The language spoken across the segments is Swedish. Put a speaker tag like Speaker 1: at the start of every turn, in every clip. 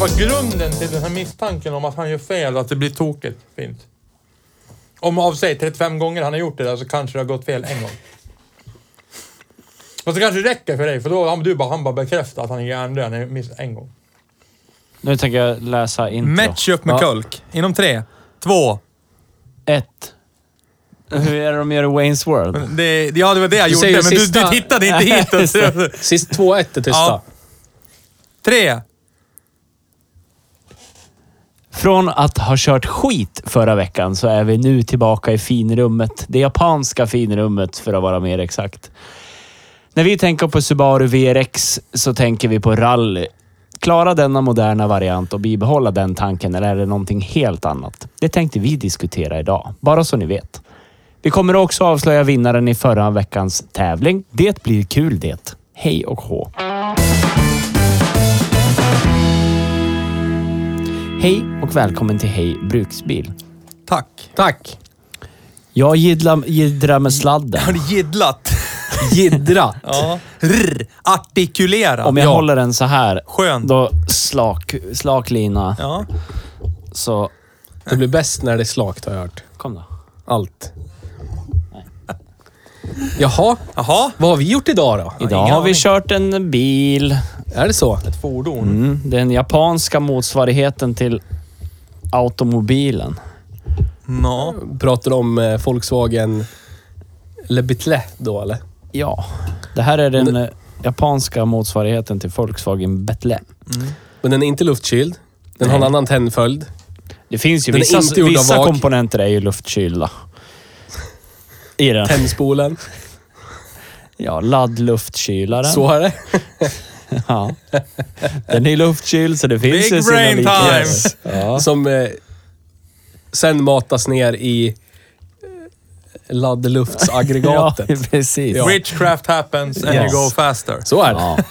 Speaker 1: Vad grunden till den här misstanken om att han gör fel, att det blir tokigt fint. Om av sig 35 gånger han har gjort det där så kanske det har gått fel en gång. Och så kanske det räcker för dig, för då har du bara, han bara bekräftat att han är hjärndöd när han missar en gång.
Speaker 2: Nu tänker jag läsa intro.
Speaker 3: Matchup med Kulk. Inom tre, två.
Speaker 2: Ja, ett. Hur är det de gör i Wayne's World?
Speaker 3: Det, ja, det var det jag gjorde,
Speaker 4: säger
Speaker 3: men du, du
Speaker 4: sista-
Speaker 3: tittade inte hit.
Speaker 4: Sist 2-1 är tysta.
Speaker 3: Ja. Tre.
Speaker 2: Från att ha kört skit förra veckan så är vi nu tillbaka i finrummet. Det japanska finrummet för att vara mer exakt. När vi tänker på Subaru VRX så tänker vi på rally. Klara denna moderna variant och bibehålla den tanken eller är det någonting helt annat? Det tänkte vi diskutera idag, bara så ni vet. Vi kommer också avslöja vinnaren i förra veckans tävling. Det blir kul det. Hej och hå! Hej och välkommen till Hej Bruksbil.
Speaker 3: Tack.
Speaker 4: Tack.
Speaker 2: Jag jiddlar jiddrar med sladden.
Speaker 3: Har du giddlat?
Speaker 4: Jiddrat.
Speaker 3: Ja. Rr, artikulera.
Speaker 2: Om jag håller den så här,
Speaker 3: Skön.
Speaker 2: då slak, slak lina.
Speaker 3: Ja.
Speaker 2: Så...
Speaker 4: Det blir bäst när det är slakt har jag hört.
Speaker 2: Kom då.
Speaker 4: Allt. Jaha,
Speaker 3: Jaha.
Speaker 4: vad har vi gjort idag då?
Speaker 2: Idag har vi kört en bil.
Speaker 4: Är det så?
Speaker 1: Ett fordon.
Speaker 2: Mm, den japanska motsvarigheten till automobilen.
Speaker 3: Nå.
Speaker 4: Pratar du om eh, Volkswagen Le Bitlé då eller?
Speaker 2: Ja, det här är den eh, japanska motsvarigheten till Volkswagen Betle.
Speaker 4: Men den är inte luftkyld. Den har en annan tändföljd.
Speaker 2: Det finns ju
Speaker 4: Den är
Speaker 2: vissa,
Speaker 4: inte gjord av
Speaker 2: vissa
Speaker 4: vak.
Speaker 2: komponenter är ju luftkylda. I den.
Speaker 4: Tändspolen.
Speaker 2: Ja, laddluftkylaren.
Speaker 4: Så är det.
Speaker 2: Ja. Den är luftkyld så det finns
Speaker 3: Big
Speaker 2: ju sina
Speaker 3: brain
Speaker 2: likheter.
Speaker 3: times.
Speaker 2: Ja.
Speaker 4: Som eh, sen matas ner i eh, laddluftsaggregatet.
Speaker 2: ja, precis. Ja.
Speaker 3: Witchcraft happens and
Speaker 2: Yes.
Speaker 3: you go faster.
Speaker 4: Så är det.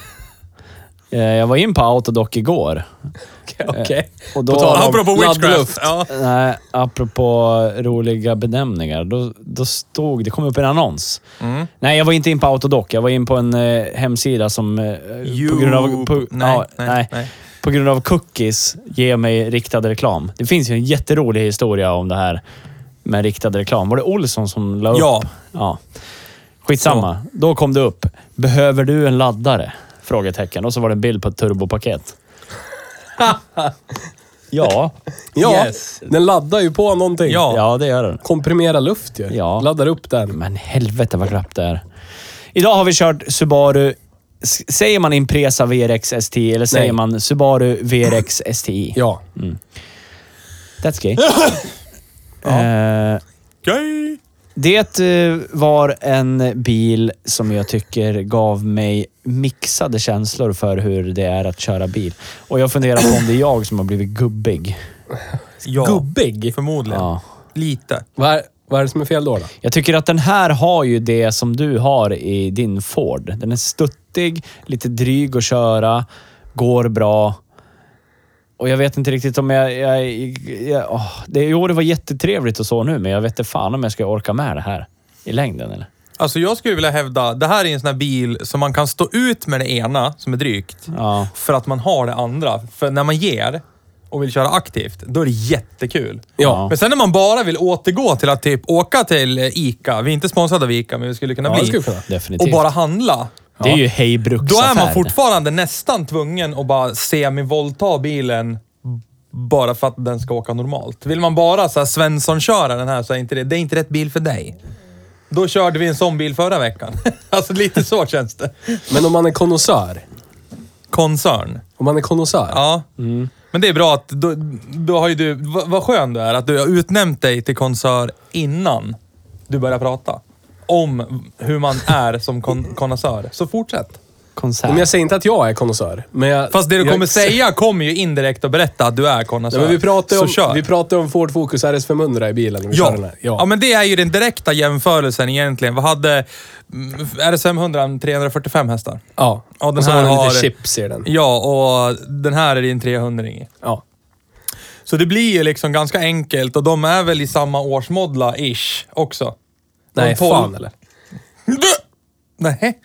Speaker 2: Eh, Jag var in på Autodoc igår.
Speaker 4: Okej.
Speaker 2: Och då,
Speaker 4: På tal om-
Speaker 3: Apropå witchcraft.
Speaker 4: Laddluft.
Speaker 3: Ja.
Speaker 2: Nej, apropå roliga benämningar. Då, då stod... Det kom upp en annons.
Speaker 3: Mm.
Speaker 2: Nej, jag var inte in på Autodoc. Jag var in på en eh, hemsida som... Eh,
Speaker 3: You-
Speaker 2: på grund av... På,
Speaker 3: nej,
Speaker 2: ja,
Speaker 3: nej, nej.
Speaker 2: På grund av cookies ger mig riktad reklam. Det finns ju en jätterolig historia om det här med riktad reklam. Var det Olsson som la upp?
Speaker 3: Ja.
Speaker 2: ja. Skitsamma. Då kom det upp. Behöver du en laddare? Frågetecken. Och så var det en bild på ett turbopaket. ja.
Speaker 4: Ja,
Speaker 3: Yes.
Speaker 4: den laddar ju på någonting.
Speaker 3: Ja.
Speaker 2: ja, det gör den.
Speaker 4: Komprimera luft ju.
Speaker 2: Ja. Mm.
Speaker 4: Laddar upp den.
Speaker 2: Men helvete vad knappt det är. Idag har vi kört Subaru... S- Säger man Impresa VRX STI eller säger
Speaker 4: Nej.
Speaker 2: man Subaru VRX STI?
Speaker 4: Ja.
Speaker 2: That's gay. Eh,
Speaker 3: Gay.
Speaker 2: det eh, var en bil som jag tycker gav mig mixade känslor för hur det är att köra bil. Och jag funderar på om det är jag som har blivit gubbig.
Speaker 3: Ja.
Speaker 4: Gubbig.
Speaker 3: Förmodligen.
Speaker 2: Ja.
Speaker 3: Lite.
Speaker 4: Vad är, vad är det som är fel då? då?
Speaker 2: Jag tycker att den här har ju det som du har i din Ford. Den är stuttig, lite dryg att köra, går bra. Och jag vet inte riktigt om jag... jag, jag åh, det, jo, det var jättetrevligt och så nu, men jag vet inte fan om jag ska orka med det här i längden. Eller?
Speaker 3: Alltså jag skulle vilja hävda, det här är en sån här bil som man kan stå ut med det ena, som är drygt,
Speaker 2: Ja.
Speaker 3: för att man har det andra. För när man ger och vill köra aktivt, då är det jättekul.
Speaker 2: Ja.
Speaker 3: Men sen när man bara vill återgå till att typ åka till eh, ICA, vi är inte sponsrade av ICA, men vi skulle kunna
Speaker 4: Ja, det
Speaker 3: bli,
Speaker 4: skulle kunna.
Speaker 2: Definitivt.
Speaker 3: och bara handla.
Speaker 2: Det är ju hej bruksaffär.
Speaker 3: Då är man fortfarande nästan tvungen att bara semi-volta bilen bara för att den ska åka normalt. Vill man bara så här Svensson köra den här så är inte det, det är inte rätt bil för dig. Då körde vi en sån bil förra veckan. alltså lite så känns det.
Speaker 4: Men om man är konnässör.
Speaker 3: Koncern.
Speaker 4: Om man är konnässör.
Speaker 3: Ja. Men det är bra att då, då har ju du... va- Vad skön du är att du har utnämnt dig till konsör innan du börjar prata. Om hur man är som kon- konnässör. Så fortsätt.
Speaker 5: Konsert.
Speaker 4: Men jag säger inte att jag är konnässör. men jag-
Speaker 3: Fast det du
Speaker 4: jag-
Speaker 3: kommer säga kommer ju indirekt att berätta att du är konnässör.
Speaker 4: Nej, men vi pratade
Speaker 3: så
Speaker 4: om,
Speaker 3: kör.
Speaker 4: vi pratade om Ford Focus RS500 i bilen. när Vi
Speaker 3: Ja.
Speaker 4: körde den här.
Speaker 3: Ja. men det är ju den direkta jämförelsen egentligen. Vad hade mm, RS500 345 hästar?
Speaker 4: Ja.
Speaker 3: Ja, den
Speaker 4: och så
Speaker 3: här
Speaker 4: har den
Speaker 3: har-
Speaker 4: lite chips i den.
Speaker 3: Ja, och den här är din 300 -ing.
Speaker 4: Ja.
Speaker 3: Så det blir ju liksom ganska enkelt och de är väl i samma årsmodla-ish också. De
Speaker 4: Nej,
Speaker 3: tolv-
Speaker 4: fan eller?
Speaker 3: Nej.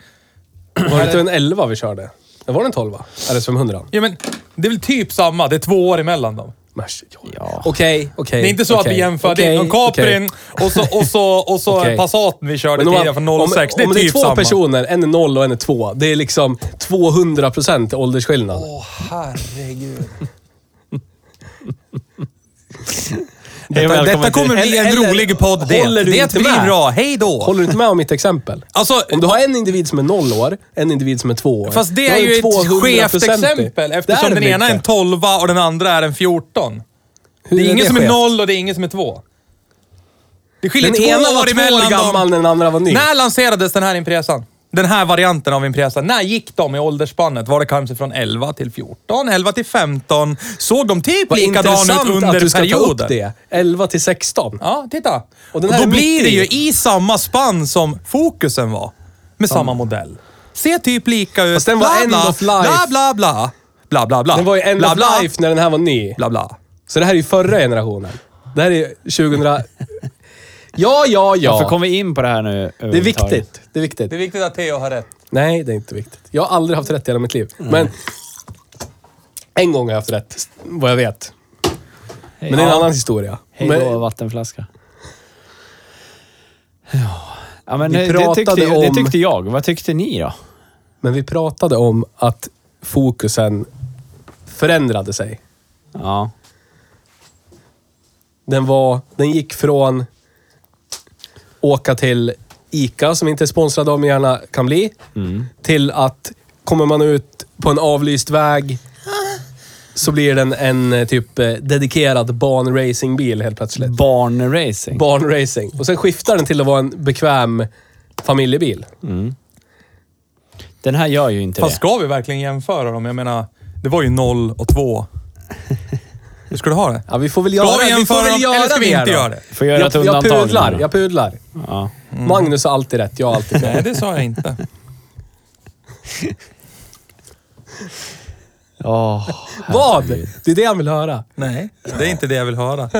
Speaker 4: Var det inte en 11 vi körde? Det var det en 12 RS500?
Speaker 3: Ja, men det är väl typ samma. Det är två år emellan dem.
Speaker 4: Mers, ja.
Speaker 5: Ja.
Speaker 4: Okej, okej.
Speaker 3: Det är inte så att vi jämför. det är en Caprin och så, och så, och så
Speaker 4: Okej.
Speaker 3: Passaten vi körde tidigare från 06.
Speaker 4: Om, om
Speaker 3: det är typ
Speaker 4: två
Speaker 3: samma.
Speaker 4: personer, en är 0 och en är 2. Det är liksom 200% åldersskillnad.
Speaker 3: Åh, herregud. Detta, detta kommer bli en
Speaker 4: Eller-
Speaker 3: rolig podd det.
Speaker 4: håller du
Speaker 3: Det
Speaker 4: inte
Speaker 3: blir
Speaker 4: med?
Speaker 3: bra. Hej då!
Speaker 4: Håller du inte med om mitt exempel?
Speaker 3: Alltså,
Speaker 4: Om du har en individ som är noll år, en individ som är två år.
Speaker 3: fast det
Speaker 4: då
Speaker 3: är ju
Speaker 4: du
Speaker 3: ett
Speaker 4: 200%.
Speaker 3: skevt exempel
Speaker 4: Det
Speaker 3: eftersom
Speaker 4: är det
Speaker 3: den
Speaker 4: väl
Speaker 3: ena är
Speaker 4: inte?
Speaker 3: en 12 och den andra är en 14.
Speaker 4: Hur
Speaker 3: det är ingen som är
Speaker 4: skevt?
Speaker 3: noll och det är ingen som är två. Det skiljer
Speaker 4: Den
Speaker 3: två
Speaker 4: ena
Speaker 3: år
Speaker 4: var två
Speaker 3: emellan
Speaker 4: år
Speaker 3: dem.
Speaker 4: gammal, den andra var ny.
Speaker 3: När lanserades den här Impresan? Den här varianten av Impresa. När gick de i åldersspannet? Var det kanske från 11 till 14, 11 till 15? Såg de typ
Speaker 4: Vad
Speaker 3: likadana ut
Speaker 4: intressant att
Speaker 3: under
Speaker 4: du ska ta
Speaker 3: perioden?
Speaker 4: upp det. 11 till 16.
Speaker 3: Ja, titta. Och
Speaker 4: Och den här
Speaker 3: då
Speaker 4: är mitt
Speaker 3: blir det ju
Speaker 4: i.
Speaker 3: i samma spann som fokusen var. Med samma modell. Ser typ lika ut.
Speaker 4: Fast den var
Speaker 3: bla,
Speaker 4: end
Speaker 3: bla,
Speaker 4: of life.
Speaker 3: Bla, bla, bla. Bla, bla, bla.
Speaker 4: Den var ju end
Speaker 3: Ah. bla,
Speaker 4: of
Speaker 3: bla,
Speaker 4: life när den här var ny.
Speaker 3: Bla, bla.
Speaker 4: Så det här är ju förra generationen. Det här är 2000... Ja, ja,
Speaker 5: Varför
Speaker 4: ja.
Speaker 5: kom vi in på det här nu?
Speaker 4: Det är
Speaker 5: överhuvudtaget?
Speaker 4: viktigt. Det är viktigt.
Speaker 3: är viktigt att Theo har rätt.
Speaker 4: Nej, det är inte viktigt. Jag har aldrig haft rätt i hela mitt liv. Men en gång har jag haft rätt, vad jag vet. Men det är en annan historia.
Speaker 5: Hej
Speaker 4: Men-
Speaker 5: då, vattenflaska. Ja, ja men
Speaker 4: Vi
Speaker 5: det, det,
Speaker 4: pratade
Speaker 5: tyckte, det
Speaker 4: om-
Speaker 5: tyckte jag. Vad tyckte ni då?
Speaker 4: Men vi pratade om att fokusen förändrade sig.
Speaker 5: Ja.
Speaker 4: Den, var, den gick från åka till ICA, som vi inte är sponsrade av men gärna kan bli,
Speaker 5: Mm.
Speaker 4: till att kommer man ut på en avlyst väg så blir den en eh, typ eh, dedikerad barnracingbil helt plötsligt.
Speaker 5: Barnracing.
Speaker 4: Barnracing. Och sen skiftar den till att vara en bekväm familjebil.
Speaker 5: Den här gör ju inte
Speaker 3: Fast
Speaker 5: det.
Speaker 3: ska vi verkligen jämföra dem? Jag menar, det var ju 0 och 2. Hur ska du ha det?
Speaker 4: Ja, vi får väl
Speaker 3: Ska
Speaker 4: göra,
Speaker 3: vi
Speaker 4: vi får
Speaker 3: jämföra
Speaker 4: väl
Speaker 3: dem
Speaker 4: göra
Speaker 3: eller ska vi inte
Speaker 4: då.
Speaker 3: göra det? Mm.
Speaker 5: Får göra
Speaker 4: Jag,
Speaker 5: ett
Speaker 4: jag
Speaker 5: undantag. nu
Speaker 4: pudlar,
Speaker 5: då?
Speaker 4: jag pudlar.
Speaker 5: Ja.
Speaker 4: Magnus har alltid rätt, jag har alltid fel.
Speaker 3: Nej, det sa jag inte.
Speaker 5: Åh,
Speaker 4: Vad? Det är det han vill höra.
Speaker 3: Nej, det är inte det jag vill höra.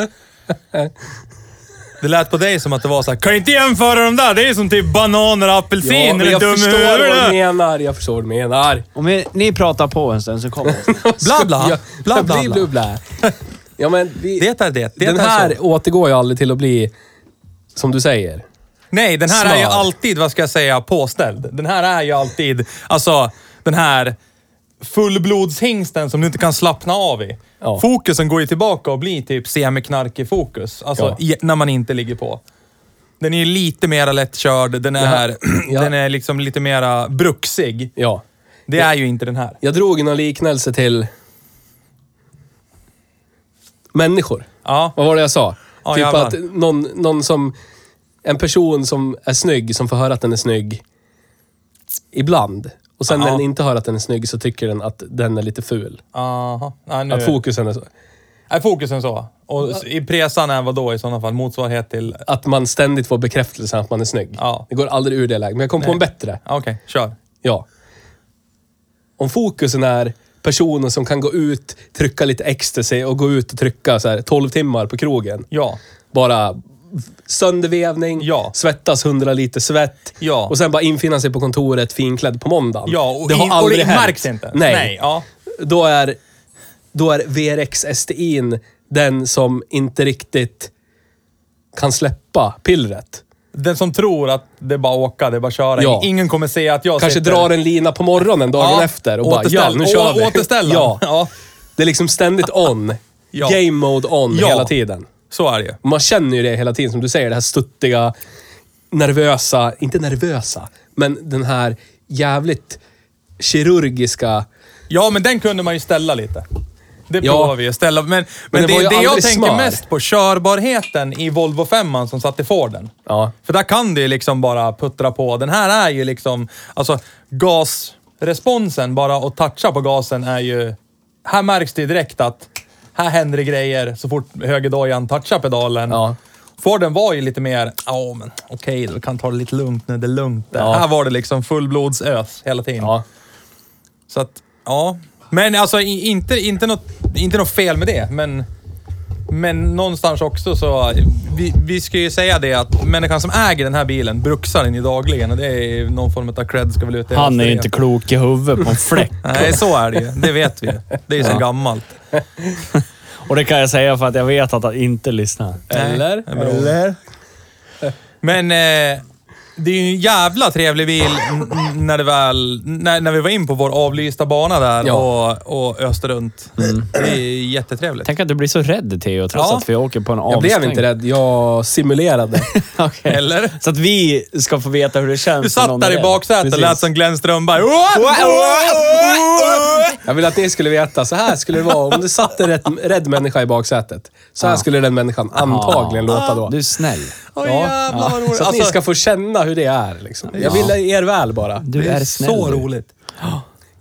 Speaker 3: Det lät på dig som att det var så här, kan inte jämföra de där? Det är ju som typ bananer och
Speaker 4: Ja,
Speaker 3: apelsiner.
Speaker 4: men
Speaker 3: är
Speaker 4: jag
Speaker 3: du dum i
Speaker 4: förstår vad du
Speaker 3: huvudet?
Speaker 4: menar. Jag förstår vad du menar.
Speaker 5: Om ni- ni pratar på en stund så kommer jag.
Speaker 3: Bla, bla.
Speaker 4: Jag-
Speaker 3: Bla, bla,
Speaker 4: bli-
Speaker 3: bla.
Speaker 4: bli- bla. Ja, men vi,
Speaker 3: Det är det. det
Speaker 4: den
Speaker 3: är
Speaker 4: här
Speaker 3: Så.
Speaker 4: återgår ju aldrig till att bli som du säger.
Speaker 3: Nej, den här är ju
Speaker 4: Smör.
Speaker 3: alltid, vad ska jag säga, påställd. Den här är ju alltid, alltså den här fullblodshingsten som du inte kan slappna av i.
Speaker 4: Ja.
Speaker 3: Fokusen går ju tillbaka och blir typ semiknarkig fokus. Alltså
Speaker 4: Ja.
Speaker 3: i, när man inte ligger på. Den är ju lite mera lättkörd, den är,
Speaker 4: Ja.
Speaker 3: den är liksom lite mera bruksig.
Speaker 4: Ja.
Speaker 3: Det är ju inte den här.
Speaker 4: Jag drog en liknelse till människor.
Speaker 3: Ja.
Speaker 4: Vad var det jag sa?
Speaker 3: Ja,
Speaker 4: typ
Speaker 3: jävlar.
Speaker 4: att någon, någon som... En person som är snygg, som får höra att den är snygg ibland. Och sen när
Speaker 3: Ja.
Speaker 4: den inte hör att den är snygg så tycker den att den är lite ful.
Speaker 3: Aha. Nej, nu.
Speaker 4: Att fokusen är så.
Speaker 3: är fokusen så? Och s- i presan är vad då i sådana fall? Motsvarighet till...
Speaker 4: Att man ständigt får bekräftelse att man är snygg.
Speaker 3: Ja.
Speaker 4: Det går aldrig ur det läget. Men jag kom på en bättre.
Speaker 3: Ja, Okej, kör.
Speaker 4: Ja. Om fokusen är personen som kan gå ut, trycka lite ecstasy och gå ut och trycka så här 12 timmar på krogen.
Speaker 3: Ja.
Speaker 4: bara söndervevning,
Speaker 3: Ja.
Speaker 4: svettas 100 liter svett
Speaker 3: Ja.
Speaker 4: och sen bara infinna sig på kontoret finklädd på måndagen.
Speaker 3: Ja, och
Speaker 4: det har
Speaker 3: i- och
Speaker 4: aldrig
Speaker 3: det
Speaker 4: hänt.
Speaker 3: märks inte.
Speaker 4: Nej.
Speaker 3: Nej, ja.
Speaker 4: Då är, då är VRX STI'n den som inte riktigt kan släppa pillret.
Speaker 3: Den som tror att det är bara att åka, det är bara att köra.
Speaker 4: Ja.
Speaker 3: Ingen kommer se att jag
Speaker 4: Kanske
Speaker 3: sitter...
Speaker 4: drar en lina på morgonen dagen efter och bara ja, nu kör vi.
Speaker 3: Återställa.
Speaker 4: Ja.
Speaker 3: ja.
Speaker 4: Det är liksom ständigt on.
Speaker 3: Ja.
Speaker 4: Game mode on
Speaker 3: Ja.
Speaker 4: hela tiden.
Speaker 3: Så är det ju.
Speaker 4: Man känner ju det hela tiden, som du säger, det här stuttiga nervösa, inte nervösa, men den här jävligt kirurgiska...
Speaker 3: Ja, men den kunde man ju ställa lite. Det
Speaker 4: Ja.
Speaker 3: provar vi ju ställa. Men, men,
Speaker 4: det
Speaker 3: det,
Speaker 4: var ju
Speaker 3: det jag
Speaker 4: aldrig
Speaker 3: tänker
Speaker 4: smör.
Speaker 3: mest på, körbarheten i Volvo 5 som satt i Forden.
Speaker 4: Ja.
Speaker 3: För där kan det ju liksom bara puttra på. Den här är ju liksom, alltså gasresponsen, bara att toucha på gasen är ju... Här märks det ju direkt att här händer det grejer så fort högerdojan touchar pedalen.
Speaker 4: Ja.
Speaker 3: Forden var ju lite mer, ja men okej då, vi kan ta det lite lugnt nu, det är lugnt där.
Speaker 4: Ja.
Speaker 3: Här var det liksom fullblodsös hela tiden.
Speaker 4: Ja.
Speaker 3: Så att, ja. Men alltså i- inte, inte, något, inte något fel med det, men, men någonstans också så... Vi, vi ska ju säga det att människan som äger den här bilen bruxar den ju dagligen och det är ju någon form av cred ska väl ut.
Speaker 5: Han är ju inte klok i huvudet på en fläck.
Speaker 3: Nej, så är det ju. Det vet vi ju. Det är ju så gammalt.
Speaker 5: Och det kan jag säga för att jag vet att han inte lyssnar.
Speaker 4: Eller?
Speaker 3: Nej, bra. Men eh, det är ju en jävla trevlig bil n- n- när, det väl, när, när vi var in på vår avlysta bana där
Speaker 4: Ja.
Speaker 3: och, och öste runt.
Speaker 5: Mm.
Speaker 3: Det är jättetrevligt.
Speaker 5: Tänk att du blir så rädd Theo, trots
Speaker 3: Ja.
Speaker 5: att vi åker på en
Speaker 4: Jag
Speaker 5: avstängning.
Speaker 4: blev inte rädd, jag simulerade.
Speaker 5: Okej.
Speaker 3: Eller?
Speaker 5: Så att vi ska få veta hur det känns.
Speaker 3: Du
Speaker 5: när
Speaker 3: satt
Speaker 5: någon
Speaker 3: där
Speaker 5: är
Speaker 3: i
Speaker 5: rädd.
Speaker 3: baksätet och
Speaker 4: Precis.
Speaker 3: lät som Glenn Strömberg.
Speaker 4: Jag vill att ni skulle veta, så här skulle det vara om det satt en rätt, rädd människa i baksätet. Så här skulle den människan antagligen låta då.
Speaker 5: Du är snäll.
Speaker 3: Åh jävlar vad roligt.
Speaker 4: Så att ni
Speaker 3: Alltså,
Speaker 4: ska få känna hur det är. Liksom. Jag vill er väl bara.
Speaker 5: Du
Speaker 3: det
Speaker 5: är,
Speaker 3: är
Speaker 5: snäll.
Speaker 3: så
Speaker 5: du.
Speaker 3: roligt.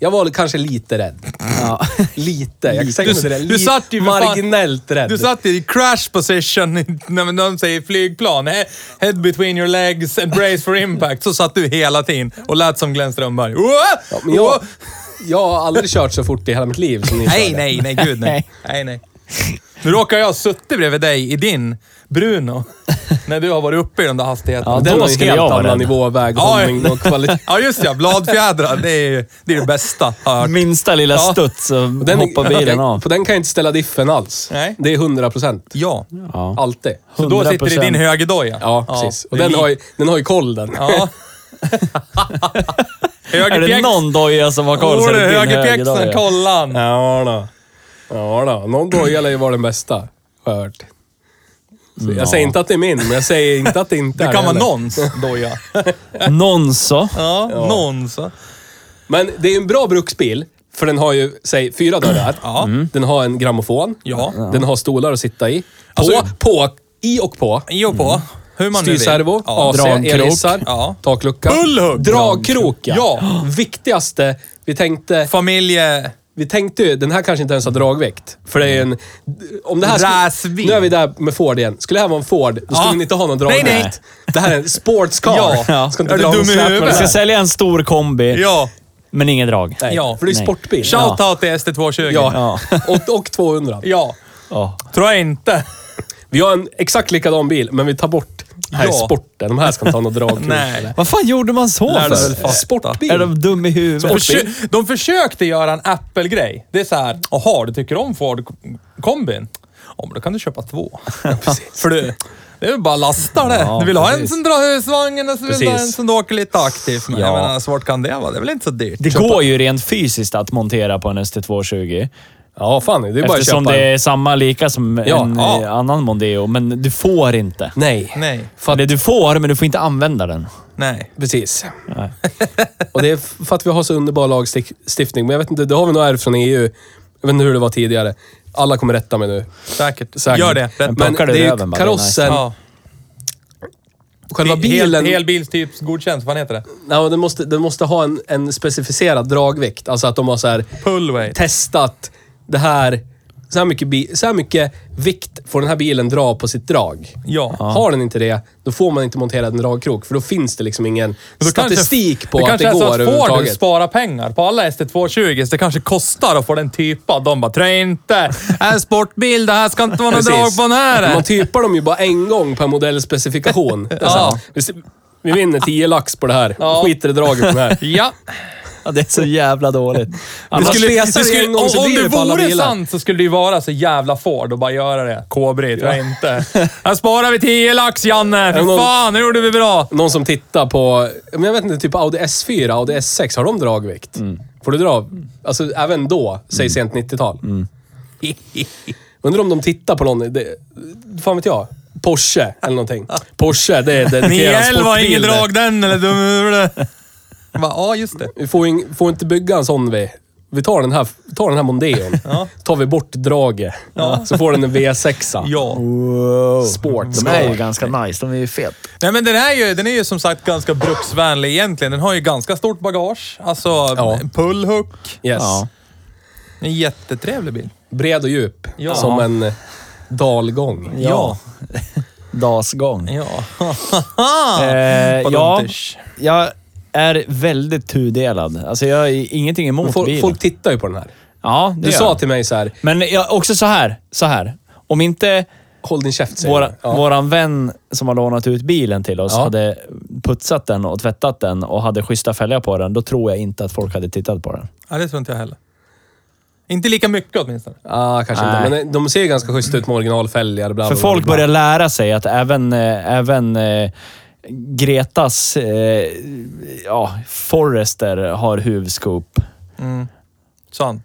Speaker 4: Jag var kanske lite rädd.
Speaker 5: Ja.
Speaker 4: Lite. Jag säger
Speaker 3: Du-
Speaker 4: inte det.
Speaker 3: du
Speaker 4: Li-
Speaker 3: satt ju för fan-
Speaker 4: marginellt rädd.
Speaker 3: Du satt i crash position när de säger flygplan. He- Head between your legs and brace for impact. Så satt du hela tiden och lät som Glenn Strömberg.
Speaker 4: Ja, men jag, jag har aldrig kört så fort i hela mitt liv som ni
Speaker 3: Nej,
Speaker 4: körde.
Speaker 3: nej, nej, gud nej. nej, nej. Nu råkar jag ha suttit bredvid dig i din Bruno. När du har varit uppe i de där hastigheterna.
Speaker 5: Ja,
Speaker 4: Den
Speaker 5: Då
Speaker 4: har ju
Speaker 5: skulle jag
Speaker 4: helt
Speaker 5: vara
Speaker 4: annan
Speaker 5: rädd.
Speaker 4: nivå, väghållning och kvalitet.
Speaker 3: Ja, just ja. Bladfjädrar. Det är ju det, är det bästa jag har hört.
Speaker 5: Minsta lilla
Speaker 3: Ja.
Speaker 5: studs så
Speaker 4: Den,
Speaker 5: hoppar bilen av.
Speaker 4: På den kan jag inte ställa diffen alls.
Speaker 3: Nej.
Speaker 4: Det är 100 procent.
Speaker 3: Ja.
Speaker 5: Ja.
Speaker 4: Alltid.
Speaker 3: Så då sitter det i din
Speaker 5: 100%.
Speaker 3: högerdoja?
Speaker 4: Ja, precis. Och
Speaker 3: det är
Speaker 4: den
Speaker 3: li-
Speaker 4: har, ju, den har ju koll den.
Speaker 3: Ja.
Speaker 5: Är det
Speaker 3: Högerpjäx-
Speaker 5: någon doja som har koll så
Speaker 3: Åh,
Speaker 5: är
Speaker 3: du,
Speaker 5: det din högerdoja.
Speaker 3: högerpjäxan, kolla han.
Speaker 4: Ja då. Ja då. Någon doja lär ju vara den bästa, har jag hört. Så jag säger inte att det är min, men jag säger inte att det inte är
Speaker 3: Mm, Det kan vara
Speaker 4: heller.
Speaker 3: någons doja.
Speaker 5: Någon så.
Speaker 3: Ja, någons.
Speaker 4: Men det är ju en bra bruksbil, för den har ju, säg, fyra dörrar. Mm.
Speaker 3: Ja.
Speaker 4: Den har en grammofon.
Speaker 3: Ja.
Speaker 4: Den har stolar att sitta i. På,
Speaker 3: Alltså-
Speaker 4: på, i och på.
Speaker 3: I och på. Hur man nu vill.
Speaker 4: Styrservo,
Speaker 3: Ja.
Speaker 4: AC,
Speaker 5: dragkrok.
Speaker 4: elhissar,
Speaker 3: Ja.
Speaker 4: taklucka.
Speaker 3: Bullhugg!
Speaker 4: Dragkrok, ja.
Speaker 3: Ja.
Speaker 4: Viktigaste, vi tänkte...
Speaker 3: Familje...
Speaker 4: Vi tänkte ju, den här kanske inte ens har dragvikt. För det är ju en... Om det här
Speaker 3: Räsvin.
Speaker 4: nu är vi där med Ford igen. Skulle det här vara en Ford, då skulle
Speaker 3: Ja.
Speaker 4: den inte ha någon
Speaker 3: Nej,
Speaker 4: dragvikt.
Speaker 3: nej.
Speaker 4: Det här är en sportscar.
Speaker 3: Ja.
Speaker 4: Ska inte
Speaker 3: Är du
Speaker 4: dra någon
Speaker 3: dum i
Speaker 4: släp med
Speaker 3: huvudet?
Speaker 4: den
Speaker 5: Vi
Speaker 4: här.
Speaker 5: ska sälja en stor kombi,
Speaker 3: Ja.
Speaker 5: men inget drag.
Speaker 4: Nej,
Speaker 3: Ja.
Speaker 4: för det är ju
Speaker 5: Nej.
Speaker 4: sportbil.
Speaker 3: Shoutout till ST220.
Speaker 4: Ja. Och, och 200.
Speaker 3: ja.
Speaker 5: Ja.
Speaker 3: Tror jag inte.
Speaker 4: Vi har en exakt likadan bil, men vi tar bort här
Speaker 3: Ja.
Speaker 4: sporten. De här ska inte ha någon dragkrok.
Speaker 3: Nej.
Speaker 4: eller.
Speaker 5: Vad fan gjorde man så
Speaker 3: Lär dig väl
Speaker 5: för?
Speaker 3: fatta.
Speaker 4: Sportbil.
Speaker 5: Är de dum i huvudet?
Speaker 3: Och försö- de försökte göra en Apple-grej. Det är så här, jaha, du tycker om Ford kombin? Ja, men då kan du köpa två. För du, det är väl bara lasta det.
Speaker 5: Ja,
Speaker 3: du vill ha en
Speaker 5: precis.
Speaker 3: som drar husvagnen och så vill du ha en
Speaker 4: Precis.
Speaker 3: som du åker lite aktivt med.
Speaker 5: Ja.
Speaker 3: Jag menar, svårt kan det vara? Det är väl inte så dyrt?
Speaker 5: Det går ju rent fysiskt att montera på en ST220.
Speaker 4: Ja, fan. Det är bara att
Speaker 5: Eftersom
Speaker 4: köpa
Speaker 5: det
Speaker 4: en.
Speaker 5: är samma lika som
Speaker 4: Ja,
Speaker 5: en
Speaker 3: ja.
Speaker 5: eh, annan Mondeo, men du får inte.
Speaker 4: Nej.
Speaker 3: Nej,
Speaker 5: För det du får, men du får inte använda den.
Speaker 3: nej.
Speaker 4: Precis.
Speaker 5: Nej.
Speaker 4: Och det är f- för att vi har så underbar lagstiftning. Men jag vet inte, det har vi nog ärvt från EU. Jag vet inte hur det var tidigare. Alla kommer rätta mig nu.
Speaker 3: Säkert.
Speaker 4: Säkert.
Speaker 3: Gör det. Rätt.
Speaker 5: Men-
Speaker 4: Men det
Speaker 5: plockar du
Speaker 4: är
Speaker 5: röven bara,
Speaker 4: ju
Speaker 5: det är nice.
Speaker 4: karossen,
Speaker 3: Ja.
Speaker 4: själva bilen,
Speaker 3: Hel, helbilstypsgodkänt, vad fan heter det?
Speaker 4: ja, den, måste, den måste ha en, en specificerad dragvikt. Alltså att de har så här
Speaker 3: Pullway.
Speaker 4: testat det här. Så här, mycket bi, så här mycket vikt får den här bilen dra på sitt drag.
Speaker 3: Ja.
Speaker 4: Har den inte det, då får man inte montera en dragkrok. För då finns det liksom ingen
Speaker 3: Men då kanske-
Speaker 4: statistik på
Speaker 3: det
Speaker 4: att
Speaker 3: kanske
Speaker 4: det
Speaker 3: är så
Speaker 4: går
Speaker 3: att Ford
Speaker 4: överhuvudtaget.
Speaker 3: spara pengar på alla ST220, så det kanske kostar att få den typad. De bara, trä inte! Här är en sportbil, det här ska inte vara något drag
Speaker 4: Precis.
Speaker 3: på den här.
Speaker 4: Man typar dem ju bara en gång per modellspecifikation. Det är så här, vi- Vi vinner 10 lax på det här.
Speaker 3: Ja.
Speaker 4: Skiter i draget på den här.
Speaker 3: Ja.
Speaker 5: Ja, det är så jävla dåligt.
Speaker 4: Det
Speaker 5: Annars,
Speaker 4: skulle- spesar det en gång
Speaker 3: om
Speaker 4: så
Speaker 3: om
Speaker 4: blir
Speaker 3: det
Speaker 4: det på alla
Speaker 3: vore
Speaker 4: bilar.
Speaker 3: sant så skulle det ju vara så jävla Ford och bara göra det. Kobri, tror jag inte. Här sparar vi 10 lax, Janne! Fy
Speaker 4: Är det någon-
Speaker 3: fan, nu gjorde vi bra!
Speaker 4: Någon som tittar på, men jag vet inte, typ Audi S4, Audi S6, har de
Speaker 3: Mm. Mm.
Speaker 4: dragvikt? Får du dra? Alltså även då, säg sent 90-tal. Undrar om de tittar på någon, det, fan vet jag, Porsche eller någonting. Porsche, det är dedikerad
Speaker 3: 911 har
Speaker 4: sportbil.
Speaker 3: ingen
Speaker 4: det.
Speaker 3: drag den eller dum... Bara, ja, just det.
Speaker 4: Vi får, ing, får inte bygga en sån vi. Vi tar den här, tar den här Mondeon. Tar vi bort draget. Så får den en V6.
Speaker 3: Ja.
Speaker 4: Sport.
Speaker 2: De är ju ganska nice. De är ju fet.
Speaker 3: Nej, men den är, ju, den är ju som sagt ganska bruksvänlig egentligen. Den har ju ganska stort bagage. Alltså, en pullhook.
Speaker 4: Yes.
Speaker 2: Ja.
Speaker 3: En jättetrevlig bil.
Speaker 4: Bred och djup.
Speaker 3: Ja.
Speaker 4: Som en eh, dalgång.
Speaker 2: Ja. Dasgång.
Speaker 3: Ja.
Speaker 2: Eh, ja,
Speaker 3: Pontus.
Speaker 2: jag är väldigt tudelad. Alltså jag har ingenting emot
Speaker 4: Folk,
Speaker 2: bilen.
Speaker 4: folk tittar ju på den här.
Speaker 2: ja, det
Speaker 4: Du
Speaker 2: gör
Speaker 4: sa
Speaker 2: jag.
Speaker 4: till mig så här,
Speaker 2: Men jag, också så här, så här. Om inte
Speaker 4: håll din käft säger
Speaker 2: våra,
Speaker 4: du. Typ. ja.
Speaker 2: våran vän som har lånat ut bilen till oss
Speaker 4: Ja.
Speaker 2: hade putsat den och tvättat den och hade schyssta fälgar på den, då tror jag inte att folk hade tittat på den.
Speaker 3: ja, det tror inte jag heller. Inte lika mycket åtminstone.
Speaker 4: ah, kanske
Speaker 2: Nej.
Speaker 4: inte. Men eh, de ser ju ganska schyssta ut med originalfälgar. Bla,
Speaker 2: För
Speaker 4: bla, bla,
Speaker 2: folk
Speaker 4: bla.
Speaker 2: börjar lära sig att även, eh, även eh, Gretas eh, ja, Forrester har huvudskop. Mm.
Speaker 3: Sant.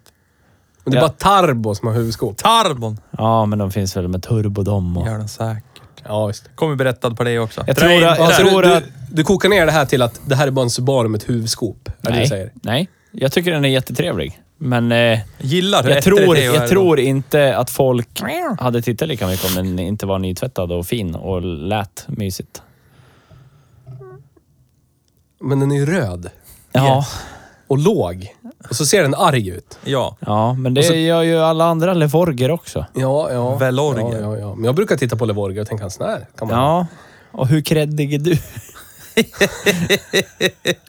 Speaker 4: Men det är
Speaker 2: Ja.
Speaker 4: bara Tarbo som har huvudskop.
Speaker 3: Tarbon.
Speaker 2: Ja, men de finns väl med turbo de och...
Speaker 3: Gör den säkert.
Speaker 4: Ja, visst.
Speaker 3: Kommer berättad på det också.
Speaker 2: Jag tror, jag,
Speaker 4: Alltså, du,
Speaker 2: tror att...
Speaker 4: du, du kokar ner det här till att det här är bara en Subaru med ett huvudskop. Är det du säger?
Speaker 2: Nej, nej, jag tycker den är jättetrevlig. Men eh,
Speaker 3: Gillar hur
Speaker 2: jag,
Speaker 3: ettrigt
Speaker 2: tror,
Speaker 3: det är att
Speaker 2: jag
Speaker 3: göra
Speaker 2: tror inte att folk hade tittat lika mycket om den inte var nytvättad och fin och lät mysigt.
Speaker 4: Men den är ju röd.
Speaker 2: Ja,
Speaker 4: Och låg. Och så ser den arg ut.
Speaker 3: det. Ja.
Speaker 2: ja men det
Speaker 4: Och så-
Speaker 2: gör ju alla andra Levorger också.
Speaker 4: Ja, ja.
Speaker 3: Velorger.
Speaker 4: Ja, ja, ja. Men jag brukar titta på Levorger och tänka, en sån här kan man ha.
Speaker 2: Ja, och hur kreddig är du?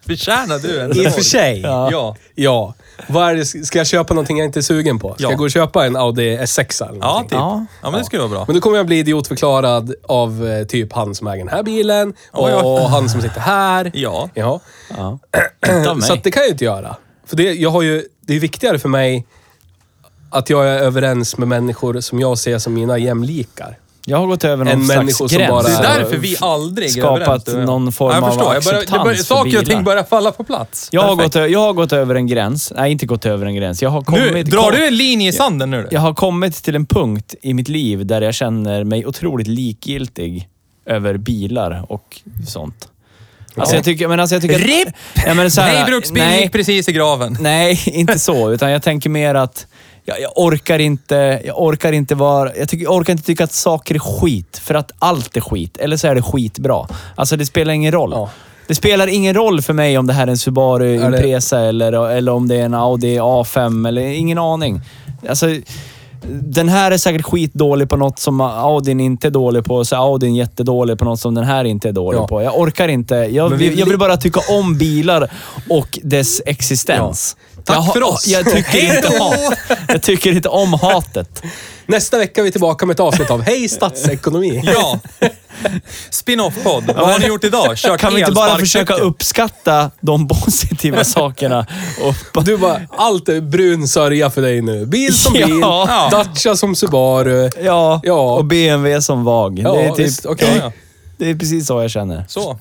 Speaker 3: Förtjänar du en
Speaker 4: I och
Speaker 3: Renault?
Speaker 4: för sig.
Speaker 3: Ja. ja.
Speaker 4: Ja. Vad är det, ska jag köpa någonting jag inte är sugen på? Ska
Speaker 3: Ja.
Speaker 4: jag gå och köpa en Audi S6 eller
Speaker 3: Ja,
Speaker 4: någonting?
Speaker 3: typ. Ja.
Speaker 2: Ja.
Speaker 3: men det skulle vara bra.
Speaker 4: Men då kommer jag bli idiotförklarad av eh, typ han som äger den här bilen och
Speaker 3: Ja, ja.
Speaker 4: han som sitter här.
Speaker 3: Ja.
Speaker 4: Ja.
Speaker 2: Ja. Inte av
Speaker 4: Så
Speaker 2: mig.
Speaker 4: att det kan jag ju inte göra. För det, jag har ju, det är viktigare för mig att jag är överens med människor som jag ser som mina jämlikar.
Speaker 2: Jag har gått över någon
Speaker 4: En
Speaker 2: slags
Speaker 4: människa som
Speaker 2: gräns.
Speaker 4: bara-
Speaker 3: Det är
Speaker 4: Så-
Speaker 3: därför vi aldrig är
Speaker 2: skapat
Speaker 3: överens, du och jag.
Speaker 2: någon form
Speaker 3: Ja, jag
Speaker 2: av
Speaker 3: förstår. Jag börjar- det börjar-
Speaker 2: acceptans för
Speaker 3: Saker och ting
Speaker 2: bilar.
Speaker 3: börjar falla på plats.
Speaker 2: Jag har,
Speaker 3: Perfekt.
Speaker 2: gått, ö- jag har gått över en gräns. Nej, inte gått över en gräns. Jag har kommit,
Speaker 3: Nu, drar
Speaker 2: kom-
Speaker 3: du en linje i sanden nu?
Speaker 2: jag har kommit till en punkt i mitt liv där jag känner mig otroligt likgiltig över bilar och sånt. Alltså jag tycker... Men alltså jag tycker att,
Speaker 3: RIP!
Speaker 2: Ja, men så här,
Speaker 3: Nej, bruksbil
Speaker 2: nej,
Speaker 3: gick precis i graven.
Speaker 2: nej, inte så. Utan jag tänker mer att jag, jag orkar inte... Jag orkar inte vara... Jag, tycker, jag orkar inte tycka att saker är skit. För att allt är skit. Eller så är det skitbra. Alltså det spelar ingen roll.
Speaker 4: Ja.
Speaker 2: Det spelar ingen roll för mig om det här är en Subaru
Speaker 4: Är det-
Speaker 2: Impresa eller, eller om det är en Audi A5 eller ingen aning. Alltså, den här är säkert skitdålig på något som Audin inte är dålig på, så är Audin jättedålig på något som den här inte är dålig
Speaker 4: Ja.
Speaker 2: på. Jag orkar inte. Jag,
Speaker 4: Men vi-
Speaker 2: vill, jag vill bara tycka om bilar och dess existens.
Speaker 4: Tack
Speaker 2: jag, har-
Speaker 4: för oss.
Speaker 2: Jag tycker, inte om, jag tycker inte om hatet.
Speaker 4: Nästa vecka är vi tillbaka med ett avsnitt av Hej statsekonomi.
Speaker 3: Ja. Spin-off-podd. Vad har ni gjort idag? Kört
Speaker 2: Kan vi inte bara
Speaker 3: elsparkcykel?
Speaker 2: försöka uppskatta de positiva sakerna? Och
Speaker 4: Du bara, allt är brun sörja för dig nu. Bil som bil,
Speaker 2: Ja.
Speaker 4: Dacia som Subaru.
Speaker 2: Ja,
Speaker 4: Ja.
Speaker 2: och BMW som VAG.
Speaker 4: Ja,
Speaker 2: det, är
Speaker 4: visst,
Speaker 2: typ,
Speaker 4: okej.
Speaker 3: Ja, ja.
Speaker 2: det är precis så jag känner.
Speaker 3: Så.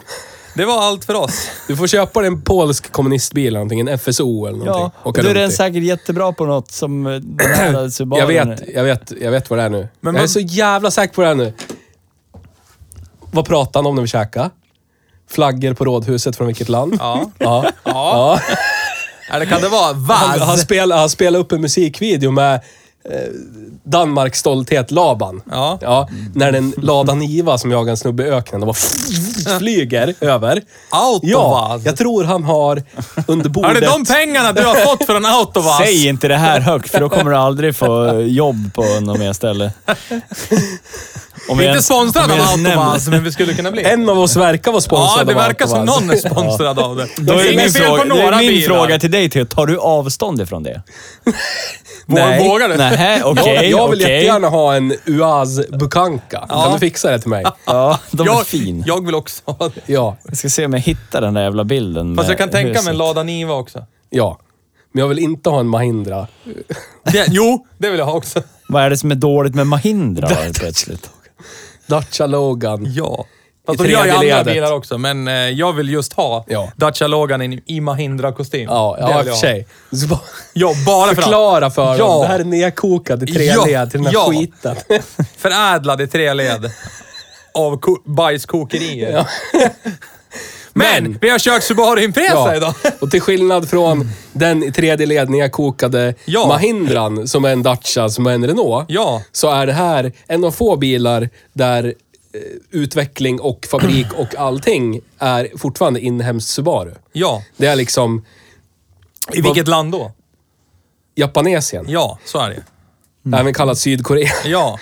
Speaker 3: Det var allt för oss.
Speaker 4: Du får köpa dig en polsk kommunistbil eller någonting, en FSO eller någonting.
Speaker 2: Ja, och då är den säkert jättebra på något som eh, den här Subarun.
Speaker 4: jag vet, jag vet, jag vet vad det är nu.
Speaker 3: Men
Speaker 4: jag är
Speaker 3: man-
Speaker 4: så jävla säker på det här nu. Vad pratade han om när vi käkade? Flaggor på rådhuset från vilket land?
Speaker 3: Ja.
Speaker 4: ja.
Speaker 3: Ja. Eller kan det vara
Speaker 4: Han, han,
Speaker 3: Vaz?
Speaker 4: spelade, han spelade upp en musikvideo med eh, Danmarks stolthet Laban.
Speaker 3: Ja.
Speaker 4: när den ladan Iva som jagar en snubbe i öknen och bara flyger över. Ja,
Speaker 3: Autovaz?
Speaker 4: jag tror han har under
Speaker 3: Är
Speaker 4: bordet...
Speaker 3: det de pengarna du har fått från Autovaz?
Speaker 2: Säg inte det här högt, för då kommer du aldrig få eh, jobb på något mer ställe. Om
Speaker 3: Vi är
Speaker 2: jag
Speaker 3: inte
Speaker 2: ens- om
Speaker 3: sponsrade av
Speaker 2: jag ens nämner-
Speaker 3: Autovaz, men vi skulle kunna bli.
Speaker 4: En av oss verkar vara sponsrad
Speaker 3: Ja, det
Speaker 4: av
Speaker 3: verkar som
Speaker 4: Autovaz.
Speaker 3: någon är sponsrad av det.
Speaker 2: Då är
Speaker 3: Inget
Speaker 2: min,
Speaker 3: fel på
Speaker 2: fråga, det
Speaker 3: några
Speaker 2: är min
Speaker 3: bilar.
Speaker 2: fråga till dig, Theo. Tar du avstånd ifrån det?
Speaker 3: Vågar- Vågar du?
Speaker 2: Nej, okej.
Speaker 4: jag, jag vill
Speaker 2: okej.
Speaker 4: jättegärna ha en Uaz Bukanka. Kan du fixa det till mig?
Speaker 2: Ja, de är
Speaker 3: Jag,
Speaker 2: fin.
Speaker 3: jag vill också ha det.
Speaker 4: Ja,
Speaker 2: Jag ska se om jag hittar den där jävla bilden.
Speaker 3: Fast
Speaker 2: med
Speaker 3: jag kan tänka mig
Speaker 2: huset.
Speaker 3: en Lada Niva också.
Speaker 4: ja. Men jag vill inte ha en Mahindra.
Speaker 3: Det, jo, det vill jag ha också.
Speaker 2: Vad är det som är dåligt med Mahindra helt plötsligt?
Speaker 4: Dacia Logan.
Speaker 3: Ja. Fast
Speaker 4: I
Speaker 3: de gör ju
Speaker 4: tredje
Speaker 3: andra
Speaker 4: ledet.
Speaker 3: bilar också, men eh, jag vill just ha
Speaker 4: Ja.
Speaker 3: Dacia Logan i- i Mahindra-kostym.
Speaker 4: Ja,
Speaker 3: Det
Speaker 4: ja i
Speaker 3: vill
Speaker 4: och för
Speaker 3: jag ha.
Speaker 4: sig. Så bara,
Speaker 3: Ja, bara för att
Speaker 4: förklara för
Speaker 3: Ja.
Speaker 4: dem. Det här är nedkokat i tre
Speaker 3: Ja,
Speaker 4: led till den här
Speaker 3: ja.
Speaker 4: skiten.
Speaker 3: förädlad i tre led av ko- bajskokerier. men, vi har kört Subaru Impresa
Speaker 4: Ja.
Speaker 3: idag.
Speaker 4: Och till skillnad från den i tredje led nedkokade
Speaker 3: Ja.
Speaker 4: Mahindran, som är en Dacia, som är en Renault,
Speaker 3: Ja.
Speaker 4: så är det här en av få bilar där eh, utveckling och fabrik och allting är fortfarande inhemskt Subaru.
Speaker 3: Ja,
Speaker 4: Det är liksom
Speaker 3: i vilket land då?
Speaker 4: Japanesien,
Speaker 3: Ja, så är det. Mm.
Speaker 4: även kallat Sydkorea.
Speaker 3: Ja,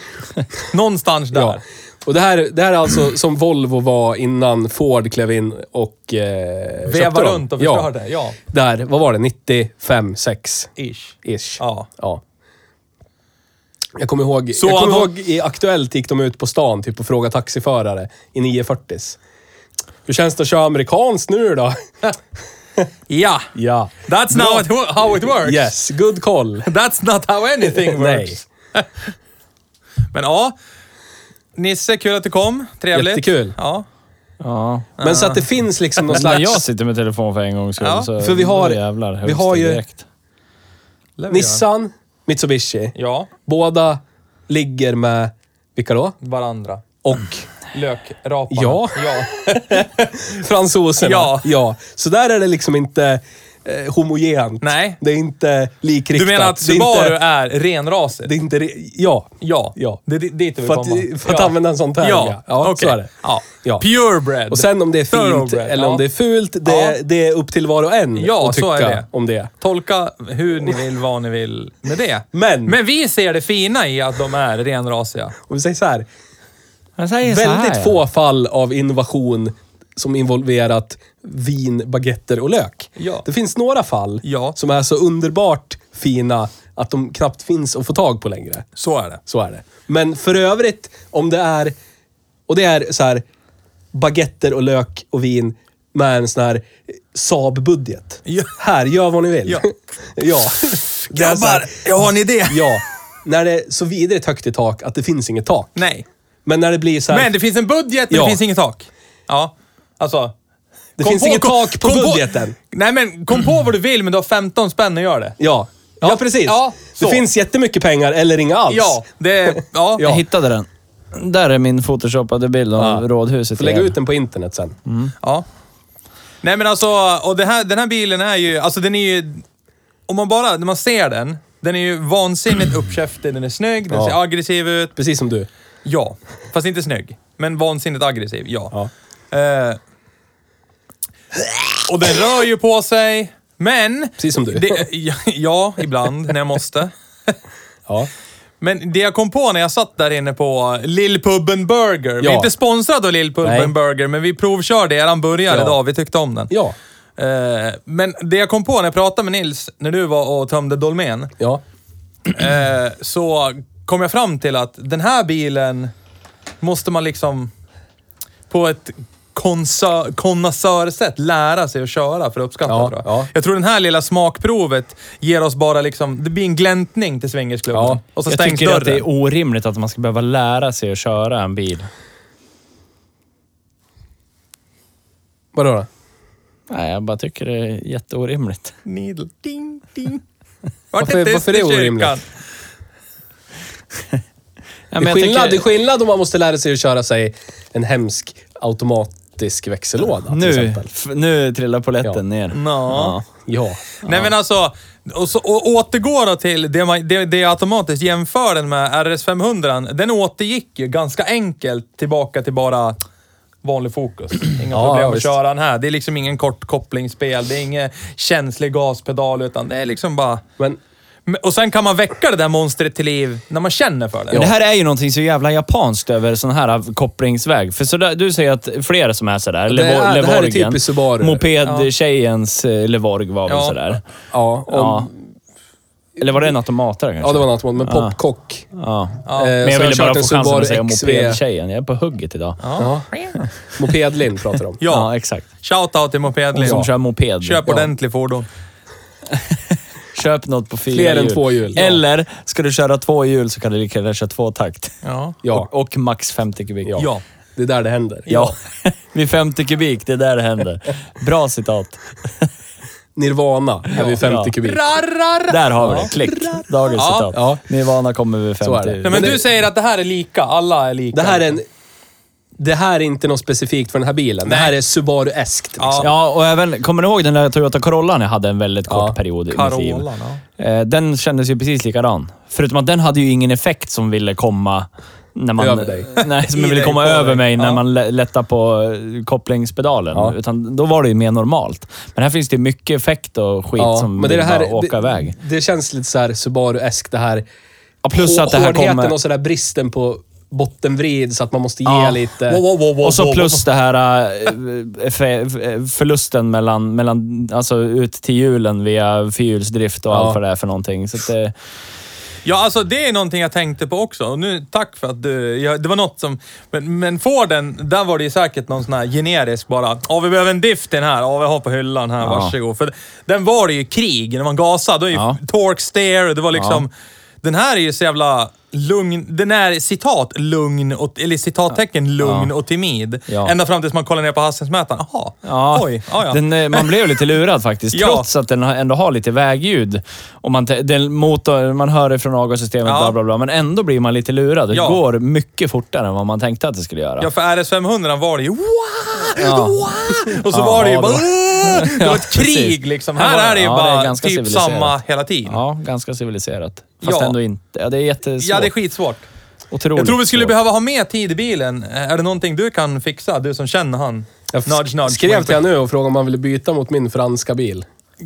Speaker 3: någonstans där.
Speaker 4: Ja. Och det här, det här är alltså som Volvo var innan Ford klev in och eh, köpte
Speaker 3: Veva
Speaker 4: dem.
Speaker 3: runt och
Speaker 4: ja.
Speaker 3: förstörde. Ja,
Speaker 4: Där, vad var det? 95, 6
Speaker 3: ish.
Speaker 4: ish.
Speaker 3: Ja.
Speaker 4: ja. Jag kommer ihåg,
Speaker 3: Så
Speaker 4: jag kommer
Speaker 3: de-
Speaker 4: ihåg i Aktuellt gick de ut på stan typ och frågade taxiförare i 940s. Hur känns det att köra amerikanskt nu då?
Speaker 3: Ja,
Speaker 4: Ja.
Speaker 3: that's now it wo- how it works.
Speaker 4: Yes, good call.
Speaker 3: That's not how anything
Speaker 4: Nej.
Speaker 3: works. Men ja, Nisse, kul att du kom. Trevligt.
Speaker 4: Jättekul.
Speaker 3: Ja.
Speaker 2: Ja.
Speaker 4: Men så att det finns liksom någon
Speaker 2: När
Speaker 4: slags...
Speaker 2: Alltså, jag sitter med telefon för en gångs skull
Speaker 3: Ja,
Speaker 2: så...
Speaker 4: för vi har-
Speaker 2: då jävlar, höjs
Speaker 4: vi har
Speaker 2: det
Speaker 4: ju-
Speaker 2: direkt.
Speaker 3: Levererar.
Speaker 4: Nissan, Mitsubishi.
Speaker 3: Ja,
Speaker 4: Båda ligger med, vilka då?
Speaker 3: varandra.
Speaker 4: Och
Speaker 3: Lökraparna.
Speaker 4: Ja.
Speaker 3: ja.
Speaker 4: fransoserna.
Speaker 3: Ja.
Speaker 4: ja. Så där är det liksom inte eh, homogent.
Speaker 3: Nej.
Speaker 4: Det är inte likriktat.
Speaker 3: Du menar att
Speaker 4: Det är inte-
Speaker 3: Subaru är renrasigt?
Speaker 4: Det är inte... re- Ja.
Speaker 3: Ja.
Speaker 4: Ja.
Speaker 3: Det är di- dit du vill
Speaker 4: För
Speaker 3: komma.
Speaker 4: att, för att
Speaker 3: ja.
Speaker 4: använda en sån term, ja.
Speaker 3: Ja,
Speaker 4: ja
Speaker 3: okej.
Speaker 4: så är det.
Speaker 3: Ja.
Speaker 4: Ja.
Speaker 3: Purebred.
Speaker 4: Och sen om det är fint
Speaker 3: Thoroughbred,
Speaker 4: eller
Speaker 3: ja.
Speaker 4: om det är fult, det,
Speaker 3: Ja.
Speaker 4: det är upp till var och en
Speaker 3: Ja,
Speaker 4: att tycka
Speaker 3: så är det.
Speaker 4: om det.
Speaker 3: Tolka hur ni vill, vad ni vill med det.
Speaker 4: Men-
Speaker 3: Men vi ser det fina i att de är renrasiga.
Speaker 4: Och vi säger så här,
Speaker 2: Jag säger
Speaker 4: väldigt
Speaker 2: så här.
Speaker 4: få fall av innovation som involverat vin, baguetter och lök.
Speaker 3: Ja.
Speaker 4: Det finns några fall
Speaker 3: Ja.
Speaker 4: som är så underbart fina att de knappt finns att få tag på längre.
Speaker 3: Så är det.
Speaker 4: Så är det. Men för övrigt, om det är... Och det är så här baguetter och lök och vin med en sån här Saab-budget.
Speaker 3: Ja.
Speaker 4: Här, gör vad ni vill.
Speaker 3: Ja.
Speaker 4: ja. Det är så här,
Speaker 3: jag har en idé.
Speaker 4: ja. När det är så vidrigt högt i tak att det finns inget tak.
Speaker 3: Nej.
Speaker 4: Men när det blir så här...
Speaker 3: Men det finns en budget, men
Speaker 4: Ja.
Speaker 3: det finns inget tak. Ja. Alltså.
Speaker 4: Det
Speaker 3: kom
Speaker 4: finns inget tak på
Speaker 3: kom
Speaker 4: budgeten.
Speaker 3: nej, men kom på vad du vill, men du har 15 spänn att göra det.
Speaker 4: Ja. Ja, precis.
Speaker 3: Ja, så.
Speaker 4: det finns jättemycket pengar eller inga alls.
Speaker 3: Ja, det... Ja.
Speaker 2: Jag hittade den. Där är min photoshopade bild av
Speaker 4: Ja.
Speaker 2: rådhuset.
Speaker 4: Får lägga
Speaker 2: igen.
Speaker 4: ut den på internet sen.
Speaker 3: Ja. Nej men alltså, och det här, den här bilen är ju, alltså den är ju, om man bara, när man ser den, den är ju vansinnigt uppkäftig, den är snygg, den
Speaker 4: Ja.
Speaker 3: ser aggressiv ut.
Speaker 4: Precis som du.
Speaker 3: Ja, fast inte snygg. Men vansinnigt aggressiv, ja. Eh, och den rör ju på sig, men...
Speaker 4: Precis som du.
Speaker 3: Det, ja, ja, ibland när jag måste.
Speaker 4: Ja.
Speaker 3: Men det jag kom på när jag satt där inne på Lillpubben Burger. Vi är
Speaker 4: Ja.
Speaker 3: inte sponsrade av
Speaker 4: Nej.
Speaker 3: Lillpubben Burger, men vi provkörde eran burgare
Speaker 4: Ja.
Speaker 3: idag. Vi tyckte om den.
Speaker 4: Ja.
Speaker 3: Eh, men det jag kom på när jag pratade med Nils, när du var och tömde Dolmen,
Speaker 4: Ja.
Speaker 3: eh, så kom jag fram till att den här bilen måste man liksom på ett konsa- konnässörsätt lära sig att köra för att uppskatta.
Speaker 4: Ja,
Speaker 3: tror jag.
Speaker 4: ja.
Speaker 3: jag tror den här lilla smakprovet ger oss bara liksom, det blir en gläntning till swingersklubben.
Speaker 4: Ja.
Speaker 3: Och så
Speaker 2: jag
Speaker 3: stängs
Speaker 2: tycker
Speaker 3: dörren.
Speaker 2: att det är orimligt att man ska behöva lära sig att köra en bil.
Speaker 4: Vadå då?
Speaker 2: Nej, jag bara tycker det är jätteorimligt.
Speaker 3: Needle. Ding, ding.
Speaker 4: Varför- varför är det orimligt?
Speaker 2: Ja,
Speaker 4: Det är,
Speaker 2: men jag
Speaker 4: skillnad,
Speaker 2: tycker-
Speaker 4: det är skillnad om man måste lära sig att köra sig en hemsk automatisk växellåda till
Speaker 2: Nu,
Speaker 4: exempel.
Speaker 2: f- nu trillar polletten
Speaker 4: Ja.
Speaker 2: ner.
Speaker 3: Ja.
Speaker 4: Ja.
Speaker 3: Nej men alltså, och, så, och återgår då till det, man, det, det jag automatiskt jämför den med, RS500. Den återgick ju ganska enkelt tillbaka till bara vanlig fokus. Inga
Speaker 4: Ja,
Speaker 3: problem att
Speaker 4: visst.
Speaker 3: köra den här. Det är liksom ingen kort kopplingsspel, det är ingen känslig gaspedal, utan det är liksom bara...
Speaker 4: Men
Speaker 3: Men- Och sen kan man väcka det där monstret till liv när man känner för det.
Speaker 2: Men Det här är ju någonting så jävla japanskt över sån här kopplingsväg. För så där, du säger att flera som är sådär,
Speaker 4: det här är
Speaker 2: Levo- Levorgen.
Speaker 4: typiskt Subaru.
Speaker 2: Mopedtjejens eh, Levorg var väl
Speaker 3: Ja.
Speaker 2: sådär.
Speaker 4: ja, om,
Speaker 2: Ja. Eller var det en automatare kanske?
Speaker 4: ja, det var något med popkock.
Speaker 2: Ja.
Speaker 4: Eh,
Speaker 2: Men jag
Speaker 4: så
Speaker 2: ville
Speaker 4: har
Speaker 2: bara
Speaker 4: kört
Speaker 2: få
Speaker 4: en
Speaker 2: chansen
Speaker 4: Subaru
Speaker 2: att säga
Speaker 4: XV.
Speaker 2: mopedtjejen. Jag är på hugget idag. Ja,
Speaker 4: Ja. Mopedlinn pratar de om.
Speaker 3: ja.
Speaker 2: exakt.
Speaker 3: Shoutout till Mopedliv.
Speaker 2: Som kör moped.
Speaker 3: Köp ordentlig fordon.
Speaker 2: Köp något på fyra
Speaker 4: Fler än
Speaker 2: hjul.
Speaker 4: två hjul.
Speaker 2: Eller, ska du köra två hjul så kan du lika gärna köra två takt.
Speaker 3: Ja.
Speaker 4: Ja.
Speaker 2: Och, och max 50 kubik.
Speaker 4: Ja.
Speaker 3: Ja.
Speaker 4: Det är där det händer.
Speaker 2: Ja, vid 50 kubik. Det är där det händer. Bra citat.
Speaker 4: Nirvana är vid 50
Speaker 2: Ja.
Speaker 4: kubik.
Speaker 2: Där har vi det. Klick. Dagens
Speaker 3: Ja,
Speaker 2: citat.
Speaker 4: ja.
Speaker 2: Nirvana kommer vid 50.
Speaker 4: Så är det.
Speaker 3: Nej, men,
Speaker 4: Men
Speaker 3: du säger att det här är lika. Alla är lika.
Speaker 4: Det här är en... Det här är inte något specifikt för den här bilen. Det här är Subaru-eskt. Liksom.
Speaker 3: Ja.
Speaker 2: Ja, och även, kommer ni ihåg den där Toyota Corollan jag hade en väldigt kort
Speaker 4: Ja,
Speaker 2: period i mitt liv?
Speaker 3: Carolan, ja.
Speaker 2: Eh, Den kändes ju precis likadan. Förutom att den hade ju ingen effekt som ville komma... När man,
Speaker 4: Över dig.
Speaker 2: Nej, som
Speaker 3: I
Speaker 2: ville
Speaker 3: dig,
Speaker 2: komma
Speaker 3: på dig.
Speaker 2: över mig när
Speaker 3: Ja.
Speaker 2: man lä- lättar på eh, kopplingspedalen.
Speaker 4: Ja.
Speaker 2: Utan då var det ju mer normalt. Men här finns det mycket effekt och skit
Speaker 4: Ja,
Speaker 2: som
Speaker 4: men det, är
Speaker 2: vill
Speaker 4: det här,
Speaker 2: bara åka
Speaker 4: det,
Speaker 2: iväg.
Speaker 4: Det känns lite så här Subaru-eskt det här.
Speaker 2: Ja, plus
Speaker 4: Hå-
Speaker 2: att det här
Speaker 4: Hårdheten
Speaker 2: kommer...
Speaker 4: och så där bristen på bottenvrid så att man måste ge
Speaker 2: Ja.
Speaker 4: lite.
Speaker 3: Wow, wow, wow, wow,
Speaker 2: Och så
Speaker 3: wow,
Speaker 2: plus det här eh, fe- eh, förlusten mellan, mellan, alltså ut till hjulen via fyrhjulsdrift och
Speaker 4: Ja.
Speaker 2: allt vad det är för någonting. Så att det,
Speaker 3: Ja, alltså det är någonting jag tänkte på också. Och nu, tack för att du... Jag, det var något som... Men, men Forden, där var det ju säkert någon sån här generisk bara. Ja, vi behöver en diff till den här. Ja, vi har på hyllan här. Varsågod. För den var det ju krig. När man gasade, då är ju
Speaker 2: Ja.
Speaker 3: torque steer. och Det var liksom... Den här är ju så jävla lugn. Den är citat lugn, och, eller citattecken lugn och timid.
Speaker 2: Ja.
Speaker 3: Ända fram tills man kollar ner på hastighetsmätaren. Jaha.
Speaker 2: ja,
Speaker 3: Oj. Ah, Ja, ja.
Speaker 2: Den, eh, man blev lite lurad faktiskt,
Speaker 3: Ja.
Speaker 2: trots att den har- ändå har lite vägljud. Och man, te- den motor, man hör det från avgassystemet,
Speaker 3: Ja.
Speaker 2: bla, bla, bla, men ändå blir man lite lurad. Det
Speaker 3: Ja.
Speaker 2: går mycket fortare än vad man tänkte att det skulle göra.
Speaker 3: Ja, för RS500 var det ju "Wah!
Speaker 2: Ja.
Speaker 3: Wah!" Och så
Speaker 2: Ja,
Speaker 3: var det ju
Speaker 2: ja,
Speaker 3: bara...
Speaker 2: det
Speaker 3: "Åh!" Det var ett
Speaker 2: Ja,
Speaker 3: krig
Speaker 2: precis.
Speaker 3: liksom.
Speaker 2: Ja,
Speaker 3: Här är det ju
Speaker 2: ja, det är
Speaker 3: bara
Speaker 2: ganska
Speaker 3: typ
Speaker 2: civiliserat.
Speaker 3: samma hela tiden.
Speaker 2: Ja, ganska civiliserat. Fast
Speaker 3: Ja.
Speaker 2: ändå inte. Ja, det är jättesvårt.
Speaker 3: Ja, det är skitsvårt.
Speaker 2: Otroligt
Speaker 3: Jag tror vi skulle
Speaker 2: svårt.
Speaker 3: behöva ha mer tid i bilen. Eh, Är det någonting du kan fixa? Du som känner han.
Speaker 4: Jag
Speaker 3: Nudge, nudge.
Speaker 4: skrev till honom nu och frågade om han ville byta mot min franska bil.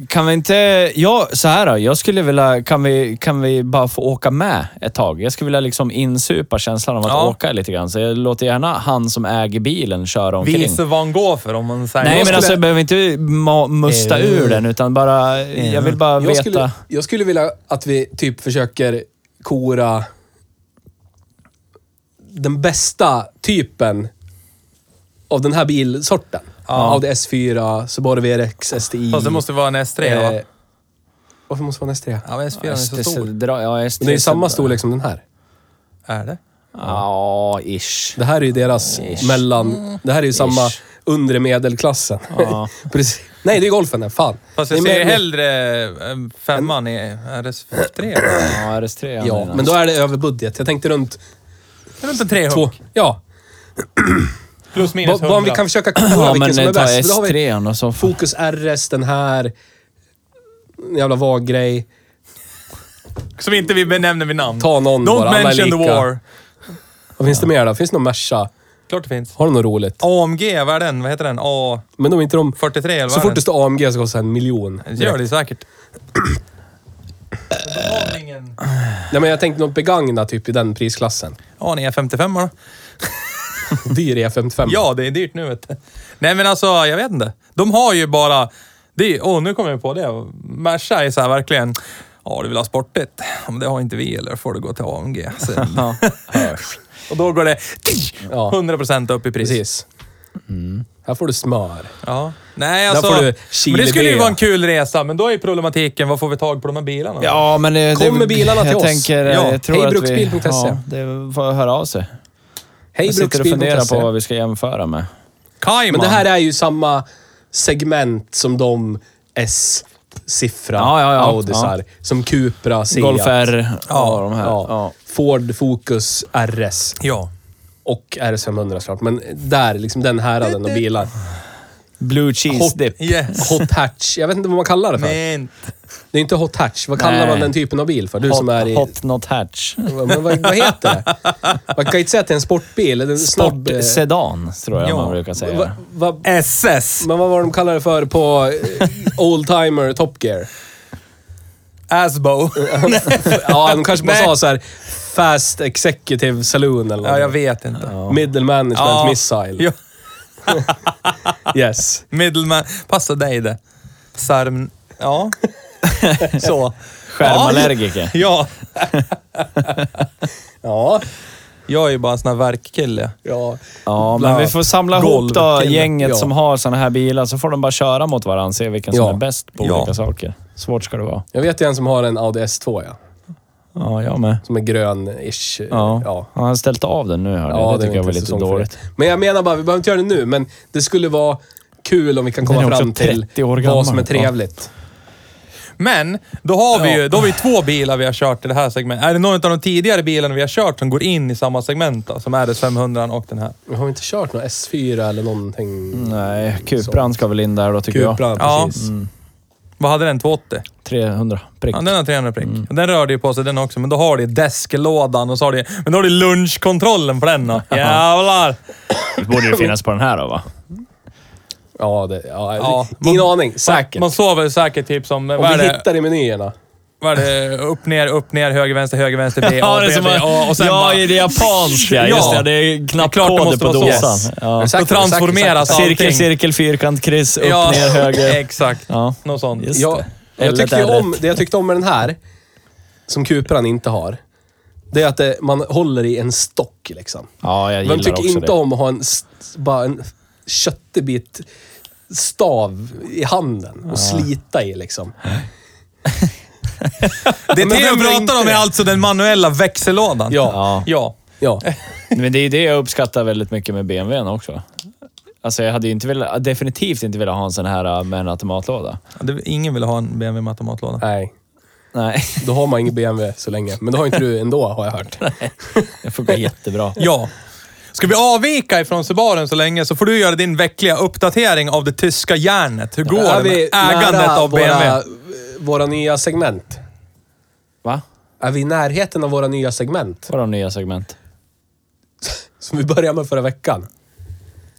Speaker 2: Kan vi inte... Ja, så här då. Jag skulle vilja... Kan vi, kan vi bara få åka med ett tag? Jag skulle vilja liksom insupa känslan av att
Speaker 3: Ja.
Speaker 2: åka lite grann. Så jag låter gärna han som äger bilen köra omkring.
Speaker 3: Vise van Gogh om man säger.
Speaker 2: Nej,
Speaker 3: Jag
Speaker 2: men
Speaker 3: skulle-
Speaker 2: alltså jag behöver inte ma- musta
Speaker 3: Eh,
Speaker 2: ur den, utan bara... Jag vill bara
Speaker 4: eh. Jag
Speaker 2: veta...
Speaker 4: skulle, jag skulle vilja att vi typ försöker kora den bästa typen av den här bilsorten. Av det S4, Subaru VRX, STI.
Speaker 3: Fast det måste vara en S3 va?
Speaker 4: Eh, Varför måste det vara en S3?
Speaker 3: Ja, men S4 är så
Speaker 2: SD
Speaker 3: stor.
Speaker 2: dra- ja, SD
Speaker 4: Men det är ju samma storlek som den här.
Speaker 3: Är det?
Speaker 2: Ja, ish.
Speaker 4: Det här är ju deras mellan... Det här är ju samma
Speaker 2: Ish.
Speaker 4: undre medelklassen.
Speaker 2: Ja.
Speaker 4: Precis. Nej, det är golfen här. Fan.
Speaker 3: Fast
Speaker 4: Det
Speaker 3: jag
Speaker 4: är
Speaker 3: ser
Speaker 4: med-
Speaker 3: hellre eh, femman i RS3.
Speaker 2: Ja, RS3 jag
Speaker 4: Ja,
Speaker 2: menar.
Speaker 4: men då är det över budget. Jag tänkte runt
Speaker 3: Det är inte tre
Speaker 4: två... Ja.
Speaker 3: Plus
Speaker 4: Ba-
Speaker 3: minus
Speaker 4: Bara om vi
Speaker 3: hundra.
Speaker 4: kan försöka kolla
Speaker 2: Ja,
Speaker 4: vilken
Speaker 2: men
Speaker 4: som är
Speaker 2: ta
Speaker 4: bäst. För Då har vi
Speaker 2: S3 och så...
Speaker 4: Focus RS, den här... En jävla vag grej.
Speaker 3: Som inte vi benämner vid namn.
Speaker 4: Ta någon
Speaker 3: Don't
Speaker 4: bara, alla är
Speaker 3: mention the
Speaker 4: lika.
Speaker 3: war.
Speaker 4: Vad finns det mer då? Finns det någon Merca?
Speaker 3: Klart det finns.
Speaker 4: Har de något roligt?
Speaker 3: AMG, vad är den? Vad heter den? A43
Speaker 4: Men de är inte de...
Speaker 3: eller vad
Speaker 4: Så
Speaker 3: är
Speaker 4: fort det
Speaker 3: den?
Speaker 4: står AMG så kostar det en miljon.
Speaker 3: Det gör det säkert. Behållningen.
Speaker 4: Nej, men jag tänkte något begagna typ i den prisklassen.
Speaker 3: Ja, ni är 55 då.
Speaker 4: Dyr E E55.
Speaker 3: Ja, det är dyrt nu vet du. Nej men alltså, jag vet inte. De har ju bara... det är- Åh, nu kommer jag på det. Merca är så här verkligen... Ja, du vill ha sportigt. Ja, Men det har inte vi, eller får du gå till AMG sen. Och då går det
Speaker 4: Ja.
Speaker 3: 100% upp i pris.
Speaker 4: Precis.
Speaker 3: Mm.
Speaker 4: Här får du smör.
Speaker 3: Ja. Nej,
Speaker 4: Där
Speaker 3: alltså...
Speaker 4: får du
Speaker 3: men det skulle ju
Speaker 4: Chile-bea.
Speaker 3: vara en kul resa, men då är problematiken, vad får vi tag på de här bilarna?
Speaker 2: Ja, men det,
Speaker 4: Kommer
Speaker 2: det,
Speaker 4: bilarna till
Speaker 2: jag
Speaker 4: oss?
Speaker 2: Tänker,
Speaker 4: Ja,
Speaker 2: jag tror
Speaker 4: hej,
Speaker 2: att vi-
Speaker 4: bruksbil.se.
Speaker 2: Ja, det får höra av sig.
Speaker 4: E. Hej
Speaker 2: Jag sitter och
Speaker 4: bruksbil.se.
Speaker 2: funderar på vad vi ska jämföra med.
Speaker 3: Cayman.
Speaker 4: Men det här är ju samma segment som de S-siffra
Speaker 2: Ja, ja, ja.
Speaker 4: Audisar. Som Cupra, Seat.
Speaker 2: Golf R
Speaker 3: Ja,
Speaker 2: ja, de här.
Speaker 4: Ja.
Speaker 2: Ja.
Speaker 4: Ford Focus RS.
Speaker 3: Ja.
Speaker 4: Och RS500 såklart. Men där, liksom den häraden av bilar.
Speaker 2: Blue cheese
Speaker 4: Hot-
Speaker 2: dip.
Speaker 3: Yes.
Speaker 4: Hot hatch. Jag vet inte vad man kallar det för.
Speaker 3: Men.
Speaker 4: Det är inte hot hatch. Vad kallar
Speaker 2: Nej.
Speaker 4: man den typen av bil för? Du
Speaker 2: Hot,
Speaker 4: som är i...
Speaker 2: hot not hatch.
Speaker 4: Men vad, vad heter det? Man kan ju inte säga att det är en sportbil. eller En snabb... eh,
Speaker 2: Sport sedan, tror jag
Speaker 3: Ja.
Speaker 2: man brukar
Speaker 4: va,
Speaker 2: säga.
Speaker 4: va,
Speaker 3: SS.
Speaker 4: men vad var de kallade det för på eh, oldtimer Top Gear?
Speaker 3: Asbo.
Speaker 4: Ja, de kanske bara
Speaker 3: Nej.
Speaker 4: sa så här Fast Executive Saloon eller
Speaker 3: ja, jag
Speaker 4: något.
Speaker 3: vet inte.
Speaker 4: Middle Management
Speaker 3: Ja.
Speaker 4: Missile.
Speaker 3: Ja.
Speaker 4: Yes.
Speaker 3: Middleman. Passa dig det. Sarm... Ja. Så.
Speaker 2: Skärmallergiker.
Speaker 3: Ja.
Speaker 4: Ja.
Speaker 3: Jag är ju bara en sån här verkkille.
Speaker 4: ja.
Speaker 2: Ja, men vi får samla ihop då
Speaker 4: golvkille.
Speaker 2: gänget
Speaker 4: Ja.
Speaker 2: som har såna här bilar, så får de bara köra mot varandra och se vilken
Speaker 4: Ja.
Speaker 2: som är bäst på
Speaker 3: Ja.
Speaker 2: olika saker. Svårt ska det vara.
Speaker 4: Jag vet ju en som har en Audi S2, ja.
Speaker 2: Ja, jag med.
Speaker 4: Som är grön-ish.
Speaker 2: Ja.
Speaker 4: Ja.
Speaker 2: Han har ställt av den nu, hörde jag. Det
Speaker 4: är
Speaker 2: tycker jag
Speaker 4: inte
Speaker 2: var lite
Speaker 4: säsong för det.
Speaker 2: dåligt.
Speaker 4: Men jag menar bara, vi behöver inte göra det nu, men det skulle vara kul om vi kan
Speaker 2: är
Speaker 4: komma
Speaker 2: också
Speaker 4: fram till
Speaker 2: 30 år gammal.
Speaker 4: vad som är trevligt.
Speaker 3: Men då har vi ju
Speaker 4: Ja.
Speaker 3: då har vi två bilar vi har kört i det här segmentet. Är det någon av de tidigare bilarna vi har kört som går in i samma segment då? Som RS 500 och den här.
Speaker 4: Vi har inte kört någon S4 eller någonting.
Speaker 2: Nej, Mm. Cupran ska väl in där då, tycker jag.
Speaker 4: Cupra,
Speaker 3: Ja.
Speaker 4: precis.
Speaker 3: Vad hade den? 280?
Speaker 2: 300 prick.
Speaker 3: Ja, den har 300 prick. Den rörde ju på sig den också, men då har du desklådan och så har du... Men då har du lunchkontrollen på den då. Jävlar!
Speaker 5: Det borde ju finnas på den här då, va?
Speaker 4: Ja, det, ja,
Speaker 3: Ja.
Speaker 4: ingen aning. Säkert.
Speaker 3: Man sover säkert typ som... Vad
Speaker 4: om
Speaker 3: är
Speaker 4: vi
Speaker 3: det?
Speaker 4: hittar i menyerna.
Speaker 3: Vad är det? Upp, ner, upp, ner, höger, vänster, höger, vänster, B, A,
Speaker 5: Ja, det är
Speaker 3: B,
Speaker 5: som
Speaker 3: B, A och sen
Speaker 5: ja,
Speaker 3: bara...
Speaker 5: i det japanska. Just
Speaker 3: Ja.
Speaker 5: det, det är
Speaker 3: Klart det
Speaker 5: knappkoder
Speaker 3: måste
Speaker 5: på
Speaker 3: vara så.
Speaker 5: dosan.
Speaker 3: Yes.
Speaker 5: Ja.
Speaker 4: Exakt,
Speaker 3: Då transformeras
Speaker 4: exakt, exakt.
Speaker 3: allting.
Speaker 2: Cirkel, cirkel, fyrkant, kryss, upp,
Speaker 3: Ja,
Speaker 2: ner, höger.
Speaker 3: exakt.
Speaker 2: Ja.
Speaker 3: Något sånt.
Speaker 2: Just
Speaker 4: Jag,
Speaker 2: det.
Speaker 4: jag tyckte ju
Speaker 2: Eller där
Speaker 4: om, det jag tyckte om med den här, som Cupran inte har, det är att det, man håller i en stock liksom.
Speaker 2: Ja, jag
Speaker 4: Vem
Speaker 2: gillar
Speaker 4: tycker
Speaker 2: också
Speaker 4: inte
Speaker 2: det.
Speaker 4: om att ha en, s- bara en köttig bit stav i handen och slita i liksom?
Speaker 3: Det
Speaker 4: Men
Speaker 3: Theo
Speaker 4: vem
Speaker 3: pratar
Speaker 4: inte
Speaker 3: om är
Speaker 4: det?
Speaker 3: alltså den manuella växellådan.
Speaker 4: Ja.
Speaker 2: Ja.
Speaker 3: Ja.
Speaker 4: ja.
Speaker 2: Men det är det jag uppskattar väldigt mycket med BMWn också. Alltså jag hade ju inte velat, definitivt inte velat ha en sån här äh, med en automatlåda.
Speaker 3: Det- Ingen vill ha en BMW med automatlåda.
Speaker 4: Nej,
Speaker 2: Nej,
Speaker 4: då har man ingen BMW så länge. Men det har inte du ändå, har jag hört.
Speaker 2: det funkar jättebra.
Speaker 3: Ja. Ska vi avvika ifrån Subaren så länge så får du göra din veckliga uppdatering av det tyska järnet. Hur går
Speaker 4: Är
Speaker 3: det med
Speaker 4: vi
Speaker 3: ägandet
Speaker 4: nära
Speaker 3: av BMW?
Speaker 4: Våra, eh, våra nya segment.
Speaker 2: Va?
Speaker 4: Är vi i närheten av våra nya segment?
Speaker 2: Vad är de nya segment?
Speaker 4: Som vi började med förra veckan.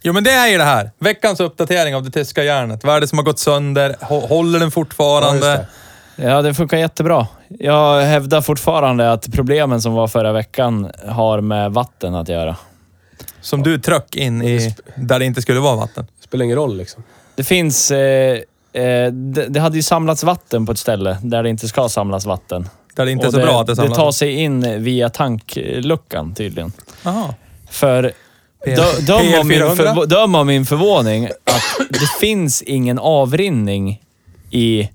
Speaker 3: Jo, men det är ju det här. Veckans uppdatering av det tyska järnet. Vad är det som har gått sönder? Hå- Håller den fortfarande?
Speaker 4: Ja, just det.
Speaker 2: Ja, det funkar jättebra. Jag hävdar fortfarande att problemen som var förra veckan har med vatten att göra.
Speaker 3: Som du tröck in i där det inte skulle vara vatten.
Speaker 4: Spelar ingen roll liksom.
Speaker 2: Det finns... Eh, eh, det, det hade ju samlats vatten på ett ställe där det inte ska samlas vatten.
Speaker 3: Där det inte är
Speaker 2: Och
Speaker 3: så bra att det
Speaker 2: Det
Speaker 3: samlas.
Speaker 2: tar sig in via tankluckan tydligen.
Speaker 3: Aha.
Speaker 2: För
Speaker 3: PL-
Speaker 2: dö- döm, om min
Speaker 3: PL400?
Speaker 2: förvo- döm om min förvåning att det finns ingen avrinning i...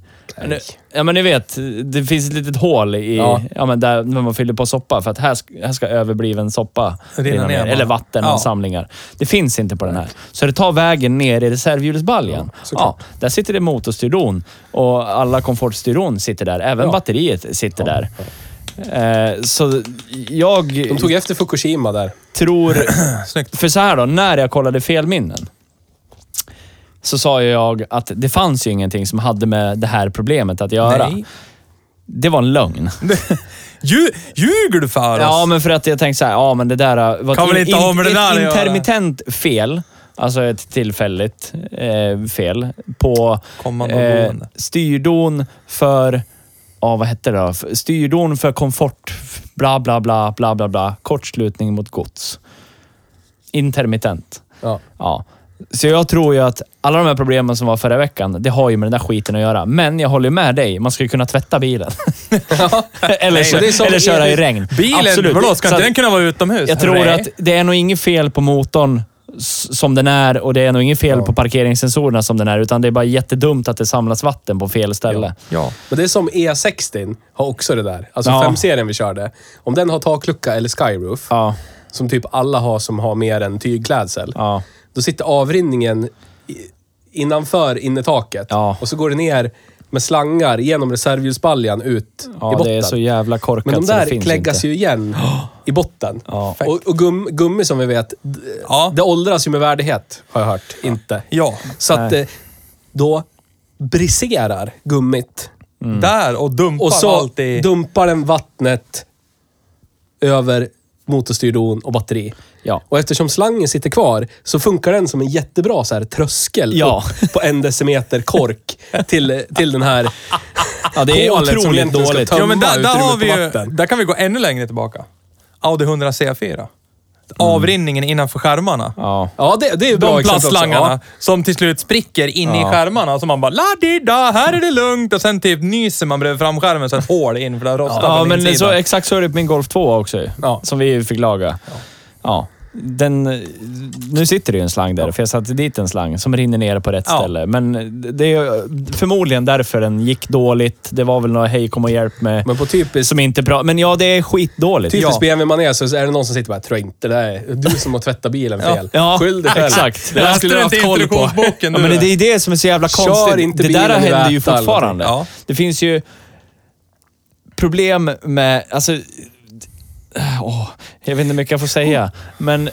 Speaker 2: Nu, ja, men ni vet. Det finns ett litet hål i, ja.
Speaker 4: Ja.
Speaker 2: men där när man fyller på soppa. För att här, sk- här ska överbliven soppa
Speaker 3: Rinna
Speaker 2: rinna
Speaker 3: ner
Speaker 2: ner.
Speaker 3: bara.
Speaker 2: Eller vattenansamlingar. Det finns inte på den här. Så det tar vägen ner i reservhjulsbaljan. Ja,
Speaker 4: såklart.
Speaker 2: där sitter det motorstyron och alla komfortstyron sitter där. Även batteriet sitter där. Eh, så jag...
Speaker 4: De tog efter Fukushima där.
Speaker 2: tror...
Speaker 3: Snyggt.
Speaker 2: För så här då, när jag kollade felminnen så sa ju jag att det fanns ju ingenting som hade med det här problemet att göra.
Speaker 3: Nej.
Speaker 2: Det var en lögn.
Speaker 3: Lju- Ljuger du för oss?
Speaker 2: Ja, men för att jag tänkte så här, ja men det där äh, var
Speaker 3: Kan väl inte ha med det
Speaker 2: ett
Speaker 3: där att göra?
Speaker 2: intermittent fel. Alltså ett tillfälligt eh, fel på
Speaker 3: Kommande
Speaker 2: eh,
Speaker 3: boende.
Speaker 2: styrdon för... Ja, vad hette det då? F- Styrdon för komfort. Bla, bla, bla, bla, bla, bla. Kortslutning mot gods. Intermittent.
Speaker 4: Ja.
Speaker 2: Ja. Så jag tror ju att alla de här problemen som var förra veckan, det har ju med den där skiten att göra. Men jag håller ju med dig, man ska ju kunna tvätta bilen. eller,
Speaker 4: Nej, det är som
Speaker 2: eller köra i
Speaker 4: Erik-
Speaker 2: regn.
Speaker 3: Bilen,
Speaker 2: Absolut.
Speaker 3: vadå? Ska
Speaker 2: Så
Speaker 3: inte
Speaker 2: att
Speaker 3: den kunna vara utomhus?
Speaker 2: jag tror
Speaker 3: Nej.
Speaker 2: att det är nog inget fel på motorn s- som den är och det är nog inget fel på parkeringssensorerna som den är, utan det är bara jättedumt att det samlas vatten på fel ställe.
Speaker 3: Ja.
Speaker 4: Men det är som E60 har också det där. Alltså
Speaker 2: Ja.
Speaker 4: 5-serien vi körde. Om den har taklucka eller skyroof,
Speaker 2: Ja.
Speaker 4: som typ alla har som har mer än tygklädsel,
Speaker 2: Ja.
Speaker 4: då sitter avrinningen i- innanför innertaket.
Speaker 2: Ja.
Speaker 4: Och så går det ner med slangar genom reservhjulsbaljan ut i
Speaker 2: Ja,
Speaker 4: botten.
Speaker 2: det är så jävla korkat
Speaker 4: Men de
Speaker 2: så det
Speaker 4: där
Speaker 2: finns
Speaker 4: kläggas
Speaker 2: inte.
Speaker 4: ju igen i botten.
Speaker 2: Ja.
Speaker 4: Och, och gum, gummi som vi vet, d-
Speaker 3: Ja.
Speaker 4: det åldras ju med värdighet, har jag hört. Inte.
Speaker 3: Ja.
Speaker 4: Så att
Speaker 2: Nej.
Speaker 4: eh, då briserar gummit.
Speaker 2: Mm.
Speaker 3: Där och dumpar
Speaker 4: Och så
Speaker 3: allt i...
Speaker 4: dumpar den vattnet över motorstyrdon och batteri.
Speaker 2: Ja.
Speaker 4: Och eftersom slangen sitter kvar så funkar den som en jättebra så här, tröskel
Speaker 2: Ja.
Speaker 4: upp på en decimeter kork till, till den här
Speaker 2: Ja, det är
Speaker 4: kolet som
Speaker 2: otroligt
Speaker 4: egentligen ska
Speaker 2: dåligt.
Speaker 4: tömma
Speaker 3: Ja, men där, där,
Speaker 4: utrymmet
Speaker 3: har
Speaker 4: på
Speaker 3: vi ju,
Speaker 4: vatten.
Speaker 3: där kan vi gå ännu längre tillbaka. Audi 100 C4. Avrinningen innanför skärmarna.
Speaker 2: Ja.
Speaker 4: Ja, det, det är ju bra
Speaker 3: De
Speaker 4: exempel också.
Speaker 3: plastslangarna
Speaker 4: Ja.
Speaker 3: som till slut spricker inne i
Speaker 2: Ja.
Speaker 3: skärmarna. Så man bara la di da, här är det lugnt. Och sen typ nyser man bredvid framskärmen så ett hål in för det har rostat
Speaker 2: Ja,
Speaker 3: på
Speaker 2: men
Speaker 3: insidan.
Speaker 2: så, exakt så är det på min Golf 2 också ju,
Speaker 4: Ja.
Speaker 2: Som vi fick laga. Ja. Den, nu sitter det ju en slang där, för jag satte dit en slang som rinner ner på rätt
Speaker 3: Ja.
Speaker 2: ställe. Men det är förmodligen därför den gick dåligt. Det var väl några hej kom och hjälp med
Speaker 4: Men på typiskt,
Speaker 2: som inte bra. Men ja, det är skitdåligt.
Speaker 4: typiskt
Speaker 2: ja.
Speaker 4: BMW-manér så är det någon som sitter och bara “tror inte det där är du som har tvättat bilen fel”.
Speaker 2: Ja,
Speaker 4: Skyll dig själv.
Speaker 2: exakt.
Speaker 4: Det där skulle du ha
Speaker 3: Läste
Speaker 4: haft
Speaker 3: du inte
Speaker 4: koll på.
Speaker 3: instruktionsboken
Speaker 2: Ja,
Speaker 3: du?
Speaker 2: men det är det som är så jävla
Speaker 4: Kör
Speaker 2: konstigt.
Speaker 4: inte
Speaker 2: det där
Speaker 4: bilen i
Speaker 2: händer ju
Speaker 4: Värtan.
Speaker 2: fortfarande.
Speaker 3: Ja.
Speaker 2: Det finns ju problem med... Alltså, åh, jag vet inte hur mycket jag får säga, men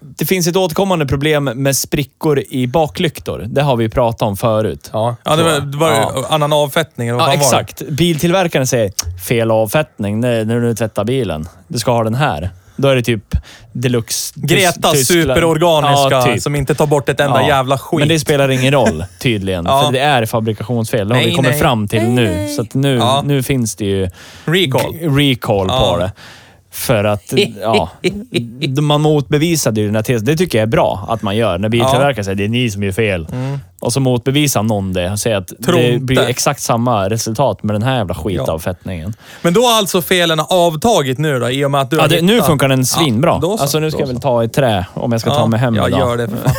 Speaker 2: det finns ett återkommande problem med sprickor i baklyktor. Det har vi pratat om förut.
Speaker 4: Ja.
Speaker 3: Ja, det var, det var
Speaker 2: Ja.
Speaker 3: annan avfettning. eller vad
Speaker 2: Ja,
Speaker 3: fan var det?
Speaker 2: exakt. Biltillverkaren säger fel avfettning när, när du tvättar bilen. Du ska ha den här. Då är det typ deluxe...
Speaker 3: Gretas
Speaker 2: Tyskland.
Speaker 3: superorganiska
Speaker 2: Ja, typ.
Speaker 3: som inte tar bort ett enda
Speaker 2: Ja,
Speaker 3: jävla skit.
Speaker 2: Men det spelar ingen roll tydligen,
Speaker 3: Ja.
Speaker 2: för det är fabrikationsfel. Det har
Speaker 3: Nej,
Speaker 2: vi kommit
Speaker 3: nej.
Speaker 2: fram till nu. Så att nu,
Speaker 3: Ja.
Speaker 2: nu finns det ju
Speaker 3: Recall.
Speaker 2: g- recall
Speaker 3: Ja.
Speaker 2: på det. För att ja, man motbevisade ju den här tesen. Det tycker jag är bra att man gör. När biltillverkaren säger det är ni som gör fel. Och så motbevisar någon det och säger att
Speaker 3: Mm. Tror
Speaker 2: det
Speaker 3: inte.
Speaker 2: blir exakt samma resultat med den här jävla skitavfettningen.
Speaker 3: Men då har alltså felen avtagit nu då, i och med att du
Speaker 2: Ja,
Speaker 3: har
Speaker 2: det, nu
Speaker 3: hittat-
Speaker 2: funkar den svinbra.
Speaker 3: Ja, då så,
Speaker 2: alltså nu ska
Speaker 3: då
Speaker 2: jag väl ta i trä om jag ska ta mig hem
Speaker 3: ja,
Speaker 2: idag.
Speaker 3: Jag gör det för fan.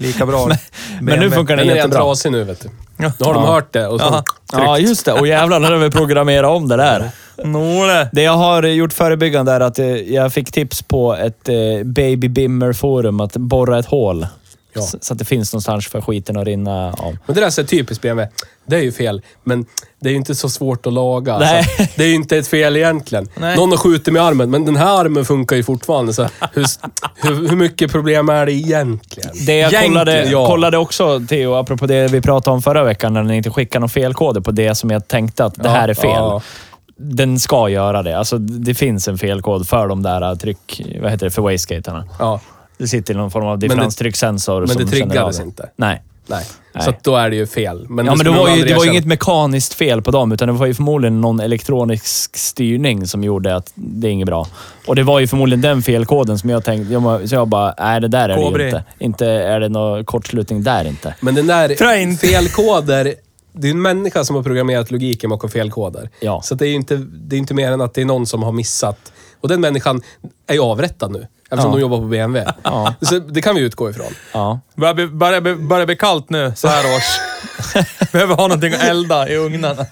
Speaker 3: Lika bra.
Speaker 2: Men nu funkar den
Speaker 4: Den är redan
Speaker 2: jättebra.
Speaker 4: trasig nu vet du.
Speaker 3: Ja.
Speaker 4: Nu har de hört det och så
Speaker 3: Ja.
Speaker 2: Ja, just det. Och jävlar, när vi programmerat om det där.
Speaker 3: Nåle.
Speaker 2: Det jag har gjort förebyggande är att eh, jag fick tips på ett eh, Baby Bimmer forum att borra ett hål.
Speaker 4: Ja.
Speaker 2: S- Så att det finns någonstans för skiten att rinna av.
Speaker 4: Men det där är så typiskt BMW. Det är ju fel, men det är ju inte så svårt att laga.
Speaker 2: Nej.
Speaker 4: Så det är ju inte ett fel egentligen.
Speaker 3: Nej.
Speaker 4: Någon har skjutit med armen, men den här armen funkar ju fortfarande. Så hur, hur, hur mycket problem är det egentligen?
Speaker 2: Det jag
Speaker 3: Egentligen,
Speaker 2: kollade,
Speaker 4: ja.
Speaker 2: kollade också, Theo, apropå det vi pratade om förra veckan, när ni inte skickade någon felkoder på det som jag tänkte att det
Speaker 4: Ja,
Speaker 2: här är fel.
Speaker 4: ja.
Speaker 2: Den ska göra det. Alltså, det finns en felkod för de där eh, tryck... Vad heter det? För wastegaterna.
Speaker 4: Ja,
Speaker 2: Det sitter någon form av
Speaker 4: det-
Speaker 2: differenstrycksensor
Speaker 4: men
Speaker 2: som
Speaker 4: det
Speaker 2: känner av
Speaker 4: triggades
Speaker 2: det.
Speaker 4: inte.
Speaker 2: Nej.
Speaker 4: nej.
Speaker 2: Nej.
Speaker 4: Så att då är det ju fel. Men
Speaker 2: Ja, men det
Speaker 4: skulle
Speaker 2: var
Speaker 4: de
Speaker 2: ju,
Speaker 4: aldrig
Speaker 2: det var ju
Speaker 4: erkänna.
Speaker 2: inget mekaniskt fel på dem, utan det var ju förmodligen någon elektronisk styrning som gjorde att det är inget bra. Och det var ju förmodligen den felkoden som jag tänkte... Jag, bara- så jag bara, nej det där är det
Speaker 3: Kobri.
Speaker 2: ju inte. Inte är det någon kortslutning där inte.
Speaker 4: Men den där
Speaker 3: Train.
Speaker 4: felkoder, det är ju en människa som har programmerat logiken bakom felkoder.
Speaker 2: Ja.
Speaker 4: Så att det är ju inte, det är inte mer än att det är någon som har missat. Och den människan är ju avrättad nu, eftersom
Speaker 2: Ja.
Speaker 4: de jobbar på BMW.
Speaker 2: Ja.
Speaker 4: Så det kan vi utgå ifrån.
Speaker 2: Ja.
Speaker 3: Börjar bli, börjar, bli, börjar bli kallt nu, så här års. Behöver ha någonting att elda i ugnarna.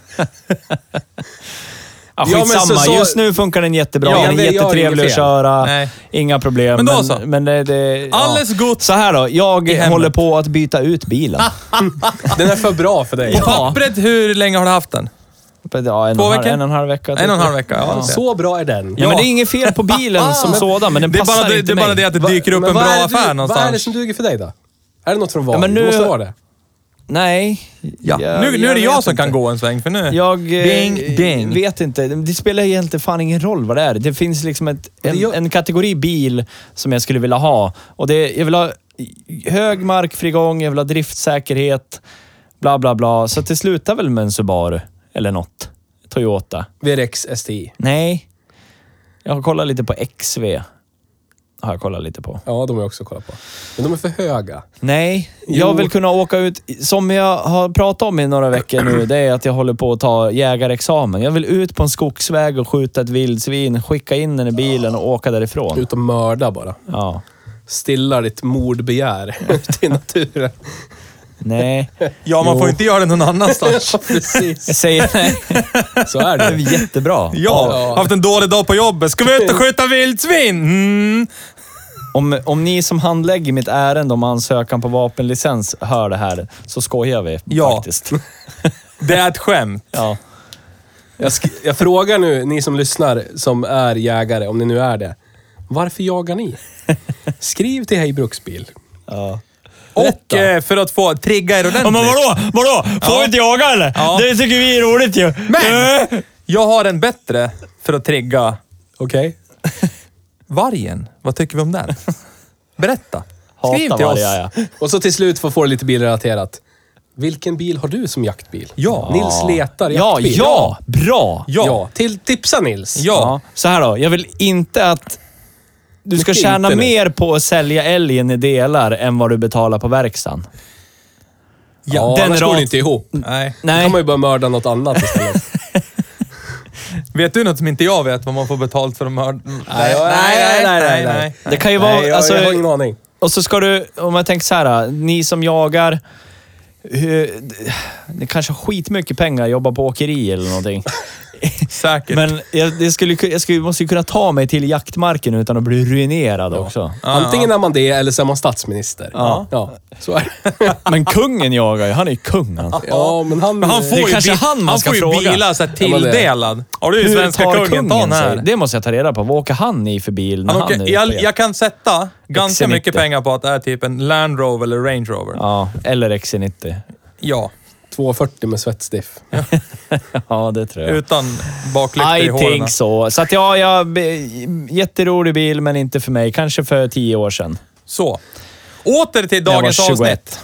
Speaker 2: Ja,
Speaker 4: Ja, men
Speaker 2: skitsamma.
Speaker 4: så- så-
Speaker 2: Just nu funkar den jättebra.
Speaker 4: Ja,
Speaker 2: den är
Speaker 4: det gör
Speaker 2: jättetrevlig
Speaker 4: inget
Speaker 2: att
Speaker 4: fel.
Speaker 2: köra.
Speaker 3: Nej.
Speaker 2: Inga problem.
Speaker 3: Men då så.
Speaker 2: Men det, det, ja.
Speaker 3: Alles gott.
Speaker 2: Så här då. Jag
Speaker 3: hemmet.
Speaker 2: håller på att byta ut bilen.
Speaker 4: Den är för bra för dig.
Speaker 3: På pappret, hur länge har du haft den?
Speaker 2: Ja, en,
Speaker 3: Två
Speaker 2: och en, halv,
Speaker 3: veckor?
Speaker 2: en och en halv vecka. typ.
Speaker 3: En och en halv vecka? Ja, det ser jag.
Speaker 4: Så bra är den.
Speaker 2: Ja, men det är inget fel på bilen som sådan, men den
Speaker 3: det är
Speaker 2: passar
Speaker 3: bara det,
Speaker 2: inte
Speaker 3: det, är
Speaker 2: mig.
Speaker 3: bara det att det
Speaker 4: Va-
Speaker 3: dyker upp
Speaker 4: men
Speaker 3: en bra
Speaker 4: vad är det du-
Speaker 3: affär
Speaker 4: Vad är det
Speaker 3: någonstans.
Speaker 4: som duger för dig då? Är det något från Vario?
Speaker 2: men nu-
Speaker 4: Det måste vara det.
Speaker 2: Nej.
Speaker 3: Ja. nu, nu är det jag som kan gå en sväng, för nu...
Speaker 2: Jag eh,
Speaker 3: Ding, ding.
Speaker 2: vet inte. Det spelar egentligen fan ingen roll vad det är. Det finns liksom ett, en,
Speaker 4: gör-
Speaker 2: en kategori bil som jag skulle vilja ha. Och det, jag vill ha hög markfrigång, jag vill ha driftsäkerhet, bla bla bla. Så att det slutar väl med en Subaru eller något. Toyota.
Speaker 4: VRX STI.
Speaker 2: Nej. Jag har kollat lite på XV. Har jag kollat lite på.
Speaker 4: Ja, de har jag också kollat på. Men de är för höga.
Speaker 2: Nej,
Speaker 4: Jo.
Speaker 2: jag vill kunna åka ut. Som jag har pratat om i några veckor nu, det är att jag håller på att ta jägarexamen. Jag vill ut på en skogsväg och skjuta ett vildsvin, skicka in den i bilen och åka därifrån.
Speaker 4: Ut och mörda bara.
Speaker 2: Ja.
Speaker 4: Stillar ditt mordbegär ute i naturen.
Speaker 2: Nej,
Speaker 3: Ja, man
Speaker 2: Jo.
Speaker 3: får inte göra det någon annanstans.
Speaker 4: Ja, precis.
Speaker 2: jag säger nej.
Speaker 4: Så är
Speaker 2: Det är
Speaker 4: det.
Speaker 2: jättebra.
Speaker 3: Ja,
Speaker 4: Ja.
Speaker 3: haft en dålig dag på jobbet. Ska vi ut och skjuta vildsvin? Mm.
Speaker 2: Om, om ni som handlägger mitt ärende om ansökan på vapenlicens hör det här, så skojar vi
Speaker 3: Ja.
Speaker 2: faktiskt.
Speaker 3: Det är ett skämt.
Speaker 2: Ja.
Speaker 4: Jag, sk- jag frågar nu, ni som lyssnar, som är jägare, om ni nu är det. Varför jagar ni? Skriv till Hej Bruksbil.
Speaker 2: Ja.
Speaker 3: Och eh, för att få trigga er ordentligt.
Speaker 2: Vadå? Får
Speaker 3: vi inte
Speaker 2: jaga eller?
Speaker 3: Det
Speaker 2: tycker vi är roligt ju. Eh.
Speaker 3: Men! Jag har en bättre för att trigga
Speaker 4: Okej?
Speaker 3: vargen. Vad tycker vi om den? Berätta. Skriv
Speaker 2: Hatar
Speaker 3: till oss.
Speaker 2: vargar, ja.
Speaker 4: Och så till slut får få det lite bilrelaterat. Vilken bil har du som jaktbil?
Speaker 3: Ja.
Speaker 4: Nils letar
Speaker 2: Ja,
Speaker 4: jaktbil.
Speaker 2: ja! Bra!
Speaker 4: Ja.
Speaker 3: Ja.
Speaker 4: Till, tipsa Nils.
Speaker 3: Ja.
Speaker 2: Så här då, jag vill inte att du ska
Speaker 4: Mycket
Speaker 2: tjäna
Speaker 4: internet.
Speaker 2: mer på att sälja älgen i delar än vad du betalar på verkstaden.
Speaker 4: ja
Speaker 2: den
Speaker 4: annars går
Speaker 2: rad-
Speaker 4: det inte ihop.
Speaker 3: Nej.
Speaker 4: Då
Speaker 2: Nej,
Speaker 4: kan man ju bara mörda något annat istället.
Speaker 3: Vet du något som inte jag vet vad man får betalt för att mörda? Nej,
Speaker 4: nej, nej, nej, nej.
Speaker 2: Det kan ju vara...
Speaker 4: Nej, jag,
Speaker 2: alltså,
Speaker 4: jag har ingen aning.
Speaker 2: Och så ska du, om jag tänker så här, ni som jagar, hur, det kanske har skitmycket pengar, jobbar på åkeri eller någonting.
Speaker 3: Säkert.
Speaker 2: Men jag, det skulle, jag skulle, måste ju kunna ta mig till jaktmarken utan att bli ruinerad också.
Speaker 4: Antingen är man det eller så är man statsminister. Ja. Ja, så är det.
Speaker 2: Men kungen jagar ju. Han är ju kung alltså. han.
Speaker 4: ja men han...
Speaker 3: Men han får
Speaker 2: Det
Speaker 3: ju,
Speaker 2: kanske
Speaker 3: bil,
Speaker 2: han man
Speaker 3: han
Speaker 2: ska
Speaker 3: får ju
Speaker 2: fråga.
Speaker 3: bilar så här
Speaker 4: men det-
Speaker 3: tilldelad. Har du ju svenska kungen, ta den här.
Speaker 2: sig? alltså. Det måste jag ta reda på. Vad åker han i för bil när
Speaker 3: Han
Speaker 2: han,
Speaker 3: åker,
Speaker 2: är
Speaker 3: jag,
Speaker 2: ute?
Speaker 3: jag kan sätta ganska
Speaker 2: XC90.
Speaker 3: mycket pengar på att det är typ en Land Rover eller Range Rover. Ja.
Speaker 2: Ja, eller E XC90.
Speaker 4: 240 med svettstiff.
Speaker 2: Ja, det tror jag.
Speaker 3: Utan baklyktor i
Speaker 2: I
Speaker 3: håren.
Speaker 2: think so. Så att ja, jag, jätterolig bil, men inte för mig. Kanske för tio år sedan.
Speaker 3: Så. Åter till
Speaker 2: När jag var
Speaker 3: dagens
Speaker 2: 21.
Speaker 3: avsnitt.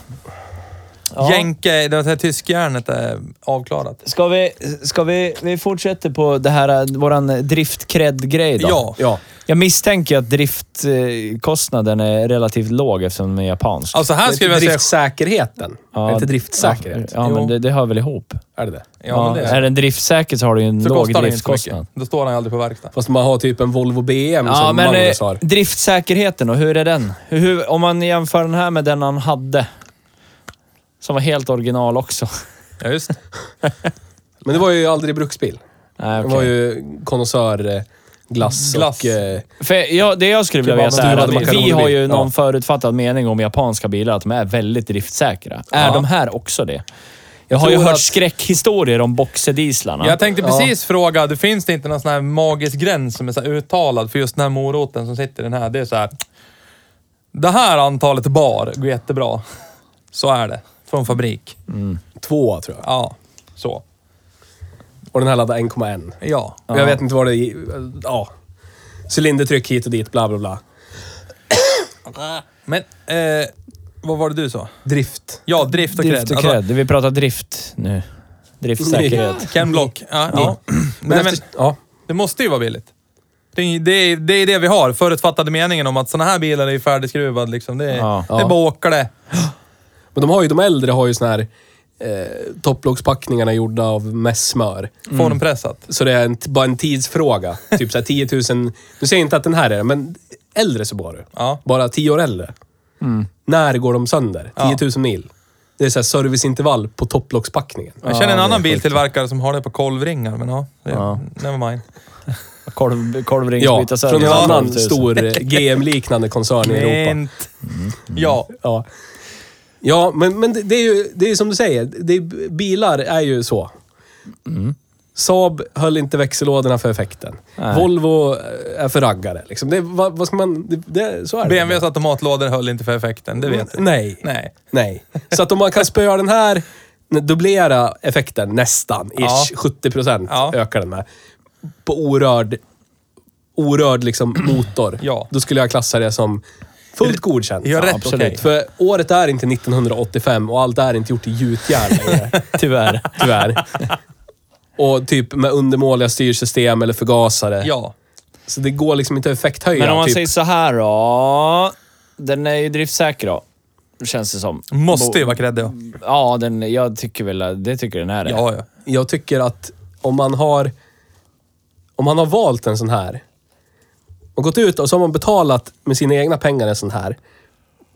Speaker 2: Ja.
Speaker 3: Jänke, det här tyskjärnet är avklarat.
Speaker 2: Ska vi, ska vi, vi fortsätter på det här, äh, våran drift-cred-grej då?
Speaker 3: Ja.
Speaker 4: Ja.
Speaker 2: Jag misstänker att driftkostnaden är relativt låg eftersom den är japansk.
Speaker 3: Alltså här skulle jag vilja säga...
Speaker 4: driftsäkerheten.
Speaker 2: Ja,
Speaker 4: Är det inte driftsäkerhet?
Speaker 2: Ja, ja men det, det hör väl ihop?
Speaker 4: Är det det?
Speaker 2: Ja,
Speaker 3: Ja, men det
Speaker 2: är den driftsäker så har du ju en
Speaker 3: så
Speaker 2: låg
Speaker 3: kostar den inte så
Speaker 2: driftkostnad.
Speaker 3: mycket. Då står han ju aldrig på verkstad.
Speaker 4: Fast man har typ en Volvo BM
Speaker 2: Ja,
Speaker 4: som
Speaker 2: men
Speaker 4: Magnus
Speaker 2: eh,
Speaker 4: har.
Speaker 2: driftsäkerheten då, hur är den? Hur, hur, om man jämför den här med den han hade. Som var helt original också.
Speaker 3: Ja, just.
Speaker 4: Men det var ju aldrig bruksbil.
Speaker 2: Nej,
Speaker 4: Det
Speaker 2: okej.
Speaker 4: var ju konnässör, eh, glass,
Speaker 3: Glass.
Speaker 4: och... Eh,
Speaker 2: För jag, det jag skulle vilja
Speaker 4: Kebab,
Speaker 2: veta är
Speaker 4: stuvad
Speaker 2: att vi, vi
Speaker 4: makaroner.
Speaker 2: har ju
Speaker 4: Ja.
Speaker 2: någon förutfattad mening om japanska bilar, att de är väldigt driftsäkra. Är de här också det? Jag har ju
Speaker 4: tror
Speaker 2: hört
Speaker 4: att-
Speaker 2: skräckhistorier om boxerdieslarna.
Speaker 3: Jag tänkte precis fråga, det finns det inte någon sån här magisk gräns som är så här uttalad för just den här moroten som sitter i den här? Det är så här. Det här antalet bar går jättebra. Så är det. Från fabrik.
Speaker 4: två tror jag.
Speaker 3: Ja, så.
Speaker 4: Och den här laddade 1,1.
Speaker 3: Ja.
Speaker 4: Och Jag vet inte vad det är. Ja. Cylindertryck hit och dit, bla bla bla.
Speaker 3: Men, eh, vad var det du sa?
Speaker 4: Drift.
Speaker 3: Ja, drift och
Speaker 2: drift
Speaker 3: cred. Alltså,
Speaker 2: och cred. vi pratar drift nu. Driftsäkerhet.
Speaker 3: Ken Block. Ja, ja. Men,
Speaker 4: Men,
Speaker 3: men,
Speaker 4: efter, ja.
Speaker 3: det måste ju vara billigt. Det är, det, är, det är det vi har, förutfattade meningen om att såna här bilar är ju färdigskruvad. Liksom. Det, är,
Speaker 2: Ja.
Speaker 3: det är bara åker det.
Speaker 4: men de har ju, de äldre har ju såna här eh, topplockspackningarna gjorda av mässmör.
Speaker 3: Formpressat.
Speaker 4: Så det är en, bara en tidsfråga. typ så här 10 000... Nu säger jag inte att den här är det, men äldre så bara.
Speaker 3: Ja.
Speaker 4: Bara 10 år äldre. När går de sönder? 10 000 mil. Det är så här serviceintervall på topplockspackningen.
Speaker 3: Jag känner en annan biltillverkare som har det på kolvringar, men ja. Det,
Speaker 2: Ja.
Speaker 3: Never mind.
Speaker 2: Kolv, kolvring
Speaker 4: Ja,
Speaker 2: bytas
Speaker 4: från en
Speaker 2: Ja,
Speaker 4: annan
Speaker 2: 12 000.
Speaker 4: stor eh, GM-liknande koncern i Europa.
Speaker 3: Fint. Ja.
Speaker 4: Ja, ja men, men det, det är ju det är ju som du säger. Det är, bilar är ju så. Saab höll inte växellådorna för effekten. Volvo eh, är för raggare. Liksom. Det, vad, vad ska man... Det, det, så är det.
Speaker 3: BMWs automatlådor höll inte för effekten, det vet jag.
Speaker 4: Mm. Nej.
Speaker 3: Nej.
Speaker 4: Nej. Så att om man kan spöa den här, dubblera effekten nästan, ish,
Speaker 3: Ja.
Speaker 4: 70 procent
Speaker 3: Ja.
Speaker 4: ökar den med. På orörd, orörd liksom motor.
Speaker 3: Ja.
Speaker 4: Då skulle jag klassa det som fullt godkänt.
Speaker 3: Ja, rätt
Speaker 4: absolut.
Speaker 3: okej.
Speaker 4: För året är inte 1985 och allt är inte gjort i gjutjärn längre,
Speaker 2: Tyvärr.
Speaker 4: tyvärr. Och typ med undermåliga styrsystem eller förgasare.
Speaker 3: Ja.
Speaker 4: Så det går liksom inte att effekthöja.
Speaker 2: Men om man
Speaker 4: typ.
Speaker 2: säger så här då. Den är ju driftsäker då. Känns det som.
Speaker 3: Måste ju
Speaker 2: Bo-
Speaker 3: vara cred, ja.
Speaker 2: Ja, den, jag tycker väl det tycker den här är.
Speaker 3: Ja, ja.
Speaker 4: jag tycker att om man har om man har valt en sån här och gått ut och så har man betalat med sina egna pengar en sån här.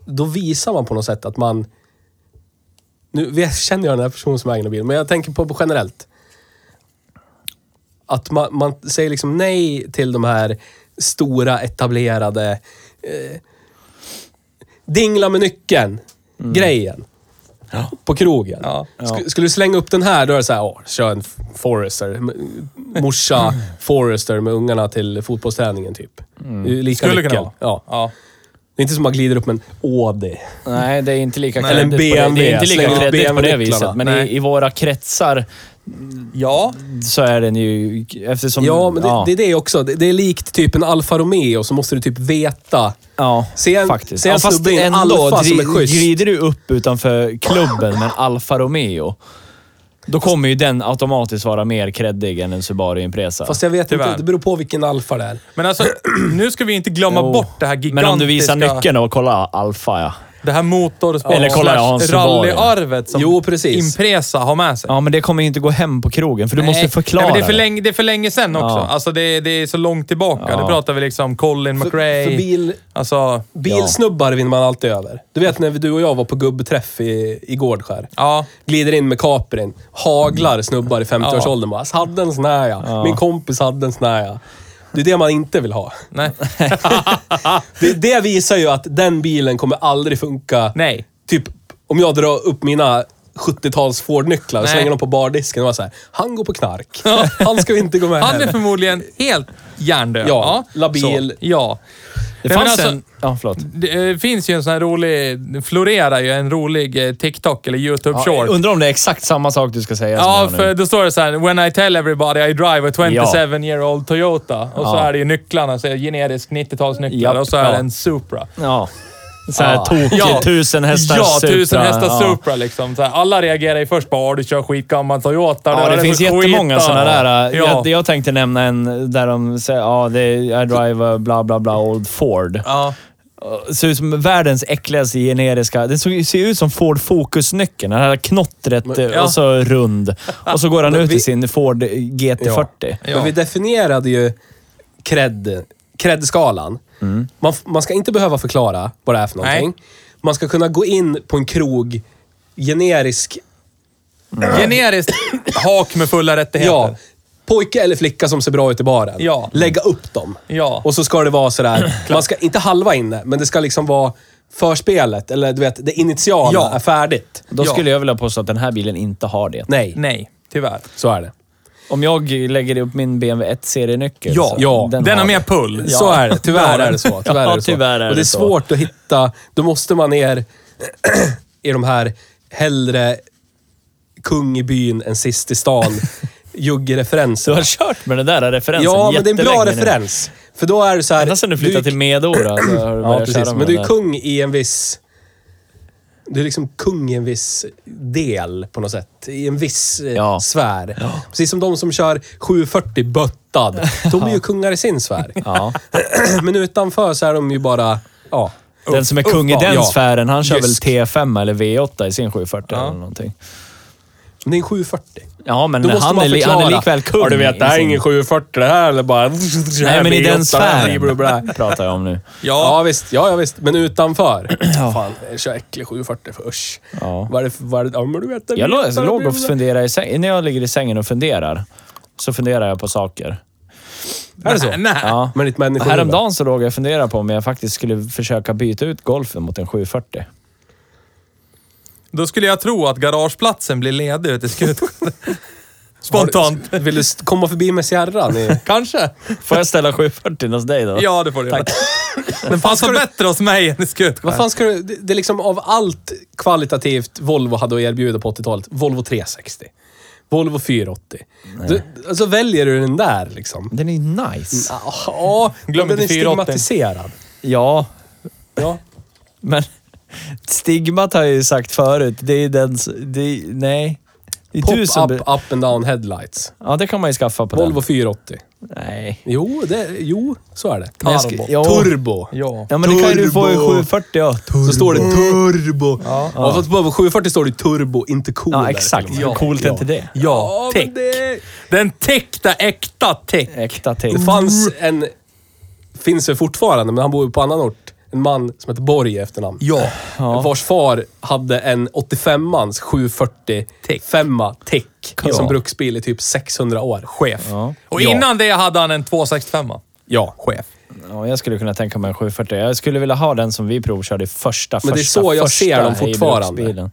Speaker 4: Då visar man på något sätt att man... Nu vet- känner jag den här personen som äger en bil, men jag tänker på generellt. Att man, man säger liksom nej till de här stora etablerade... Eh, dingla med nyckeln. Grejen. På krogen.
Speaker 3: Mm. Ja.
Speaker 4: Sk- skulle du slänga upp den här, då är det så här, åh, kör en F- Forester. M- Morsa Forester med ungarna till fotbollsträningen typ. Det är ju Lika
Speaker 3: Mm. Skulle kunna
Speaker 4: nyckeln.
Speaker 3: vara.
Speaker 4: Ja.
Speaker 3: Ja.
Speaker 4: Det är inte som man glider upp en Audi.
Speaker 2: Nej, det är inte lika
Speaker 4: Eller en
Speaker 2: kreddigt på det, det är
Speaker 4: BMW,
Speaker 2: inte lika
Speaker 4: släng
Speaker 2: kreddigt på det
Speaker 4: BMW-nycklarna.
Speaker 2: viset. Men
Speaker 3: Nej.
Speaker 2: i, i våra kretsar
Speaker 3: ja.
Speaker 2: så är den ju... Eftersom...
Speaker 4: Ja, men det, det är det också. Det, det är likt typ en Alfa Romeo, så måste du typ veta.
Speaker 2: Ja,
Speaker 4: Se en-
Speaker 2: faktiskt.
Speaker 4: se en
Speaker 2: ja, fast
Speaker 4: snubbe i en
Speaker 2: ändå,
Speaker 4: Alfa som är
Speaker 2: dri-
Speaker 4: schysst.
Speaker 2: Glider du upp utanför klubben med en Alfa Romeo, då kommer ju den automatiskt vara mer kreddig än en Subaru Impresa.
Speaker 4: Fast jag vet
Speaker 3: Tyvärr.
Speaker 4: inte, det beror på vilken Alfa det är.
Speaker 3: Men alltså, nu ska vi inte glömma
Speaker 2: Jo.
Speaker 3: bort det här gigantiska...
Speaker 2: Men om du visar nyckeln och kolla Alfa, ja.
Speaker 3: Det här motorsport
Speaker 2: Eller kolla, ja, hans Subaru.
Speaker 3: rallyarvet som
Speaker 4: Jo, precis.
Speaker 3: Impresa har med sig.
Speaker 2: Ja, men det kommer ju inte gå hem på krogen, för du måste
Speaker 3: Nej.
Speaker 2: förklara.
Speaker 3: Nej, men det, är för länge, det är för länge sedan också.
Speaker 2: Ja.
Speaker 3: Alltså det, är- det är så långt tillbaka. Det pratar vi liksom Colin McRae.
Speaker 4: För bil,
Speaker 3: Alltså,
Speaker 4: bilsnubbar vinner man alltid över. Du vet när du och jag var på gubbträff i, i Gårdskär.
Speaker 3: ja.
Speaker 4: Glider in med Caprin. Haglar snubbar i 50-årsåldern. Ja. Hade en sån här ja. Min kompis hade en sån här ja. Det är det man inte vill ha.
Speaker 3: Nej.
Speaker 4: Det, det visar ju att den bilen kommer aldrig funka.
Speaker 3: Nej.
Speaker 4: Typ om jag drar upp mina 70-tals Ford-nycklar och
Speaker 3: Nej.
Speaker 4: slänger dem på bardisken och var så här. Han går på knark. Han ska inte gå med
Speaker 3: Han är
Speaker 4: här."
Speaker 3: förmodligen helt hjärndöd.
Speaker 4: Ja, labil.
Speaker 3: Så. Ja.
Speaker 2: Det
Speaker 3: Nej, men
Speaker 2: fanns
Speaker 3: alltså-
Speaker 2: en... Ja, förlåt.
Speaker 3: Det eh, finns ju en sån här rolig, det florerar ju en rolig eh, TikTok eller YouTube
Speaker 2: Ja,
Speaker 3: short.
Speaker 2: undrar om det är exakt samma sak du ska säga
Speaker 3: Ja,
Speaker 2: som jag
Speaker 3: för
Speaker 2: nu.
Speaker 3: då står det så här: “When I tell everybody I drive a 27 year old Toyota” och så
Speaker 2: Ja.
Speaker 3: är det ju nycklarna, så är det generisk 90-talsnycklar
Speaker 2: Japp,
Speaker 3: och så är det
Speaker 2: ja.
Speaker 3: en Supra.
Speaker 2: Ja. Så här
Speaker 4: Ja.
Speaker 2: tokig
Speaker 3: Ja.
Speaker 2: tusen hästar
Speaker 3: ja,
Speaker 2: Supra.
Speaker 3: tusen hästar
Speaker 2: Ja.
Speaker 3: Supra liksom. Så här, alla reagerar ju först bara “Åh, du kör skitgammal Toyota”.
Speaker 2: Ja,
Speaker 3: vad
Speaker 2: det,
Speaker 3: är för
Speaker 2: finns
Speaker 3: skit?"
Speaker 2: jättemånga sådana där. äh,
Speaker 3: Ja.
Speaker 2: Jag, jag tänkte nämna en där de säger ja, det är, I drive a bla bla bla old Ford.
Speaker 3: Ja.
Speaker 2: Ser ut som världens äckligaste generiska. Den såg- ser ut som Ford Focus-nyckeln. Den här knottret eh, och så rund. Och så går han ut i
Speaker 4: vi-
Speaker 2: sin Ford GT40.
Speaker 3: Ja.
Speaker 4: Men vi definierade ju cred, cred-skalan.
Speaker 3: Mm.
Speaker 4: Man, f- man ska inte behöva förklara vad det är för någonting. Man ska kunna gå in på en krog, generisk,
Speaker 2: Mm.
Speaker 3: Generiskt hak med fulla rättigheter.
Speaker 4: ja, pojke eller flicka som ser bra ut i baren.
Speaker 3: Ja.
Speaker 4: Lägga upp dem.
Speaker 3: Ja.
Speaker 4: Och så ska det vara sådär, man ska inte halva inne, men det ska liksom vara förspelet, eller du vet, det initiala
Speaker 3: Ja.
Speaker 4: är färdigt.
Speaker 2: Då
Speaker 3: Ja.
Speaker 2: skulle jag vilja påstå att den här bilen inte har det.
Speaker 4: Nej,
Speaker 3: Nej, tyvärr.
Speaker 4: så är det.
Speaker 2: Om jag lägger upp min BMW 1-serienyckel.
Speaker 3: Ja,
Speaker 2: så
Speaker 4: ja.
Speaker 3: Den, har mer
Speaker 2: det.
Speaker 3: pull.
Speaker 4: Så är det. Tyvärr är det så. Tyvärr
Speaker 2: Ja,
Speaker 4: är det så.
Speaker 2: tyvärr är
Speaker 4: och det är
Speaker 2: det så.
Speaker 4: svårt att hitta. Då måste man ner i de här hellre kung i byn än sist i stan
Speaker 2: Du har
Speaker 4: juggereferenser.
Speaker 2: kört med den där referensen
Speaker 4: Ja, men det är en bra
Speaker 2: jättelänge nu.
Speaker 4: referens. För då är det så här...
Speaker 2: Ända sedan du flyttade till Medora så har du
Speaker 4: Ja,
Speaker 2: börjat
Speaker 4: precis.
Speaker 2: köra med
Speaker 4: Men du
Speaker 2: den där.
Speaker 4: är kung i en viss... Du är liksom kung i en viss del på något sätt. I en viss eh,
Speaker 2: Ja.
Speaker 4: sfär. Precis som de som kör 740 böttad. De är ju kungar i sin sfär.
Speaker 2: Ja.
Speaker 4: Men utanför så är de ju bara... Ja.
Speaker 2: Den som är kung i
Speaker 4: upp,
Speaker 2: den
Speaker 4: ja.
Speaker 2: sfären, han kör
Speaker 4: Jysk.
Speaker 2: väl T5 eller V8 i sin 740
Speaker 3: Ja.
Speaker 2: eller någonting.
Speaker 4: Men det är en 740.
Speaker 2: Ja, men
Speaker 4: Då måste
Speaker 2: han
Speaker 4: man
Speaker 2: är, li- han är
Speaker 4: förklara.
Speaker 2: likväl kung.
Speaker 4: Ja, du vet, det här är
Speaker 2: i sin-
Speaker 4: ingen 740 det här eller bara...
Speaker 2: Nej, men i den
Speaker 4: V8, bla, bla,
Speaker 2: sfären
Speaker 4: bla.
Speaker 2: pratar jag om nu.
Speaker 4: Ja, visst. Ja, ja, visst. Men utanför. Fan, jag kör äcklig 740 för usch.
Speaker 2: Ja.
Speaker 4: Vad är det för... vad är det- Ja, men du vet... det
Speaker 2: Jag
Speaker 4: vet
Speaker 2: lå-
Speaker 4: det, det
Speaker 2: låg
Speaker 4: blir-
Speaker 2: och funderade i sängen. När jag ligger i sängen och funderar, så funderar jag på saker.
Speaker 4: Är det så?
Speaker 3: Nej, nej.
Speaker 2: Ja.
Speaker 4: Äh, Men ditt
Speaker 2: Och
Speaker 4: människohuvud.
Speaker 2: Häromdagen så låg jag och funderade på om jag faktiskt skulle försöka byta ut golfen mot en 740.
Speaker 3: Då skulle jag tro att garageplatsen blir ledig ute i Skutskär. Spontant.
Speaker 4: Vill du st- komma förbi med Sierran? I...
Speaker 3: Kanske.
Speaker 2: Får jag ställa 740 hos dig då?
Speaker 3: Ja, det får du göra. Den passar bättre hos mig än i Skutskär.
Speaker 4: Vad fan ska du... Det det är liksom av allt kvalitativt Volvo hade att erbjuda på 80-talet. Volvo 360. Volvo 480. Du, alltså väljer du den där liksom. Ah,
Speaker 2: Den är ju nice.
Speaker 4: Ja,
Speaker 3: Glöm
Speaker 4: men den
Speaker 3: inte
Speaker 4: är
Speaker 3: 480.
Speaker 4: stigmatiserad.
Speaker 2: Ja,
Speaker 4: Ja.
Speaker 2: Men stigmat har jag ju sagt förut. Det är den... s- Det är, nej. Det är du
Speaker 4: Pop-up,
Speaker 2: som...
Speaker 4: up,
Speaker 2: Be-
Speaker 4: and down headlights.
Speaker 2: ja, det kan man ju skaffa på
Speaker 4: Volvo 480.
Speaker 2: den. Nej.
Speaker 4: Jo, det, jo, så är det.
Speaker 2: Men jag ska-
Speaker 4: Turbo.
Speaker 2: ja.
Speaker 4: Turbo.
Speaker 3: Ja.
Speaker 2: Ja, men det kan ju du få i
Speaker 4: Turbo.
Speaker 2: 740 ja.
Speaker 4: Så står det turbo. Ja, fast på 740 står det turbo, inte cooler.
Speaker 2: Ja, exakt.
Speaker 4: till och
Speaker 2: Hur
Speaker 4: med.
Speaker 2: coolt är inte det?
Speaker 3: Ja,
Speaker 4: men
Speaker 3: tick.
Speaker 4: det...
Speaker 3: Den täckta, äkta tick.
Speaker 2: Äkta till.
Speaker 4: Det fanns en... Finns väl fortfarande, men han bor ju på annan ort. En man som heter Borg i efternamn.
Speaker 3: Ja.
Speaker 4: Vars far hade en 85-mans 740
Speaker 3: Tick.
Speaker 4: 5 tick
Speaker 2: Ja.
Speaker 4: som bruksbil i typ 600 år.
Speaker 3: Chef.
Speaker 2: Ja.
Speaker 3: Och
Speaker 4: Ja.
Speaker 3: innan det hade han en 265.
Speaker 4: Ja. Chef.
Speaker 2: Ja, jag skulle kunna tänka mig en 740. Jag skulle vilja ha den som vi provkörde i första,
Speaker 4: Men det är
Speaker 2: första,
Speaker 4: så jag
Speaker 2: första
Speaker 4: ser dem fortfarande.
Speaker 2: hejbruksbilen.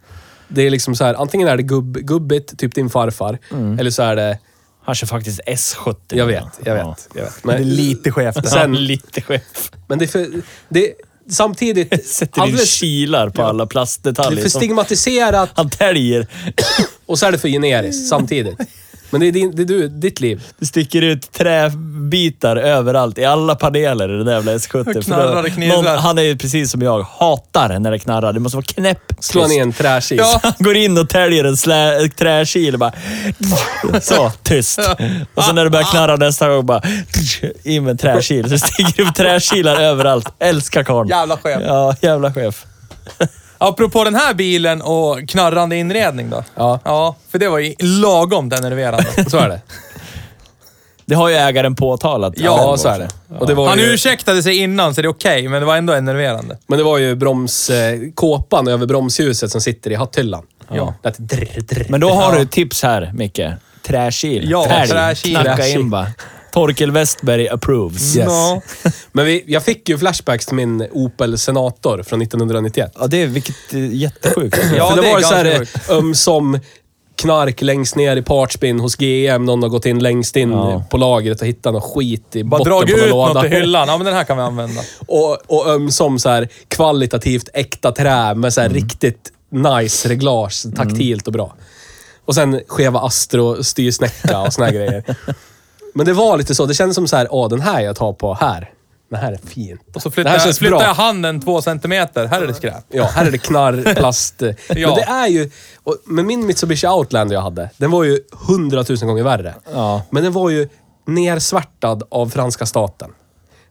Speaker 4: Det är liksom så här, antingen är det gubb, gubbigt, typ din farfar, eller så är det...
Speaker 2: Han kör faktiskt S70.
Speaker 4: Jag vet, jag
Speaker 2: Ja.
Speaker 4: vet. Jag vet. Men,
Speaker 3: chef
Speaker 2: Sen
Speaker 4: Sen-
Speaker 2: lite chef.
Speaker 4: men det är för... Det, samtidigt...
Speaker 2: Sätter liksom. in
Speaker 4: alldeles-
Speaker 2: kilar på alla
Speaker 4: det är
Speaker 2: plastdetaljer.
Speaker 4: för
Speaker 2: Som
Speaker 4: stigmatiserat
Speaker 2: han täljer.
Speaker 4: och så är det för generiskt samtidigt. Men det är, din, det är du, ditt liv.
Speaker 2: Det sticker ut träbitar överallt, i alla paneler i den där jävla S70.
Speaker 3: Knarrar,
Speaker 2: För då-
Speaker 3: knirrar.
Speaker 2: någon- Han är ju precis som jag, hatar när det knarrar. Det måste vara knäpp.
Speaker 4: Slå ner en träkil.
Speaker 2: Ja. Han går in och täljer en slä, träkil och bara... Så, tyst. Och sen när det börjar knarra nästa gång bara... In med en träkil. Så det sticker upp träkilar överallt. Älskar karln.
Speaker 3: Jävla chef.
Speaker 2: Ja, jävla chef.
Speaker 3: Apropå den här bilen och knarrande inredning då.
Speaker 4: Ja.
Speaker 3: Ja, för det var ju lagom enerverande.
Speaker 4: Så är det.
Speaker 2: Det har ju ägaren påtalat.
Speaker 4: Ja, så är det. Och det var
Speaker 3: Han
Speaker 4: ju,
Speaker 3: ursäktade sig innan så det är okej, men det var ändå enerverande.
Speaker 4: men det var ju broms, eh, kåpan över bromsljuset som sitter i hatthyllan.
Speaker 3: Ja.
Speaker 4: Det lät drr, drr.
Speaker 2: Men då har du ett tips här, Micke. Träkil.
Speaker 3: Ja,
Speaker 2: Fälg.
Speaker 3: träkil.
Speaker 2: Knacka
Speaker 3: Träkil.
Speaker 2: in bara. Torkel Westberg approves.
Speaker 4: Yes.
Speaker 3: Ja.
Speaker 4: Men vi, jag fick ju flashbacks till min Opel Senator från 1991.
Speaker 2: Ja, det är vilket eh, jättesjukt.
Speaker 3: Ja,
Speaker 4: För
Speaker 3: det
Speaker 4: det
Speaker 3: är
Speaker 4: var ju så
Speaker 3: ganska
Speaker 4: här ömsom knark längst ner i partspin hos GM. Någon har gått in längst in på lagret och hittat något skit i
Speaker 3: Bara
Speaker 4: botten
Speaker 3: dragit
Speaker 4: på någon
Speaker 3: ut
Speaker 4: låda.
Speaker 3: något i hyllan. Ja, men den här kan vi använda.
Speaker 4: Och, och ömsom så här kvalitativt äkta trä med så
Speaker 3: Mm.
Speaker 4: här riktigt nice reglage. Taktilt och bra. Och sen skeva Astro, styrsnäcka och såna här grejer. Men det var lite så. Det kändes som så här, åh den här jag tar på här. Den här är fint.
Speaker 3: Och så
Speaker 4: det
Speaker 3: flyttar,
Speaker 4: här
Speaker 3: jag,
Speaker 4: känns
Speaker 3: flyttar
Speaker 4: bra.
Speaker 3: jag handen två centimeter. Här är det skräp.
Speaker 4: Ja, här är det knarr, plast. Men
Speaker 3: Ja.
Speaker 4: det är ju... och- Men min Mitsubishi Outlander jag hade, den var ju hundratusen gånger värre.
Speaker 2: Ja.
Speaker 4: Men den var ju nersvärtad av franska staten.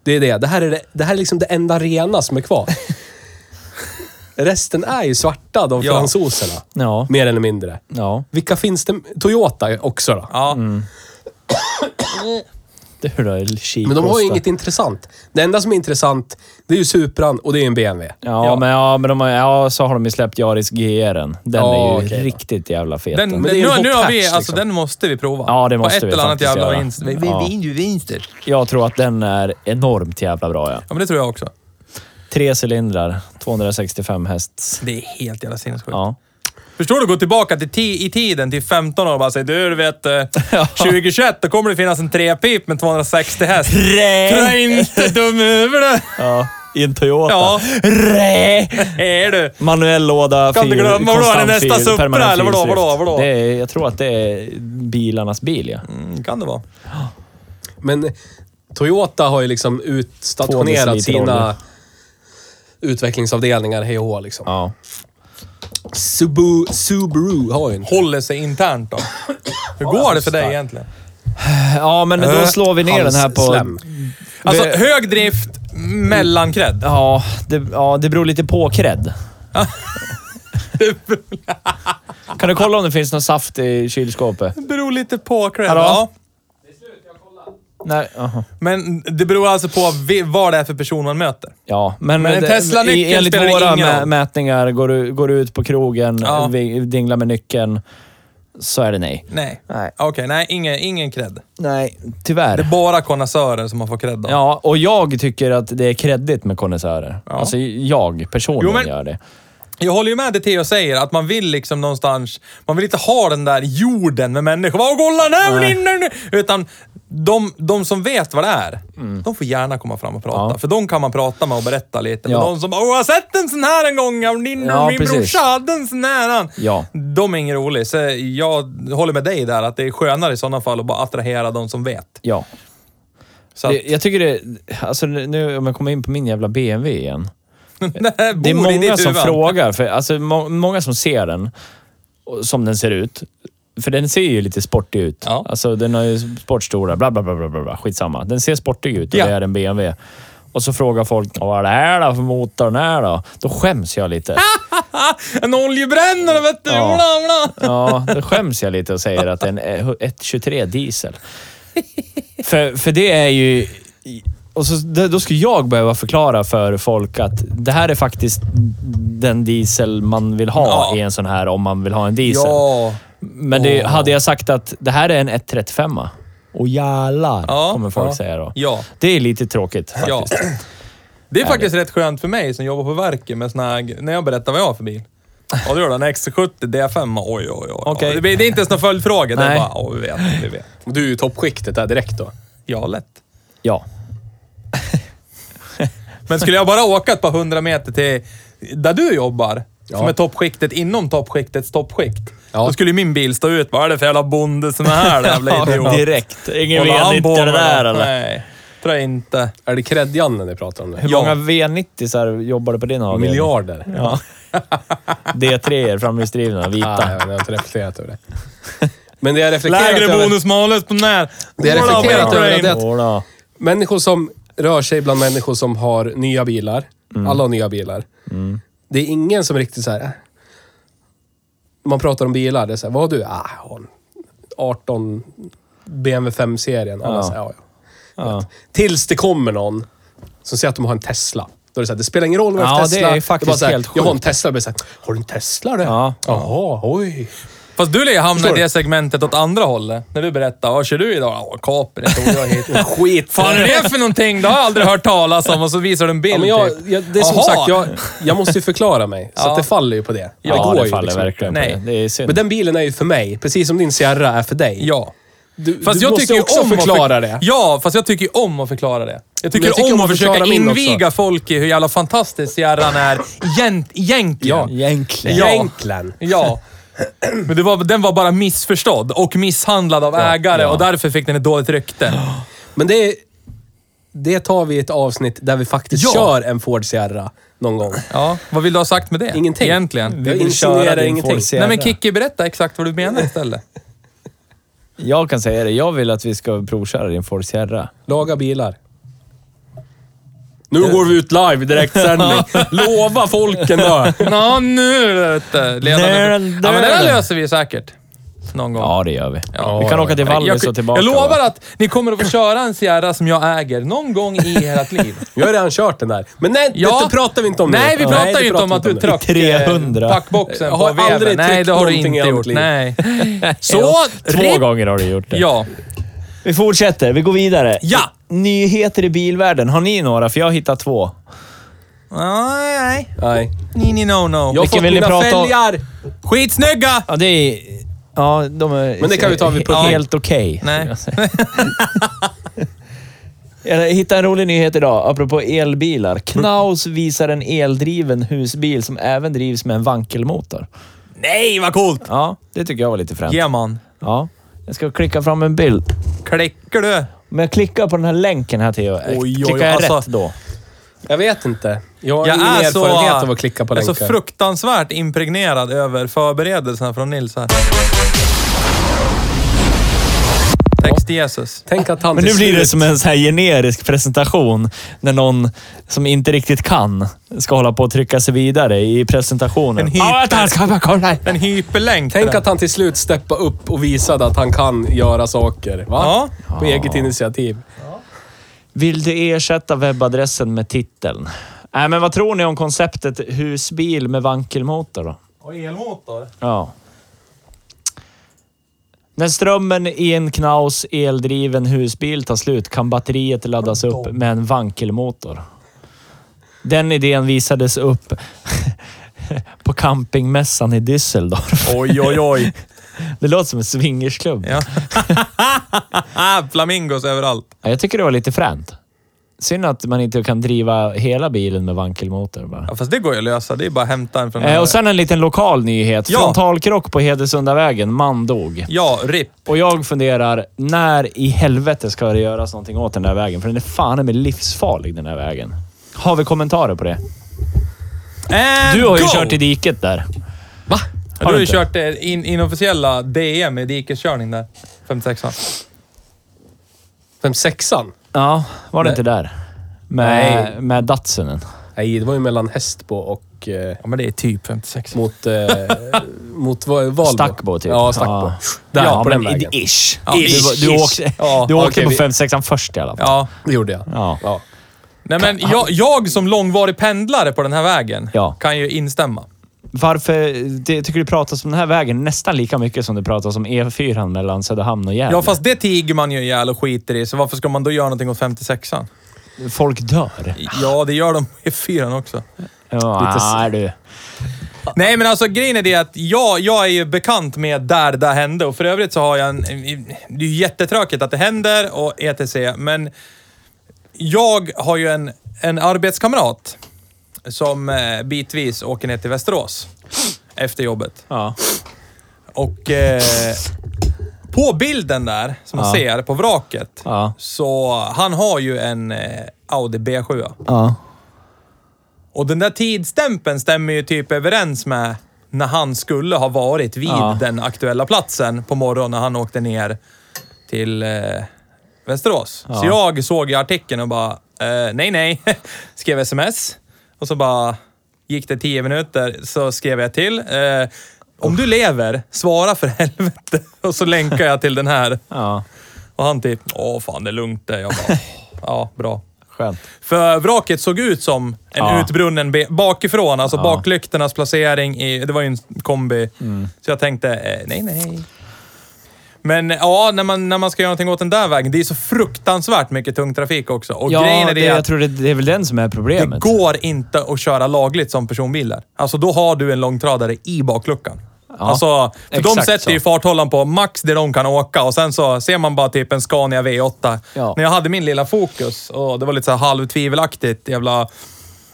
Speaker 4: Det är det. Det här är, det, det här är liksom det enda rena som är kvar. Resten är ju svartad av
Speaker 3: Ja.
Speaker 4: fransoserna.
Speaker 2: Ja.
Speaker 4: Mer eller mindre.
Speaker 2: Ja.
Speaker 4: Vilka finns det? Toyota också då.
Speaker 3: Ja.
Speaker 2: Det är då kikosta.
Speaker 4: Men de har ju inget intressant. Det enda som är intressant, det är ju Supran och det är en BMW.
Speaker 2: Ja, Men, ja, men de har, ja, så har de ju släppt Yaris GR'n. Den
Speaker 4: Ja,
Speaker 2: är ju
Speaker 4: okej då.
Speaker 2: riktigt jävla fet.
Speaker 3: Den,
Speaker 4: det är ju
Speaker 3: nu,
Speaker 4: en
Speaker 3: nu har vi,
Speaker 4: hothatch,
Speaker 3: alltså
Speaker 4: liksom.
Speaker 3: den måste vi prova.
Speaker 2: Ja, det måste
Speaker 3: På ett
Speaker 2: vi
Speaker 3: eller annat
Speaker 2: faktiskt
Speaker 3: jävla
Speaker 2: göra.
Speaker 3: vinster.
Speaker 2: Ja.
Speaker 3: vinster.
Speaker 2: Jag tror att den är enormt jävla bra. Ja.
Speaker 3: Ja, men det tror jag också.
Speaker 2: Tre cylindrar, 265 häst.
Speaker 3: Det är helt jävla sinnessjukt.
Speaker 2: Ja.
Speaker 3: Förstår du? Gå tillbaka till ti- i tiden till 15 år och bara säga du, du vet, eh, 2021 då kommer det finnas en trepip med 260 häst. Trä inte dum huvud
Speaker 2: Ja, i en Toyota.
Speaker 3: Ja.
Speaker 2: Rä!
Speaker 3: Är du?
Speaker 2: Manuell låda,
Speaker 3: Kan inte
Speaker 2: fyrhjul-
Speaker 3: glömma, vadå,
Speaker 2: konstant
Speaker 3: är det nästa
Speaker 2: fyrhjul,
Speaker 3: Supra,
Speaker 2: permanent
Speaker 3: eller vadå,
Speaker 2: fyrhjulsdrift.
Speaker 3: vadå, vadå?
Speaker 2: Det är, jag tror att det är bilarnas bil, ja.
Speaker 3: Mm, kan det vara.
Speaker 4: Men Toyota har ju liksom
Speaker 2: Två
Speaker 4: utstationerat
Speaker 2: deciliter olja.
Speaker 4: sina utvecklingsavdelningar hej och hå liksom.
Speaker 2: ja.
Speaker 4: Subu, Subaru har ju en.
Speaker 3: Håller sig internt då. Hur går det för dig egentligen?
Speaker 2: Ja, men då
Speaker 3: Äh,
Speaker 2: slår vi ner den här på...
Speaker 4: Slem.
Speaker 3: Alltså,
Speaker 2: Det-
Speaker 3: hög drift, mellancred.
Speaker 2: Ja det, ja, det beror lite på cred. kan du kolla om det finns någon saft i kylskåpet?
Speaker 3: Beror lite på cred.
Speaker 2: Hallå?
Speaker 3: Ja.
Speaker 2: Nej, aha.
Speaker 3: Men det beror alltså på vi- vad det är för person man möter.
Speaker 2: Ja, men,
Speaker 3: Men en
Speaker 2: det-
Speaker 3: Tesla-nyckel
Speaker 2: i- enligt
Speaker 3: spelar det
Speaker 2: våra
Speaker 3: ingen
Speaker 2: mä-
Speaker 3: roll.
Speaker 2: mätningar, går du, går du ut på krogen,
Speaker 3: Ja.
Speaker 2: vi- dinglar med nyckeln, så är det nej.
Speaker 3: Nej.
Speaker 2: Nej.
Speaker 3: Okej, nej, ingen, ingen cred.
Speaker 2: Nej,
Speaker 3: Det är
Speaker 2: tyvärr.
Speaker 3: bara konnässörer som man får cred av.
Speaker 2: Ja, och jag tycker att det är kreddigt med konnässörer. Alltså jag personligen
Speaker 3: Jo, men-
Speaker 2: gör det.
Speaker 3: Jag håller ju med det Theo säger, att man vill liksom någonstans... Man vill inte ha den där jorden med människor. Vad kolla nu, nu, nu! Utan de, de som vet vad det är, de får gärna komma fram och prata.
Speaker 2: Mm. Ja.
Speaker 3: För de kan man prata med och berätta lite. Men
Speaker 2: Ja.
Speaker 3: de som bara “Åh, jag har sett en sån här en gång, ja, din,
Speaker 2: Ja,
Speaker 3: min
Speaker 2: precis.
Speaker 3: brorsa hade en sån här”. han."
Speaker 2: Ja.
Speaker 3: De är ingen rolig. Så jag håller med dig där, att det är skönare i sådana fall att bara attrahera de som vet.
Speaker 2: Ja.
Speaker 3: Så att,
Speaker 2: Det, jag tycker det... Alltså nu om jag kommer in på min jävla BMW igen.
Speaker 3: det,
Speaker 2: Det är
Speaker 3: bor i
Speaker 2: många
Speaker 3: ditt
Speaker 2: som
Speaker 3: huvud.
Speaker 2: frågar, för, alltså, må, många som ser den och- som den ser ut. För den ser ju lite sportig ut.
Speaker 3: Ja.
Speaker 2: Alltså, den har ju sportstolar, bla, bla, bla, bla, bla, bla. Skitsamma. Den ser sportig ut och
Speaker 3: Ja.
Speaker 2: det är en BMW. Och så frågar folk, "Ja, vad är det här då för motor? Den här då? Då skäms jag
Speaker 3: Ah!
Speaker 2: lite.
Speaker 3: En oljebrännare vet du!
Speaker 2: Ja.
Speaker 3: Bla, bla.
Speaker 2: Ja, då skäms jag lite och säger att det är en eh, 123 diesel. För, för det är ju... Och så, det- då skulle jag behöva förklara för folk att det här är faktiskt den diesel man vill ha
Speaker 3: Ja.
Speaker 2: i en sån här om man vill ha en diesel.
Speaker 3: Ja.
Speaker 2: Men det, hade jag sagt att det här är en 135 och jävlar,
Speaker 3: Ja,
Speaker 2: kommer folk
Speaker 3: ja.
Speaker 2: säga då.
Speaker 3: Ja.
Speaker 2: Det är lite tråkigt faktiskt.
Speaker 3: Ja. Det är faktiskt rätt skönt för mig som jobbar på verket med såna här, g- när jag berättar vad jag har för bil. Ja, det gör den. En X70 D5. Oj, oj, oj.
Speaker 2: Okej.
Speaker 3: Det, blir- det är inte ens någon följdfråga. Det är
Speaker 2: Nej.
Speaker 3: bara, ja, vi vet, vi vet.
Speaker 4: Du är ju toppskiktet där direkt då.
Speaker 3: Ja, lätt.
Speaker 2: Ja.
Speaker 3: Men skulle jag bara åka ett par hundra meter till där du jobbar, som är toppskiktet inom toppskiktets toppskikt,
Speaker 4: Ja.
Speaker 3: då skulle ju min bil stå ut. Vad är det för jävla bonde som är här? Jävla idiot.
Speaker 2: direkt. Ingen
Speaker 3: Håller han på
Speaker 2: V90 det
Speaker 3: med
Speaker 2: där
Speaker 3: det?
Speaker 2: eller?
Speaker 3: Nej, tror jag inte.
Speaker 4: Är det Cred-Janne ni pratar om nu? Ah,
Speaker 2: Hur
Speaker 3: Ja.
Speaker 2: många V90 jobbar det på din avdelning?
Speaker 4: Miljarder.
Speaker 2: Ja. D3-er, framhjulsdrivna,
Speaker 4: Ah,
Speaker 2: vita.
Speaker 4: jag har inte reflekterat över det. Men det jag reflekterat
Speaker 3: Lägre
Speaker 4: över...
Speaker 3: bonusmalus på när.
Speaker 4: Det är reflekterat över det att-
Speaker 2: Jodå.
Speaker 4: Människor som rör sig bland människor som har nya bilar. Alla har nya bilar. Det är ingen som riktigt så här. När Man pratar om bilar, det är så här, vad har du? Ah, jag har en 18 BMW 5-serien. Alla
Speaker 2: Ja.
Speaker 4: säger, ja, ja.
Speaker 2: Ja.
Speaker 4: Tills det kommer någon som säger att de har en Tesla. Då är det så här, det spelar ingen roll vad jag har
Speaker 2: Ja,
Speaker 4: för
Speaker 2: det
Speaker 4: Tesla.
Speaker 2: är faktiskt
Speaker 4: bara så här,
Speaker 2: helt
Speaker 4: Jag har en
Speaker 2: sjukt.
Speaker 4: Tesla. Det blir så här, har du en Tesla det?
Speaker 2: Ja.
Speaker 4: Jaha, oj.
Speaker 3: Fast du Lea hamnar
Speaker 4: Förstår
Speaker 3: i
Speaker 4: du?
Speaker 3: det segmentet åt andra hållet. När du berättar, vad kör du idag? Ja, Capri tog jag hit.
Speaker 4: Skit.
Speaker 3: Fan är det för någonting? Det har jag aldrig hört talas om. Och så visar du en bild
Speaker 4: Ja, men jag,
Speaker 3: typ.
Speaker 4: jag, det är som
Speaker 3: Jaha.
Speaker 4: sagt, jag, jag måste ju förklara mig. Så att det faller ju på det.
Speaker 5: Ja, det,
Speaker 4: går ju
Speaker 5: faller
Speaker 4: liksom.
Speaker 5: verkligen
Speaker 3: Nej.
Speaker 5: på det. Det är synd.
Speaker 4: Men den bilen är ju för mig, precis som din Sierra är för dig.
Speaker 3: Ja.
Speaker 4: Du,
Speaker 3: Fast
Speaker 4: du
Speaker 3: jag
Speaker 4: måste
Speaker 3: tycker ju
Speaker 4: också
Speaker 3: om att
Speaker 4: förklara
Speaker 3: förk-
Speaker 4: det.
Speaker 3: Ja, fast jag tycker ju om att förklara det. Jag tycker,
Speaker 4: jag
Speaker 3: om,
Speaker 4: tycker om
Speaker 3: att
Speaker 4: att
Speaker 3: försöka
Speaker 4: förklara min också.
Speaker 3: inviga folk i hur jävla fantastisk Sierran är egent, egentligen.
Speaker 4: Ja.
Speaker 2: Egentligen.
Speaker 3: Ja.
Speaker 4: Egentligen.
Speaker 3: Ja. Men det var, den var bara missförstådd och misshandlad av ägare och därför fick den ett dåligt rykte.
Speaker 4: Men det, är- det tar vi i ett avsnitt där vi faktiskt
Speaker 3: Ja.
Speaker 4: kör en Ford Sierra någon gång.
Speaker 3: Ja, vad vill du ha sagt med det?
Speaker 4: Ingenting.
Speaker 3: Egentligen.
Speaker 4: Jag
Speaker 2: vill köra
Speaker 4: insinuerar
Speaker 2: din
Speaker 4: ingenting.
Speaker 2: Ford Sierra.
Speaker 3: Nej men Kikki, berätta exakt vad du menar istället.
Speaker 2: Jag kan säga det. Jag vill att vi ska provköra din Ford Sierra.
Speaker 4: Laga bilar. Nu går vi ut live direkt Lova folken då.
Speaker 3: Ja, nu vet du. Ledande.
Speaker 2: Där,
Speaker 3: Ja, men det där
Speaker 2: där.
Speaker 3: löser vi säkert. Någon gång.
Speaker 2: Ja, det gör vi.
Speaker 3: Ja,
Speaker 2: vi kan åka till
Speaker 3: Jag,
Speaker 2: Vallis och tillbaka.
Speaker 3: jag lovar
Speaker 2: va?
Speaker 3: att ni kommer att få köra en Sierra som jag äger någon gång i ert liv.
Speaker 4: Jag har redan kört den där. Men nej,
Speaker 3: Ja.
Speaker 4: det pratar vi inte om
Speaker 3: Nej, vi
Speaker 4: nu.
Speaker 3: pratar ju inte
Speaker 4: det
Speaker 3: om att du
Speaker 4: vi nu.
Speaker 3: tryckte
Speaker 2: 300.
Speaker 3: packboxen
Speaker 4: Jag
Speaker 3: på
Speaker 4: har
Speaker 3: veven.
Speaker 4: aldrig
Speaker 3: Nej,
Speaker 4: tryckt
Speaker 3: det har du
Speaker 4: någonting
Speaker 3: inte
Speaker 4: i mitt
Speaker 3: gjort.
Speaker 4: liv.
Speaker 3: Nej. Så,
Speaker 2: Ja, Två
Speaker 3: rip-
Speaker 2: gånger har du gjort det.
Speaker 3: Ja.
Speaker 2: Vi fortsätter. Vi går vidare.
Speaker 3: Ja!
Speaker 2: Nyheter i bilvärlden. Har ni några? För jag har hittat två.
Speaker 3: Nej, nej.
Speaker 4: Nej.
Speaker 3: Ni, ni, no, no.
Speaker 4: Jag har
Speaker 2: Vilken
Speaker 4: fått
Speaker 2: vill ni
Speaker 4: mina
Speaker 2: prata om?
Speaker 4: fälgar!
Speaker 3: Skitsnygga!
Speaker 2: Ja, det är... Ja, de är
Speaker 4: Men det kan vi ta vid pucken.
Speaker 2: Helt okej.
Speaker 3: Nej.
Speaker 2: Jag hittade en rolig nyhet idag, apropå elbilar. Knaus visar en eldriven husbil som även drivs med en vankelmotor.
Speaker 3: Nej, vad coolt!
Speaker 2: Ja, det tycker jag var lite fränt.
Speaker 3: Ge man.
Speaker 2: Ja. Jag ska klicka fram en bild.
Speaker 3: Klickar du?
Speaker 2: Men jag klickar på den här länken här, Theo.
Speaker 3: Oj, oj,
Speaker 2: klickar jag
Speaker 3: alltså.
Speaker 2: rätt då?
Speaker 4: Jag vet inte. Jag har
Speaker 3: Jag
Speaker 4: ingen
Speaker 3: är så,
Speaker 4: erfarenhet av att klicka på
Speaker 3: jag är
Speaker 4: länkar.
Speaker 3: så fruktansvärt impregnerad över förberedelserna från Nils här. Text till Jesus.
Speaker 4: Tänk att han
Speaker 2: Men nu
Speaker 4: till
Speaker 2: blir det
Speaker 4: slut-
Speaker 2: som en så här generisk presentation när någon som inte riktigt kan ska hålla på att trycka sig vidare i presentationen.
Speaker 3: hyper-
Speaker 2: Ja, vänta, ska jag kolla.
Speaker 3: En hyperlänk.
Speaker 4: Tänk
Speaker 3: där.
Speaker 4: att han till slut steppade upp och visade att han kan göra saker. Va?
Speaker 3: Ja.
Speaker 4: På eget initiativ.
Speaker 2: Vill du ersätta webbadressen med titeln? Nej, men vad tror ni om konceptet husbil med vankelmotor då?
Speaker 3: Och elmotor.
Speaker 2: Ja. När strömmen i en Knaus eldriven husbil tar slut kan batteriet laddas upp med en vankelmotor. Den idén visades upp på campingmässan i Düsseldorf.
Speaker 3: Oj, oj, oj.
Speaker 2: Det låter som en swingersklubb.
Speaker 3: Ja. Ah, Flamingos överallt.
Speaker 2: Ja, Jag tycker det var lite fränt. Synd att man inte kan driva hela bilen med vankelmotor bara.
Speaker 3: Ja, fast det går ju att lösa. Det är bara att hämta en från...
Speaker 2: Eh, och sen en liten lokal nyhet.
Speaker 3: Ja.
Speaker 2: Frontalkrock på Hedesundavägen. Man dog.
Speaker 3: Ja, RIP.
Speaker 2: Och jag funderar, när i helvete ska det göras någonting åt den där vägen? För den är fan med livsfarlig den där vägen. Har vi kommentarer på det?
Speaker 3: And
Speaker 2: Du har ju
Speaker 3: Eh, go!
Speaker 2: kört i diket där.
Speaker 3: Va?
Speaker 2: Har
Speaker 3: Har du
Speaker 2: du
Speaker 3: har ju
Speaker 2: inte?
Speaker 3: kört eh, in, inofficiella DM i dikeskörning där. 56
Speaker 4: Vem sexan?
Speaker 2: Ja, var det inte där? Med,
Speaker 4: Nej.
Speaker 2: med Datsunen.
Speaker 4: Nej, det var ju mellan Hästbo och... Eh,
Speaker 3: Ja, men det är typ 56.
Speaker 4: mot... Eh, mot Va- Valbo.
Speaker 2: Stackbo typ.
Speaker 4: Ja, Stackbo.
Speaker 2: Ja.
Speaker 4: Där,
Speaker 2: ja,
Speaker 4: på
Speaker 2: men
Speaker 4: den vägen.
Speaker 2: i- Ish.
Speaker 3: Ja,
Speaker 2: du,
Speaker 3: ish,
Speaker 2: du
Speaker 3: ish.
Speaker 2: åkte,
Speaker 3: Ja,
Speaker 2: du åkte
Speaker 4: okej,
Speaker 2: på
Speaker 4: vi-
Speaker 2: 56an först i alla fall.
Speaker 3: Ja.
Speaker 4: Det gjorde jag.
Speaker 2: Ja.
Speaker 4: Ja.
Speaker 3: Nej, men jag, jag som långvarig pendlare på den här vägen
Speaker 2: Ja.
Speaker 3: kan ju instämma.
Speaker 2: Varför det, tycker du pratas om den här vägen nästan lika mycket som det pratas om E4 mellan Söderhamn och Gävle?
Speaker 3: Ja, fast det tiger man ju ihjäl och skiter i, så varför ska man då göra någonting åt 56an?
Speaker 2: Folk dör.
Speaker 3: Ja, det gör de i fyran också.
Speaker 2: Ja, nej, du.
Speaker 3: Nej, men alltså grejen är det att jag, jag är ju bekant med där det hände och för övrigt så har jag en... Det är ju jättetråkigt att det händer och etc. Men jag har ju en, en arbetskamrat som eh, bitvis åker ner till Västerås efter jobbet.
Speaker 2: Ja.
Speaker 3: Och eh, på bilden där, som man ser på vraket,
Speaker 2: Ja.
Speaker 3: så han har ju en eh, Audi B7.
Speaker 2: Ja.
Speaker 3: Och den där tidsstämpeln stämmer ju typ överens med när han skulle ha varit vid
Speaker 2: Ja.
Speaker 3: den aktuella platsen på morgonen när han åkte ner till eh, Västerås. Så jag såg i artikeln och bara, eh, nej, nej, skrev sms. Och så bara, Gick det 10 minuter så skrev jag till. Eh, om du lever, svara för helvete. Och så länkar jag till den här.
Speaker 2: Ja,
Speaker 3: Och han typ, åh fan det är lugnt det. Jag bara, ja bra.
Speaker 2: skönt.
Speaker 3: För vraket såg ut som en
Speaker 2: Ja.
Speaker 3: utbrunnen be- bakifrån. Alltså baklyktornas placering. I, det var ju en kombi.
Speaker 2: Mm.
Speaker 3: Så jag tänkte, eh, nej, nej. Men eh, ja, när man, när man ska göra någonting åt den där vägen. Det är så fruktansvärt mycket tung trafik också. Och grejen
Speaker 2: Ja,
Speaker 3: är
Speaker 2: det,
Speaker 3: det
Speaker 2: jag
Speaker 3: att
Speaker 2: tror det, det är väl den som är
Speaker 3: det
Speaker 2: problemet.
Speaker 3: går inte att köra lagligt som personbil där. Alltså då har du en långtradare i bakluckan. alltså, för de
Speaker 2: exakt
Speaker 3: sätter
Speaker 2: så.
Speaker 3: ju farthållaren på max det de kan åka och sen så ser man bara typ en Scania V8.
Speaker 2: Ja.
Speaker 3: När jag hade min lilla Focus och det var lite så här halvtvivelaktigt jävla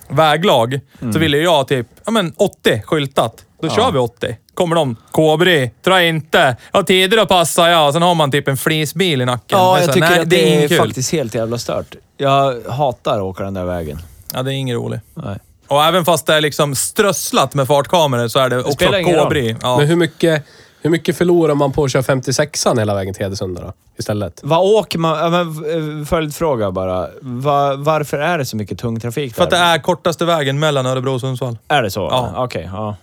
Speaker 3: väglag,
Speaker 2: Mm.
Speaker 3: så ville jag typ, ja men 80 skyltat. Då kör vi 80. Kommer de, Kobri, dra inte. Ja, tider att passa ja. Sen har man typ en flisbil i nacken.
Speaker 2: Ja,
Speaker 3: Det är
Speaker 2: jag
Speaker 3: så här,
Speaker 2: tycker
Speaker 3: nej,
Speaker 2: att det är,
Speaker 3: ingen kul.
Speaker 2: faktiskt helt jävla stört. Jag hatar att åka den där vägen.
Speaker 3: Ja, det är ingen roligt.
Speaker 2: Nej.
Speaker 3: Och även fast det är liksom strösslat med fartkameror så är det, också
Speaker 2: spelar ingen
Speaker 3: kobri. Ja.
Speaker 4: Men hur mycket, hur mycket förlorar man på att köra 56an hela vägen till Hedesunda då? Istället.
Speaker 2: Vad åker man... ja, men, eh, Följdfråga bara. Va, varför är det så mycket tung trafik där?
Speaker 3: För att det är kortaste vägen mellan Örebro och Sundsvall.
Speaker 2: Är det så?
Speaker 3: Ja.
Speaker 2: Okej, ja.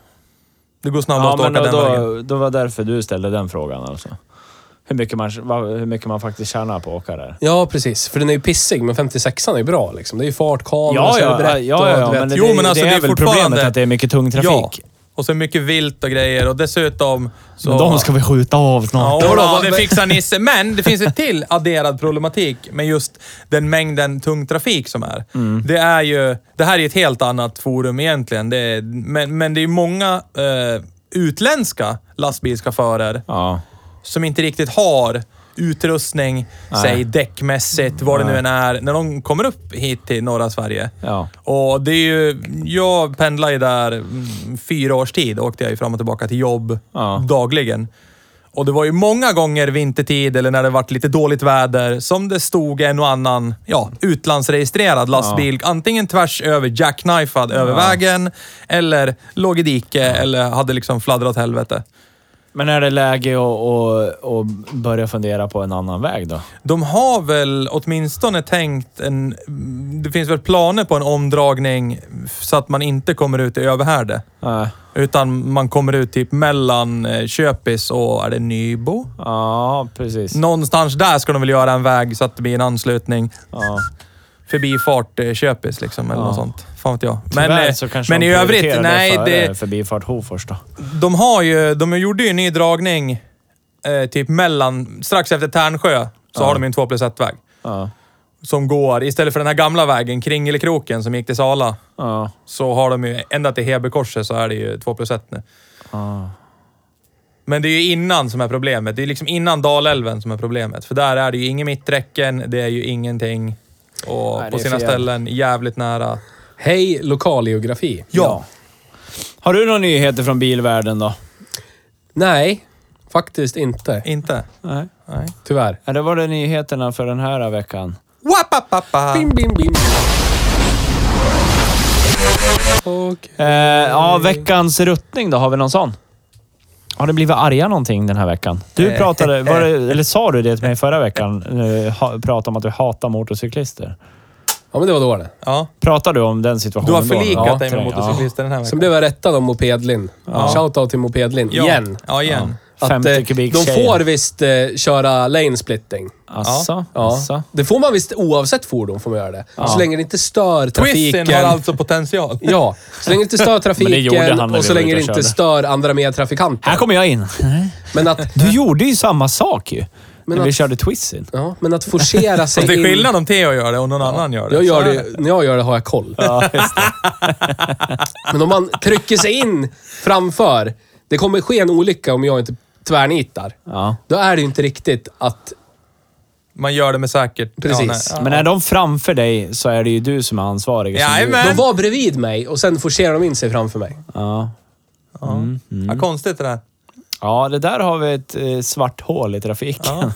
Speaker 3: Det går
Speaker 2: Ja,
Speaker 3: snabbast
Speaker 2: men
Speaker 3: att åka
Speaker 2: då,
Speaker 3: den vägen.
Speaker 2: då, då var det därför du ställde den frågan alltså. Hur mycket man, vad, hur mycket man faktiskt tjänar på att åka där.
Speaker 4: Ja, precis. För den är ju pissig, men 56an är ju bra liksom. Det är ju fart, kamera,
Speaker 3: alltså,
Speaker 4: så är det brett
Speaker 2: ja, ja,
Speaker 4: och, du
Speaker 2: men det,
Speaker 4: vet.
Speaker 3: Jo, men alltså,
Speaker 2: det
Speaker 3: det
Speaker 2: är,
Speaker 3: är
Speaker 2: väl
Speaker 3: fortfarande-
Speaker 2: problemet att det är mycket tung trafik.
Speaker 3: Ja. Och så mycket vilt och grejer och dessutom... Så...
Speaker 2: Men de ska vi skjuta av
Speaker 3: Ja,
Speaker 2: snart.
Speaker 3: då, det fixar Nisse. Men det finns en till adderad problematik med just den mängden tung trafik som är.
Speaker 2: Mm.
Speaker 3: Det, är ju, det här är ett helt annat forum egentligen. Det är, men, men det är ju många eh, utländska lastbilschaufförer
Speaker 2: Ja.
Speaker 3: som inte riktigt har utrustning, säg däckmässigt, vad det nu än är, när de kommer upp hit till norra Sverige.
Speaker 2: Ja.
Speaker 3: Och det är ju, jag pendlar ju där mm, fyra års tid, åkte jag ju fram och tillbaka till jobb
Speaker 2: Ja.
Speaker 3: dagligen. Och det var ju många gånger vintertid eller när det varit lite dåligt väder som det stod en och annan ja, utlandsregistrerad lastbil. Antingen tvärs över jackknifad över vägen eller låg i dike eller hade liksom fladdrat helvete.
Speaker 2: Men är det läge att, att, att börja fundera på en annan väg då?
Speaker 3: De har väl åtminstone tänkt en... Det finns väl planer på en omdragning så att man inte kommer ut i Överhärde.
Speaker 2: Nej.
Speaker 3: Utan man kommer ut typ mellan eh, Köpis och, är det Nybo?
Speaker 2: Ja, precis.
Speaker 3: Någonstans där ska de väl göra en väg så att det blir en anslutning.
Speaker 2: Ja.
Speaker 3: Förbifart eh, Köpis liksom, eller
Speaker 2: Ja.
Speaker 3: något sånt. Fan vet jag. Men,
Speaker 2: Tyvärr
Speaker 3: eh,
Speaker 2: så kanske
Speaker 3: men
Speaker 2: de
Speaker 3: i övrigt,
Speaker 2: prioriterar eh,
Speaker 3: nej.
Speaker 2: före
Speaker 3: Det,
Speaker 2: Förbifart Hofors då.
Speaker 3: de har ju... De gjorde ju en ny dragning eh, typ mellan... Strax efter Tärnsjö så har de ju en 2 plus 1-väg.
Speaker 2: Ja.
Speaker 3: som går, istället för den här gamla vägen, Kringelkroken som gick till Sala,
Speaker 2: Ja.
Speaker 3: så har de ju, ända till Heberkorset så är det ju 2 plus 1 nu. Men det är ju innan som är problemet. Det är liksom innan Dalälven som är problemet. För där är det ju inga mitträcken, det är ju ingenting. Och
Speaker 2: Nej, det
Speaker 3: på sina
Speaker 2: är för jävligt.
Speaker 3: ställen jävligt nära.
Speaker 4: Hej, lokalgeografi.
Speaker 3: Ja.
Speaker 2: Har du några nyheter från bilvärlden då?
Speaker 4: Nej, faktiskt inte.
Speaker 3: Inte?
Speaker 2: Nej.
Speaker 3: Nej.
Speaker 4: Tyvärr.
Speaker 2: Ja, det var det nyheterna för den här veckan.
Speaker 3: Wapapapa.
Speaker 4: Bim, bim, bim. Och
Speaker 2: Eh, ja, veckans ruttning då. Har vi någon sån? Har ni blivit arga någonting den här veckan? Eh. Du pratade, var det, eller sa du det till mig förra veckan? Eh, ha- Pratade om att du hatar motorcyklister.
Speaker 4: Ja, men det var då det.
Speaker 3: Ja.
Speaker 2: Pratade du om den situationen
Speaker 3: Du har
Speaker 2: då?
Speaker 3: förlikat
Speaker 2: Ja,
Speaker 3: dig med
Speaker 2: träng-
Speaker 3: motorcyklister den här
Speaker 4: Sen
Speaker 3: veckan.
Speaker 4: blev jag rättad om Mopedlin. Shoutout till Mopedlin.
Speaker 3: Ja.
Speaker 4: Igen.
Speaker 3: Ja, igen.
Speaker 2: Ja.
Speaker 4: Att,
Speaker 2: 50
Speaker 4: eh,
Speaker 2: kubik
Speaker 4: de
Speaker 2: tjejer.
Speaker 4: får visst eh, köra lane splitting.
Speaker 2: Asså,
Speaker 4: Ja.
Speaker 2: asså.
Speaker 4: Det får man visst oavsett fordon. får man göra det. Så länge det inte stör trafiken.
Speaker 3: Quizen har alltså potential.
Speaker 4: Ja, så länge det inte stör
Speaker 2: Men det gjorde han
Speaker 4: trafiken
Speaker 2: när vi
Speaker 4: och så
Speaker 2: var
Speaker 4: länge
Speaker 2: ute och
Speaker 4: det inte
Speaker 2: körde.
Speaker 4: stör andra medtrafikanter.
Speaker 2: Här kommer jag in.
Speaker 4: Men att,
Speaker 2: Du gjorde ju samma sak ju. när vi
Speaker 4: att-
Speaker 2: körde twisten.
Speaker 4: ja, men att forcera sig
Speaker 3: Fast det är
Speaker 4: in...
Speaker 3: skillnad om Theo gör det och någon annan gör det.
Speaker 4: Jag gör
Speaker 3: Så är
Speaker 4: det, när jag gör det har jag koll. Men om man trycker sig in framför, det kommer ske en olycka om jag inte tvärnitar.
Speaker 2: Ja.
Speaker 4: Då är det ju inte riktigt att...
Speaker 3: Man gör det med säkert.
Speaker 4: Precis.
Speaker 3: Ja, nej.
Speaker 2: Men är de framför dig så är det ju du som är ansvarig. som
Speaker 3: Jajamän.
Speaker 2: du-
Speaker 4: De var bredvid mig och sen forcerar de in sig framför mig.
Speaker 2: Ja. Mm,
Speaker 3: Ja, konstigt det där.
Speaker 2: ja, det där har vi ett eh, svart hål i trafiken.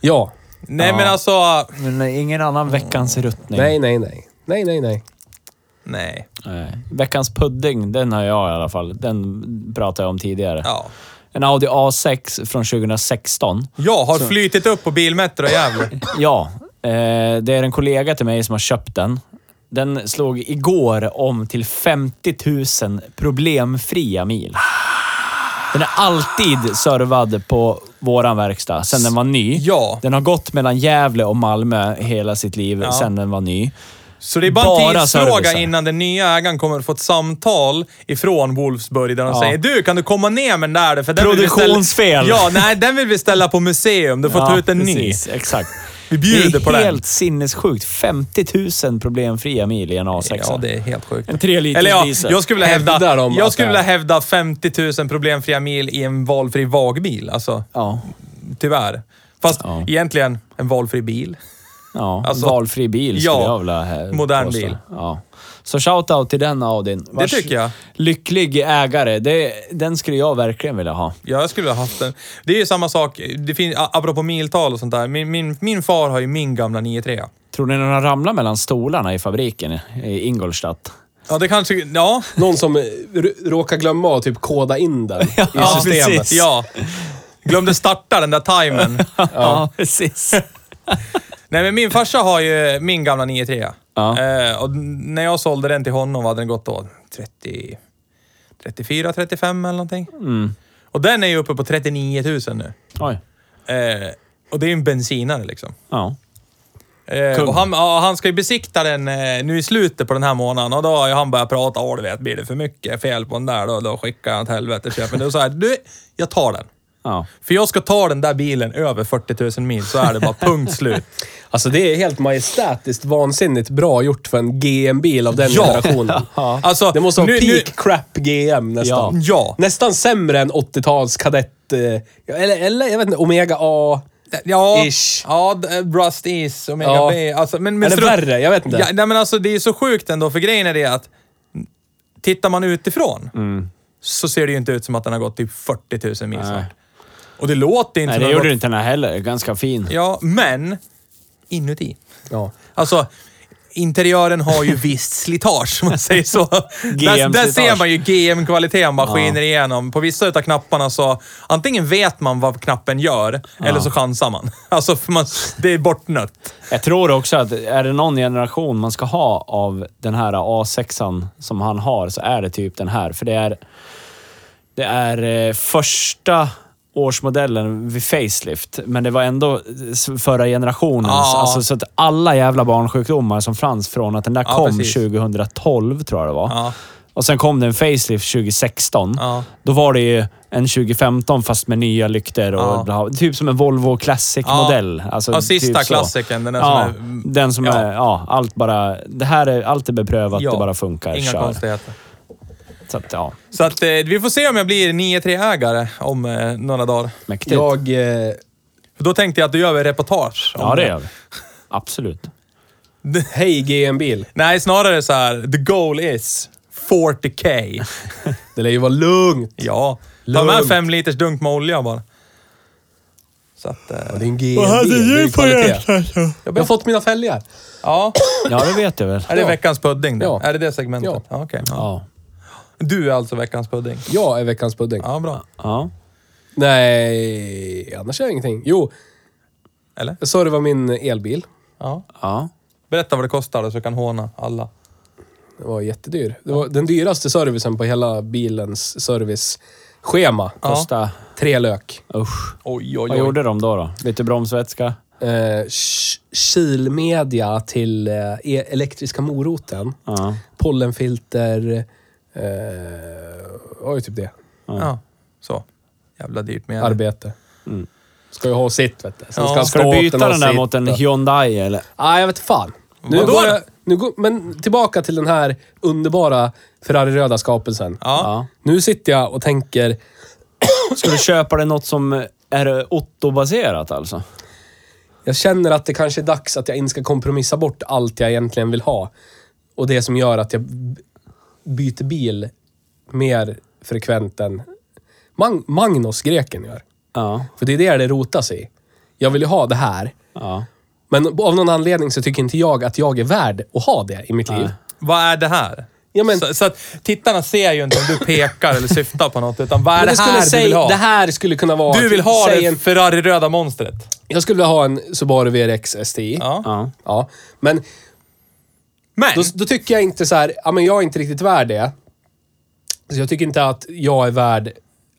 Speaker 4: Ja.
Speaker 3: Nej,
Speaker 2: Ja.
Speaker 3: men alltså...
Speaker 2: Men eh, ingen annan veckans ruttning.
Speaker 4: Mm. Nej, nej, nej. Nej, nej, nej.
Speaker 3: Nej.
Speaker 2: Nej. Veckans pudding, den har jag i alla fall. Den pratade jag om tidigare.
Speaker 3: Ja.
Speaker 2: En Audi A6 från 2016.
Speaker 3: Jag har flytit upp på bilmetro i Gävle.
Speaker 2: Ja, Eh, det är en kollega till mig som har köpt den. Den slog igår om till 50 000 problemfria mil. Den är alltid servad på våran verkstad sen den var ny.
Speaker 3: Ja.
Speaker 2: Den har gått mellan Gävle och Malmö hela sitt liv
Speaker 3: Ja.
Speaker 2: sen den var ny.
Speaker 3: Så det är bara en
Speaker 2: Bara
Speaker 3: tidsfråga
Speaker 2: servicen.
Speaker 3: innan den nya ägaren kommer att få ett samtal ifrån Wolfsburg där de säger du, kan du komma ner med den där? För den vill vi ställa-
Speaker 2: Produktionsfel.
Speaker 3: Ja, nej, den vill vi ställa på museum. Du får ta ut en ny.
Speaker 2: precis, Exakt.
Speaker 3: Vi bjuder
Speaker 2: det är
Speaker 3: på den.
Speaker 2: helt sinnessjukt. 50 000 problemfria mil i en A6.
Speaker 3: Ja, det är helt sjukt.
Speaker 2: En tre liters
Speaker 3: Eller ja,
Speaker 2: diesel.
Speaker 3: jag skulle vilja
Speaker 4: Hävdar
Speaker 3: hävda,
Speaker 4: de
Speaker 3: jag
Speaker 4: att
Speaker 3: skulle
Speaker 4: det är-
Speaker 3: vilja hävda 50 000 problemfria mil i en valfri vagbil. Alltså,
Speaker 2: Ja.
Speaker 3: tyvärr. Fast
Speaker 2: Ja.
Speaker 3: egentligen en valfri bil.
Speaker 2: Ja,
Speaker 3: Alltså-
Speaker 2: valfri bil skulle
Speaker 3: Ja,
Speaker 2: jag vilja eh,
Speaker 3: modern bil.
Speaker 2: Ja. Så shout-out till den Audin. Vars
Speaker 3: tycker jag.
Speaker 2: Lycklig ägare. Det, den skulle jag verkligen vilja ha.
Speaker 3: Ja, jag skulle ha haft den. Det är ju samma sak, det finns, a- apropå miltal och sånt där. Min, min, min far har ju min gamla 93
Speaker 2: Tror ni den har ramlat mellan stolarna i fabriken i Ingolstadt?
Speaker 3: Ja, det kanske... Ja.
Speaker 4: Någon som eh, r- råkar glömma att typ koda in den i
Speaker 3: ja,
Speaker 4: systemet.
Speaker 3: precis. Ja. Glömde starta den där timern.
Speaker 2: Ja, precis.
Speaker 3: Nej, men min farsa har ju min gamla 93
Speaker 2: Ja.
Speaker 3: eh, Och när jag sålde den till honom, vad hade den gått då? 30... 34, 35 eller någonting.
Speaker 2: Mm.
Speaker 3: Och den är ju uppe på 39 000 nu.
Speaker 2: Oj.
Speaker 3: Eh, och det är ju en bensinare liksom.
Speaker 2: Ja.
Speaker 3: Eh,
Speaker 2: Kung.
Speaker 3: och han, ja, han ska ju besikta den eh, nu i slutet på den här månaden och då har ju han börjat prata. Åh, du vet, blir det för mycket fel på den där då, då skickar jag åt helvete. Köper den. Då sa jag, du, jag tar den.
Speaker 2: ja.
Speaker 3: För jag ska ta den där bilen över 40 000 mil, så är det bara punkt slut.
Speaker 4: Alltså det är helt majestätiskt vansinnigt bra gjort för en GM-bil av den
Speaker 3: Ja.
Speaker 4: generationen.
Speaker 3: Alltså,
Speaker 4: Det måste vara
Speaker 3: nu-
Speaker 4: peak
Speaker 3: nu-
Speaker 4: crap GM nästan.
Speaker 3: Ja. Ja.
Speaker 4: Nästan sämre än 80-tals kadett... eh, Eller, eller jag vet inte, Omega A.
Speaker 3: Ja,
Speaker 4: Ish.
Speaker 3: ja d- Rust Is, Omega
Speaker 4: Ja.
Speaker 3: B. Alltså, men, men
Speaker 4: Eller
Speaker 3: strunt-
Speaker 4: värre, jag vet inte.
Speaker 3: Ja, nej, men alltså, det är så sjukt ändå, för grejen är det att tittar man utifrån
Speaker 4: Mm.
Speaker 3: så ser det ju inte ut som att den har gått typ 40 000 mil snart. Och det låter inte som
Speaker 2: Nej, det
Speaker 3: den har
Speaker 2: gjorde
Speaker 3: gått-
Speaker 2: inte den här heller. Ganska fin.
Speaker 3: Ja, men inuti.
Speaker 4: Ja.
Speaker 3: Alltså, interiören har ju visst slitage, om man säger så. där, där
Speaker 2: GM-slitage.
Speaker 3: ser man ju GM-kvaliteten bara skiner igenom. På vissa utav knapparna så, antingen vet man vad knappen gör, eller så chansar man. Alltså, för man, det är bortnött.
Speaker 2: Jag tror också att är det någon generation man ska ha av den här A6an som han har så är det typ den här. För det är, det är eh, första årsmodellen vid facelift, men det var ändå s- förra generationens.
Speaker 3: Ja.
Speaker 2: Alltså, så att alla jävla barnsjukdomar som fanns från att den där
Speaker 3: Ja,
Speaker 2: kom
Speaker 3: precis.
Speaker 2: 2012, tror jag det var.
Speaker 3: Ja.
Speaker 2: Och sen kom det en facelift 2016.
Speaker 3: Ja.
Speaker 2: Då var det ju en 2015 fast med nya lykter och
Speaker 3: Ja.
Speaker 2: bla, typ som en Volvo Classic-modell. Alltså,
Speaker 3: Ja, sista
Speaker 2: typ så.
Speaker 3: klassikern, den där
Speaker 2: ja,
Speaker 3: som är-
Speaker 2: Den som
Speaker 3: ja.
Speaker 2: är... Ja, allt bara... Det här är... Allt är beprövat,
Speaker 3: Ja.
Speaker 2: det bara funkar.
Speaker 3: Inga
Speaker 2: Kör.
Speaker 3: konstigheter.
Speaker 2: Så att, ja,
Speaker 3: Så att, eh, vi får se om jag blir 9-3-ägare om eh, några dagar.
Speaker 2: mäktigt. Ja,
Speaker 4: Jag... Eh,
Speaker 3: För då tänkte jag att då gör vi reportage. om
Speaker 2: det gör vi. Absolut.
Speaker 4: hej GM-bil.
Speaker 3: Nej, snarare så här. the goal is 40k.
Speaker 4: Det lär ju vara lugnt.
Speaker 3: Ja, ta med
Speaker 4: Lugnt.
Speaker 3: fem liters dunk med olja bara. Så att, eh,
Speaker 4: Ja, det är en GM-bil. det är ju kvalitet. Jag har fått mina fälgar.
Speaker 3: ja.
Speaker 2: Ja, det vet jag väl.
Speaker 3: Är det veckans pudding då?
Speaker 4: Ja.
Speaker 3: Är det det segmentet?
Speaker 4: Ja.
Speaker 3: Ja. okej. ja.
Speaker 2: Ja.
Speaker 3: Du är alltså veckans pudding?
Speaker 4: Jag är veckans pudding.
Speaker 3: Ja, bra.
Speaker 2: ja.
Speaker 4: Nej, annars är jag ingenting. Jo,
Speaker 3: Eller?
Speaker 4: jag sa det var min elbil.
Speaker 3: Ja.
Speaker 2: Ja.
Speaker 3: Berätta vad det kostar så jag kan håna alla.
Speaker 4: Det var jättedyr. Det var den dyraste servicen på hela bilens serviceschema.
Speaker 2: Kosta...
Speaker 4: Tre lök.
Speaker 2: Usch.
Speaker 3: Oj, oj,
Speaker 2: Vad
Speaker 3: oj.
Speaker 2: gjorde de då? då? Lite bromsvätska?
Speaker 4: Eh, Sh- Kilmedia till eh, e- elektriska moroten.
Speaker 2: Ja.
Speaker 4: Pollenfilter. Eh, ja, typ det.
Speaker 3: Ja. Så. Jävla dyrt med
Speaker 4: Arbete. Ska ju ha sitt, vet du. Sen
Speaker 3: Ja.
Speaker 4: ska,
Speaker 2: Mm. Ska du byta
Speaker 4: staten ha
Speaker 2: den där
Speaker 4: sitt
Speaker 2: mot en
Speaker 4: och-
Speaker 2: Hyundai eller?
Speaker 4: Nej, jag vet fan. Nu
Speaker 3: Vadå?
Speaker 4: går jag, nu går, men tillbaka till den här underbara Ferrari-röda skapelsen.
Speaker 3: Ja.
Speaker 2: Ja.
Speaker 4: Nu sitter jag och tänker,
Speaker 2: Ska du köpa dig något som är Otto-baserat alltså?
Speaker 4: jag känner att det kanske är dags att jag inte ska kompromissa bort allt jag egentligen vill ha. Och det som gör att jag b- byter bil mer frekvent än Mag Magnus, greken, gör.
Speaker 2: Ja.
Speaker 4: För det är det det rotas i. Jag vill ju ha det här.
Speaker 2: Ja.
Speaker 4: Men av någon anledning så tycker inte jag att jag är värd att ha det i mitt liv.
Speaker 3: Vad är det här?
Speaker 4: Ja, men-
Speaker 3: så, så att tittarna ser ju inte om du pekar eller syftar på något, utan vad är
Speaker 4: Men
Speaker 3: det,
Speaker 4: det, skulle
Speaker 3: här du
Speaker 4: säga,
Speaker 3: vill ha?
Speaker 4: det här skulle kunna vara... typ
Speaker 3: Du vill ha
Speaker 4: säg
Speaker 3: det
Speaker 4: en-
Speaker 3: Ferrari-röda monstret.
Speaker 4: Jag skulle vilja ha en Subaru VRX STI. Ja.
Speaker 3: Ja.
Speaker 2: Ja.
Speaker 4: Men
Speaker 3: Men!
Speaker 4: då, då tycker jag inte så här, ja men jag är inte riktigt värd det. Så jag tycker inte att jag är värd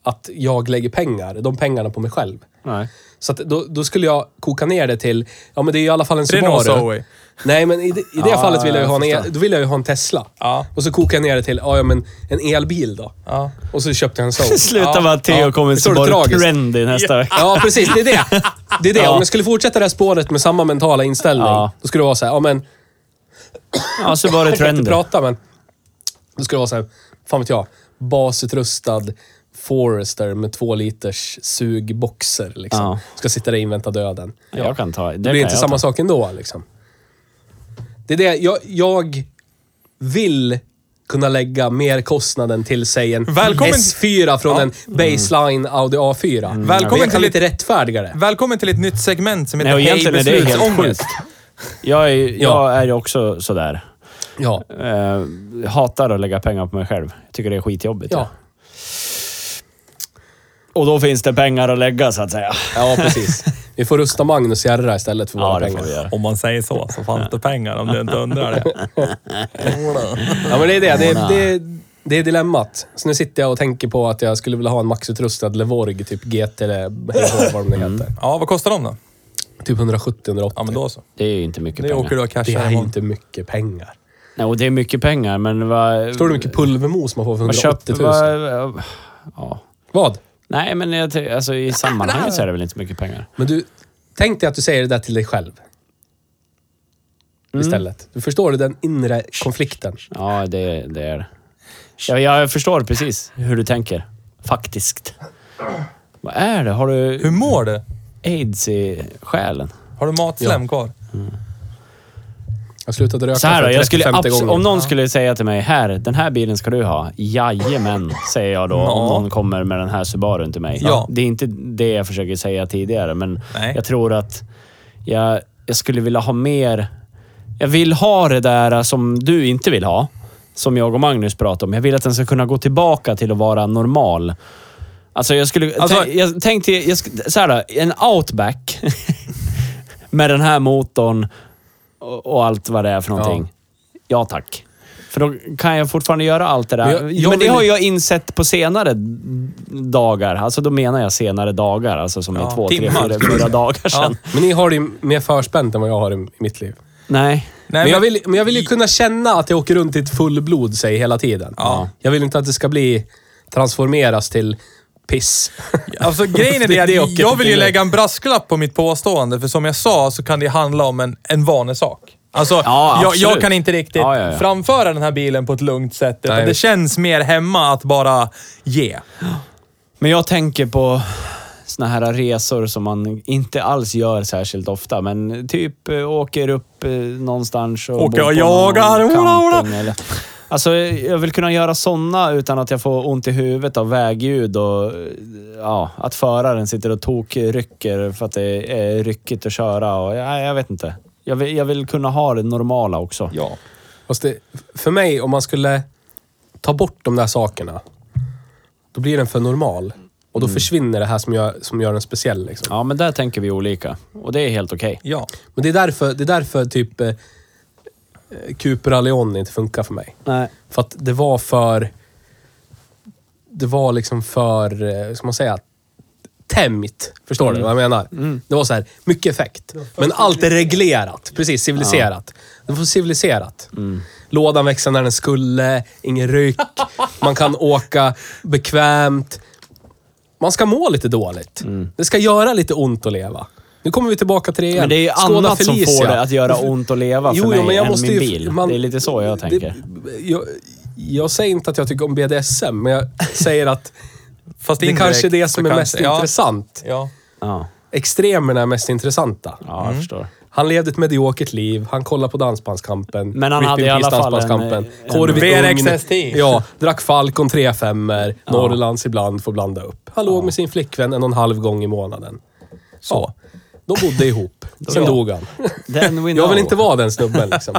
Speaker 4: att jag lägger pengar, de pengarna på mig själv.
Speaker 2: Nej.
Speaker 4: Så att då, då skulle jag koka ner det till, ja men det är i alla fall en
Speaker 3: Renault
Speaker 4: Subaru.
Speaker 3: Zoe.
Speaker 4: Nej, men i det, i det
Speaker 3: Ja,
Speaker 4: fallet vill jag, ju
Speaker 3: jag
Speaker 4: ha en,
Speaker 3: förstår.
Speaker 4: el, då vill jag ju ha en Tesla.
Speaker 3: Ja.
Speaker 4: Och så kokar jag ner det till, ja, ja men en elbil då.
Speaker 3: Ja.
Speaker 4: Och så köpte jag en Soul.
Speaker 2: Det slutar med att Theo
Speaker 4: ja.
Speaker 2: kommer
Speaker 4: Förstår du?
Speaker 2: Subaru
Speaker 4: Tragiskt.
Speaker 2: Trendy nästa vecka.
Speaker 4: Ja, precis. Det är det. Det är det. Om jag skulle fortsätta det här spåret med samma mentala inställning,
Speaker 2: Ja.
Speaker 4: då skulle det vara så här, ja men...
Speaker 2: Ja, Subaru
Speaker 4: Jag kan
Speaker 2: Trendy.
Speaker 4: inte prata, men... Då skulle det vara så här, fan vet jag, basutrustad Forester med två liters sugboxer liksom.
Speaker 2: Ja.
Speaker 4: Ska sitta där och invänta döden.
Speaker 2: Jag kan ta det.
Speaker 4: Det blir
Speaker 2: kan
Speaker 4: inte
Speaker 2: jag
Speaker 4: samma
Speaker 2: ta.
Speaker 4: sak ändå liksom. Det är det, jag, jag vill kunna lägga mer kostnaden till, säg en
Speaker 3: Välkommen-
Speaker 4: S4 från en baseline Audi A4.
Speaker 2: Mm.
Speaker 3: Välkommen
Speaker 4: jag
Speaker 3: till
Speaker 4: kan lite
Speaker 3: ett-
Speaker 4: rättfärdiga det.
Speaker 3: Välkommen till ett nytt segment som heter
Speaker 2: Nej, och
Speaker 3: Hej
Speaker 2: egentligen är det helt
Speaker 3: beslutsångest.
Speaker 2: sjukt. Jag är, jag
Speaker 4: Ja.
Speaker 2: är ju också sådär.
Speaker 4: Ja.
Speaker 2: Eh, hatar att lägga pengar på mig själv. Jag tycker det är skitjobbigt.
Speaker 4: Ja.
Speaker 2: Och då finns det pengar att lägga så att säga.
Speaker 4: ja, precis. Vi får rusta Magnus Järra istället för
Speaker 2: Ja,
Speaker 4: våra
Speaker 2: det får
Speaker 4: pengar.
Speaker 2: vi göra.
Speaker 3: Om man säger så, så fanns det pengar om du inte undrar det.
Speaker 4: Ja, men det är det. Det, är- det, är- det är dilemmat. Så nu sitter jag och tänker på att jag skulle vilja ha en maxutrustad Levorg, typ GT eller vad de
Speaker 2: Mm.
Speaker 4: heter.
Speaker 3: Ja, vad kostar de då?
Speaker 4: Typ 170-180.
Speaker 3: Ja, men då så.
Speaker 2: Det är ju inte mycket
Speaker 3: Det
Speaker 2: pengar.
Speaker 3: åker du och
Speaker 4: det
Speaker 3: cashar
Speaker 4: är
Speaker 3: imorgon.
Speaker 4: inte mycket pengar.
Speaker 2: Nej, och det är mycket pengar, men vad...
Speaker 4: Förstår du hur mycket pulvermos man får för
Speaker 2: vad
Speaker 4: 180
Speaker 2: köper...
Speaker 4: 000?
Speaker 2: Vad, ja.
Speaker 4: Vad?
Speaker 2: Nej, men jag, ty- alltså, i sammanhanget så är det väl inte så mycket pengar.
Speaker 4: Men du, tänk dig att du säger det där till dig själv.
Speaker 2: Mm.
Speaker 4: Istället. Du förstår du den inre konflikten.
Speaker 2: Ja, det, det är det. Jag, jag förstår precis hur du tänker. Faktiskt. Vad är det? Har du
Speaker 3: Hur mår du?
Speaker 2: aids i själen?
Speaker 3: Har du matslem kvar?
Speaker 4: Jag slutade röka
Speaker 2: Så här
Speaker 4: för
Speaker 2: då, jag skulle
Speaker 4: 35
Speaker 2: abs-
Speaker 4: gånger.
Speaker 2: om någon skulle säga till mig här, den här bilen ska du ha. Jajamän, säger jag då om
Speaker 3: Ja.
Speaker 2: någon kommer med den här Subarun till mig.
Speaker 3: Ja.
Speaker 2: Det är inte det jag försöker säga tidigare, men
Speaker 3: Nej.
Speaker 2: jag tror att jag, jag skulle vilja ha mer... Jag vill ha det där som du inte vill ha, som jag och Magnus pratade om. Jag vill att den ska kunna gå tillbaka till att vara normal. Alltså jag skulle...
Speaker 3: Alltså-
Speaker 2: tänk, jag tänkte... Jag, sk- så här då, en outback med den här motorn och, och allt vad det är för någonting. Ja. tack. För då kan jag fortfarande göra allt det där.
Speaker 4: Men
Speaker 2: Men,
Speaker 4: jag- jag
Speaker 2: det
Speaker 4: vill-
Speaker 2: har jag insett på senare dagar. Alltså då menar jag senare dagar, alltså som
Speaker 3: Ja,
Speaker 2: är två,
Speaker 3: timmar,
Speaker 2: tre,
Speaker 3: skulle
Speaker 2: fyra,
Speaker 3: jag
Speaker 2: fyra
Speaker 3: säga.
Speaker 2: dagar sedan.
Speaker 4: Men ni har det ju mer förspänt än vad jag har i i mitt liv.
Speaker 2: Nej.
Speaker 3: Nej,
Speaker 4: men, jag vill, men jag vill ju kunna känna att jag åker runt i ett fullblod, säg, hela tiden.
Speaker 3: Ja.
Speaker 4: Jag vill inte att det ska bli... Transformeras till piss.
Speaker 3: Alltså grejen är
Speaker 4: Det-
Speaker 3: det
Speaker 4: det
Speaker 3: att
Speaker 4: åker
Speaker 3: jag
Speaker 4: inte
Speaker 3: vill ju
Speaker 4: till
Speaker 3: lägga en brasklapp på mitt påstående, för som jag sa så kan det handla om en, en vanesak. Alltså,
Speaker 2: Ja,
Speaker 3: jag,
Speaker 2: absolut.
Speaker 3: jag kan inte riktigt
Speaker 2: Ja, ja, ja.
Speaker 3: framföra den här bilen på ett lugnt sätt, utan
Speaker 4: Nej.
Speaker 3: det känns mer hemma att bara ge.
Speaker 2: Men jag tänker på såna här resor som man inte alls gör särskilt ofta, men typ eh, åker upp eh, någonstans och...
Speaker 3: Åker
Speaker 2: bor
Speaker 3: och
Speaker 2: på
Speaker 3: jagar,
Speaker 2: någon
Speaker 3: ola, ola.
Speaker 2: camping Eller, alltså, jag vill kunna göra såna utan att jag får ont i huvudet av vägljud och eh, ja, att föraren sitter och tokrycker för att det är ryckigt att köra. Och, ja, jag vet inte. Jag vill, jag vill kunna ha det normala också.
Speaker 3: Ja.
Speaker 4: Fast det, för mig, om man skulle ta bort de där sakerna, då blir den för normal. Och
Speaker 3: Mm.
Speaker 4: då försvinner det här som gör, som gör den speciell. Liksom.
Speaker 2: Ja, men där tänker vi olika och det är helt okej.
Speaker 3: Ja.
Speaker 4: Men det är därför, det är därför typ eh, eh, Cupra Leon inte funkar för mig.
Speaker 2: Nej.
Speaker 4: För att det var för... Det var liksom för, eh, ska man säga, tämjt. Förstår
Speaker 2: Mm.
Speaker 4: du vad jag menar? Det var så här, mycket effekt. Men allt är reglerat. Precis, civiliserat. Det var civiliserat.
Speaker 2: Mm.
Speaker 4: Lådan växte när den skulle, ingen ryck. Man kan åka bekvämt. Man ska må lite dåligt. Det ska göra lite ont att leva. Nu kommer vi tillbaka till det igen.
Speaker 2: Mm. Men det är ju
Speaker 4: Skåda
Speaker 2: annat som
Speaker 4: Felicia.
Speaker 2: får det att göra ont att leva för
Speaker 4: Jo,
Speaker 2: mig
Speaker 4: jo, men jag
Speaker 2: än
Speaker 4: måste
Speaker 2: min
Speaker 4: ju-
Speaker 2: bil.
Speaker 4: man-
Speaker 2: det är lite så jag
Speaker 4: det-
Speaker 2: tänker.
Speaker 4: Jag, jag säger inte att jag tycker om BDSM, men jag säger att
Speaker 3: Fast
Speaker 4: det är
Speaker 3: indirekt
Speaker 4: kanske är det som
Speaker 3: så
Speaker 4: är
Speaker 3: kanske-
Speaker 4: mest
Speaker 3: ja.
Speaker 4: intressant.
Speaker 3: Ja.
Speaker 2: ja,
Speaker 4: Extremerna är mest intressanta.
Speaker 2: ja jag förstår.
Speaker 4: Han levde ett mediokert liv, han kollade på Dansbandskampen.
Speaker 2: Men han
Speaker 4: Whipping
Speaker 2: hade i alla
Speaker 4: Peas
Speaker 2: fall en-
Speaker 4: Dansbandskampen,
Speaker 2: en-
Speaker 4: Korv i
Speaker 3: VRX
Speaker 4: ugn.
Speaker 3: ST.
Speaker 4: Ja, drack Falcon 35 er Norrlands ibland får blanda upp. Han låg med sin flickvän en och en halv gång i månaden. Så. De bodde ihop. Sen
Speaker 2: Ja.
Speaker 4: dog han.
Speaker 2: Then we
Speaker 4: Jag vill
Speaker 2: know.
Speaker 4: inte vara den snubben liksom.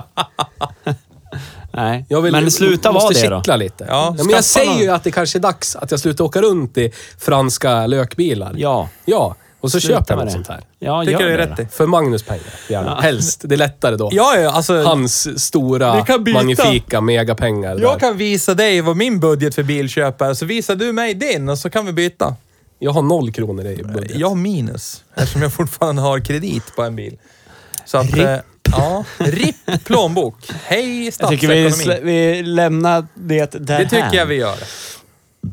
Speaker 2: Nej.
Speaker 4: Jag vill,
Speaker 2: men sluta vara
Speaker 4: måste
Speaker 2: det då.
Speaker 4: kittla lite.
Speaker 3: Ja,
Speaker 4: Ja, men jag
Speaker 3: skaffa
Speaker 4: säger ju
Speaker 3: någon.
Speaker 4: att det kanske är dags att jag slutar åka runt i franska lökbilar.
Speaker 2: Ja.
Speaker 4: Ja. Och så
Speaker 2: Sluta
Speaker 4: köper jag
Speaker 2: med
Speaker 4: något
Speaker 2: det.
Speaker 4: sånt här.
Speaker 2: Ja,
Speaker 6: tycker
Speaker 2: gör
Speaker 6: jag är
Speaker 2: det
Speaker 6: rätt
Speaker 2: då.
Speaker 6: i.
Speaker 4: För Magnus pengar, gärna. Helst. Det är lättare då.
Speaker 3: Ja, ja, alltså...
Speaker 4: Hans
Speaker 3: Vi
Speaker 4: stora,
Speaker 3: kan byta.
Speaker 4: magnifika megapengar. där.
Speaker 3: Jag kan visa dig vad min budget för bilköp är, så visar du mig din och så kan vi byta.
Speaker 4: jag har noll kronor i budget.
Speaker 3: Jag har minus, eftersom jag fortfarande har kredit på en bil. Så att, RIP. Ja, RIP plånbok. Hej
Speaker 2: Jag tycker vi,
Speaker 3: statsekonomi.
Speaker 2: slä- vi lämnar det där
Speaker 3: Det tycker jag vi gör.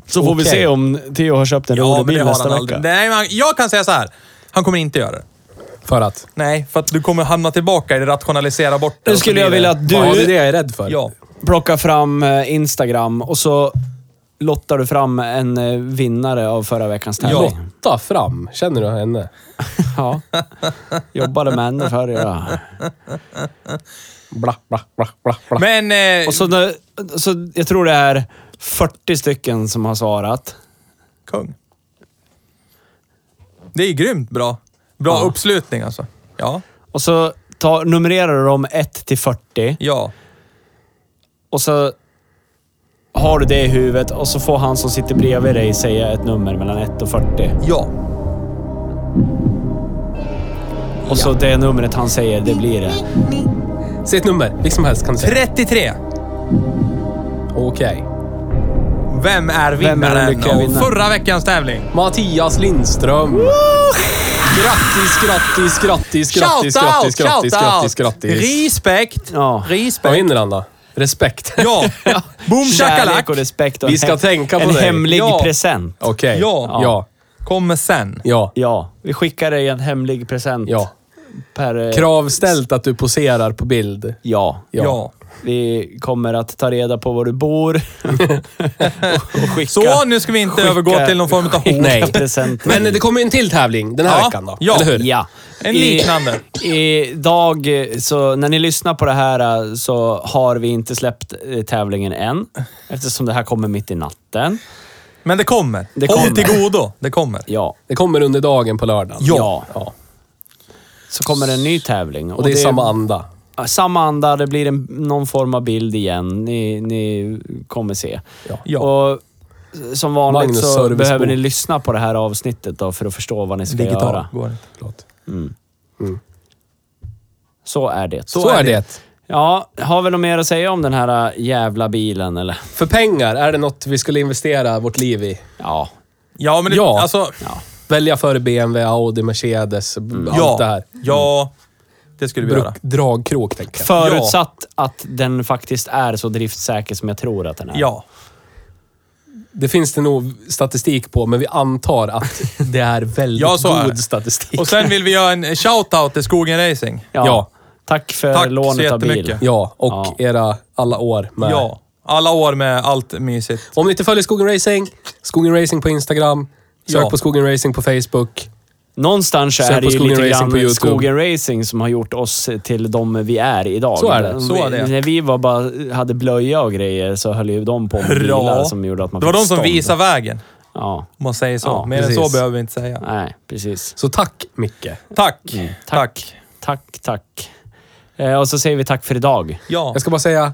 Speaker 2: Så får vi
Speaker 4: Okej.
Speaker 2: se om Theo har köpt en
Speaker 3: Ja,
Speaker 2: rolig
Speaker 3: men det
Speaker 2: bil
Speaker 3: har
Speaker 2: nästa
Speaker 3: han
Speaker 2: vecka.
Speaker 3: aldrig. Nej, men han- jag kan säga så här. Han kommer inte göra det.
Speaker 4: För att?
Speaker 3: Nej, för att du kommer hamna tillbaka i det rationalisera bort det.
Speaker 2: Nu
Speaker 3: och så
Speaker 2: skulle
Speaker 3: blir
Speaker 2: jag
Speaker 3: det-
Speaker 2: vilja att
Speaker 4: Du... Ja, det är det
Speaker 2: du
Speaker 4: jag är rädd för.
Speaker 3: Ja.
Speaker 2: plockar fram eh, Instagram och så lottar du fram en eh, vinnare av förra veckans tävling.
Speaker 4: Lotta fram. Känner du henne?
Speaker 2: Ja. Jobbade med henne förr, ja.
Speaker 4: Bla, bla, bla, bla, bla.
Speaker 3: Men... Eh,
Speaker 2: Och så, nu- så jag tror det är 40 stycken som har svarat.
Speaker 3: Kung. Det är grymt bra. Bra
Speaker 2: Ja.
Speaker 3: uppslutning alltså. Ja.
Speaker 2: Och så tar, numrerar du dem 1 till 40
Speaker 3: Ja.
Speaker 2: och så har du det i huvudet och så får han som sitter bredvid dig säga ett nummer mellan 1 och 40.
Speaker 3: Ja.
Speaker 2: Och så det numret han säger, det blir det.
Speaker 4: Säg ett nummer. Vilket som helst kan du säga.
Speaker 3: 33.
Speaker 4: Okej.
Speaker 3: Vem är
Speaker 2: Vem är den
Speaker 3: vinnaren
Speaker 2: lyckliga
Speaker 3: av
Speaker 2: vinnaren?
Speaker 3: förra veckans tävling?
Speaker 4: Mattias Lindström. Grattis, grattis, grattis, grattis,
Speaker 3: Shout out,
Speaker 4: grattis, grattis,
Speaker 3: shout
Speaker 4: grattis,
Speaker 3: out.
Speaker 4: grattis.
Speaker 3: Respekt!
Speaker 2: Ja.
Speaker 4: Vad
Speaker 3: Respekt!
Speaker 4: vinner han då? Respekt.
Speaker 3: Ja! Boom shakalak!
Speaker 2: Kärlek och respekt. Och
Speaker 4: Vi ska
Speaker 2: hem-
Speaker 4: tänka på
Speaker 2: En
Speaker 4: dig.
Speaker 2: hemlig
Speaker 3: Ja.
Speaker 2: present.
Speaker 4: Okej.
Speaker 3: Ja.
Speaker 4: Ja.
Speaker 3: Kommer sen.
Speaker 4: Ja.
Speaker 2: Ja, vi skickar dig en hemlig present.
Speaker 4: Ja.
Speaker 2: Per, eh,
Speaker 4: Kravställt att du poserar på bild.
Speaker 2: Ja.
Speaker 3: Ja.
Speaker 2: Vi kommer att ta reda på var du bor. och, och skicka,
Speaker 3: Så, nu ska vi inte övergå till någon form av hot.
Speaker 4: Nej.
Speaker 2: presenter.
Speaker 4: Men det kommer ju en till tävling den här
Speaker 3: Ja.
Speaker 4: veckan då.
Speaker 3: Ja.
Speaker 4: Eller hur?
Speaker 2: Ja.
Speaker 3: En
Speaker 2: I-
Speaker 3: liknande.
Speaker 2: Idag, eh, så när ni lyssnar på det här eh, så har vi inte släppt eh, tävlingen än. Eftersom det här kommer mitt i natten.
Speaker 3: Men det kommer.
Speaker 2: Det
Speaker 3: Håll
Speaker 2: kommer.
Speaker 3: till godo. Det kommer.
Speaker 2: Ja.
Speaker 4: Det kommer under dagen på lördagen.
Speaker 2: Ja.
Speaker 4: ja.
Speaker 2: Så kommer en ny tävling.
Speaker 4: Och det är samma anda.
Speaker 2: Ja, Samma anda, det blir en, någon form av bild igen. Ni, ni kommer se.
Speaker 3: Ja.
Speaker 2: Och som vanligt
Speaker 4: Magnus
Speaker 2: så
Speaker 4: servicebok.
Speaker 2: behöver ni lyssna på det här avsnittet då för att förstå vad ni ska
Speaker 3: Digital.
Speaker 2: göra.
Speaker 3: Går inte. Förlåt.
Speaker 2: Så är det.
Speaker 4: Så, är det.
Speaker 2: Ja, har vi något mer att säga om den här äh, jävla bilen eller?
Speaker 4: För pengar, är det något vi skulle investera vårt liv i?
Speaker 2: Ja.
Speaker 3: Ja, men det,
Speaker 4: Ja.
Speaker 3: alltså...
Speaker 4: Välja före BMW, Audi, Mercedes, allt
Speaker 3: Mm. Ja.
Speaker 4: det här.
Speaker 3: Ja. Det skulle vi göra.
Speaker 4: Bruk, dragkrok, tänker jag.
Speaker 2: Förutsatt att den faktiskt är så driftsäker som jag tror att den är.
Speaker 3: Ja.
Speaker 4: Det finns det nog statistik på, men vi antar att det är väldigt
Speaker 3: Ja, så är
Speaker 4: god
Speaker 3: det.
Speaker 4: statistik.
Speaker 3: Och sen vill vi göra en shout-out till Skogen Racing.
Speaker 2: Ja.
Speaker 4: Ja.
Speaker 2: Tack för
Speaker 3: Tack så
Speaker 2: lånet av bil.
Speaker 3: jättemycket.
Speaker 4: Ja, och
Speaker 2: Ja.
Speaker 4: era alla år med.
Speaker 3: Ja. Alla år med allt mysigt.
Speaker 4: Om ni inte följer Skogen Racing, Skogen Racing på Instagram, sök
Speaker 3: Ja.
Speaker 4: på Skogen Racing på Facebook.
Speaker 2: Någonstans
Speaker 4: Sen
Speaker 2: är det
Speaker 4: på
Speaker 2: ju
Speaker 4: Skogen
Speaker 2: lite
Speaker 4: Racing på
Speaker 2: grann
Speaker 4: YouTube.
Speaker 2: Skogen Racing som har gjort oss till de vi är idag.
Speaker 4: Så är det,
Speaker 3: så är det.
Speaker 2: Vi, när vi var bara, hade blöja och grejer så höll ju de på med bilar
Speaker 3: Bra.
Speaker 2: som gjorde att man
Speaker 3: Det var
Speaker 2: fick
Speaker 3: de som
Speaker 2: stånd.
Speaker 3: visade vägen,
Speaker 2: Ja.
Speaker 3: om man säger så.
Speaker 2: Ja,
Speaker 3: Mer än
Speaker 4: precis.
Speaker 3: så behöver vi inte säga.
Speaker 2: Nej, precis.
Speaker 4: Så tack, Micke.
Speaker 3: Tack.
Speaker 2: Mm. Tack. Tack, tack. Eh, och så säger vi tack för idag.
Speaker 3: Ja.
Speaker 4: Jag ska bara säga...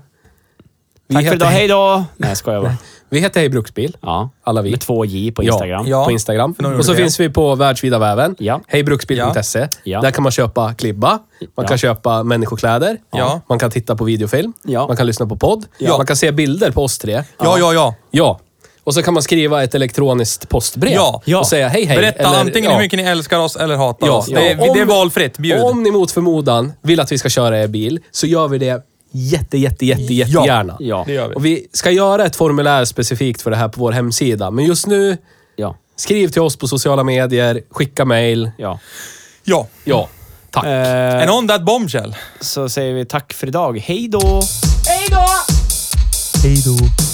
Speaker 4: Vi
Speaker 2: Tack för idag, hej
Speaker 4: Hej,
Speaker 2: då! Nej, jag skojar bara.
Speaker 4: vi heter Hej Bruksbil.
Speaker 2: Ja.
Speaker 4: Alla vi.
Speaker 2: Med två J på
Speaker 4: Ja,
Speaker 2: Instagram.
Speaker 3: ja.
Speaker 4: på Instagram.
Speaker 3: någon
Speaker 4: Och så
Speaker 3: gjorde det.
Speaker 4: finns vi på världsvida väven.
Speaker 2: Ja.
Speaker 4: Hejbruksbil.se.
Speaker 2: Ja.
Speaker 4: Där kan man köpa klibba, man
Speaker 2: Ja.
Speaker 4: kan köpa människokläder,
Speaker 3: Ja.
Speaker 4: man kan titta på videofilm,
Speaker 2: Ja.
Speaker 4: man kan lyssna på podd,
Speaker 3: Ja.
Speaker 4: man kan se bilder på oss tre.
Speaker 3: Ja, ja, ja.
Speaker 4: Ja. Och så kan man skriva ett elektroniskt postbrev
Speaker 3: Ja.
Speaker 4: och säga hej hej.
Speaker 3: Berätta
Speaker 4: eller-
Speaker 3: antingen
Speaker 4: ja.
Speaker 3: hur mycket ni älskar oss eller hatar
Speaker 4: Ja.
Speaker 3: oss. Det, är-
Speaker 4: Ja.
Speaker 3: det är valfritt. Bjud.
Speaker 4: Om ni mot förmodan vill att vi ska köra er bil så gör vi det jätte, jätte, jätte, jättegärna.
Speaker 2: Ja.
Speaker 3: Det gör vi.
Speaker 4: Och vi ska göra ett formulär specifikt för det här på vår hemsida, men just nu
Speaker 2: Ja.
Speaker 4: Skriv till oss på sociala medier, skicka mail.
Speaker 2: ja.
Speaker 3: Ja.
Speaker 4: Ja, tack.
Speaker 2: Eh,
Speaker 3: And on that bombshell.
Speaker 2: så säger vi tack för idag. Hej då!
Speaker 3: Hej då!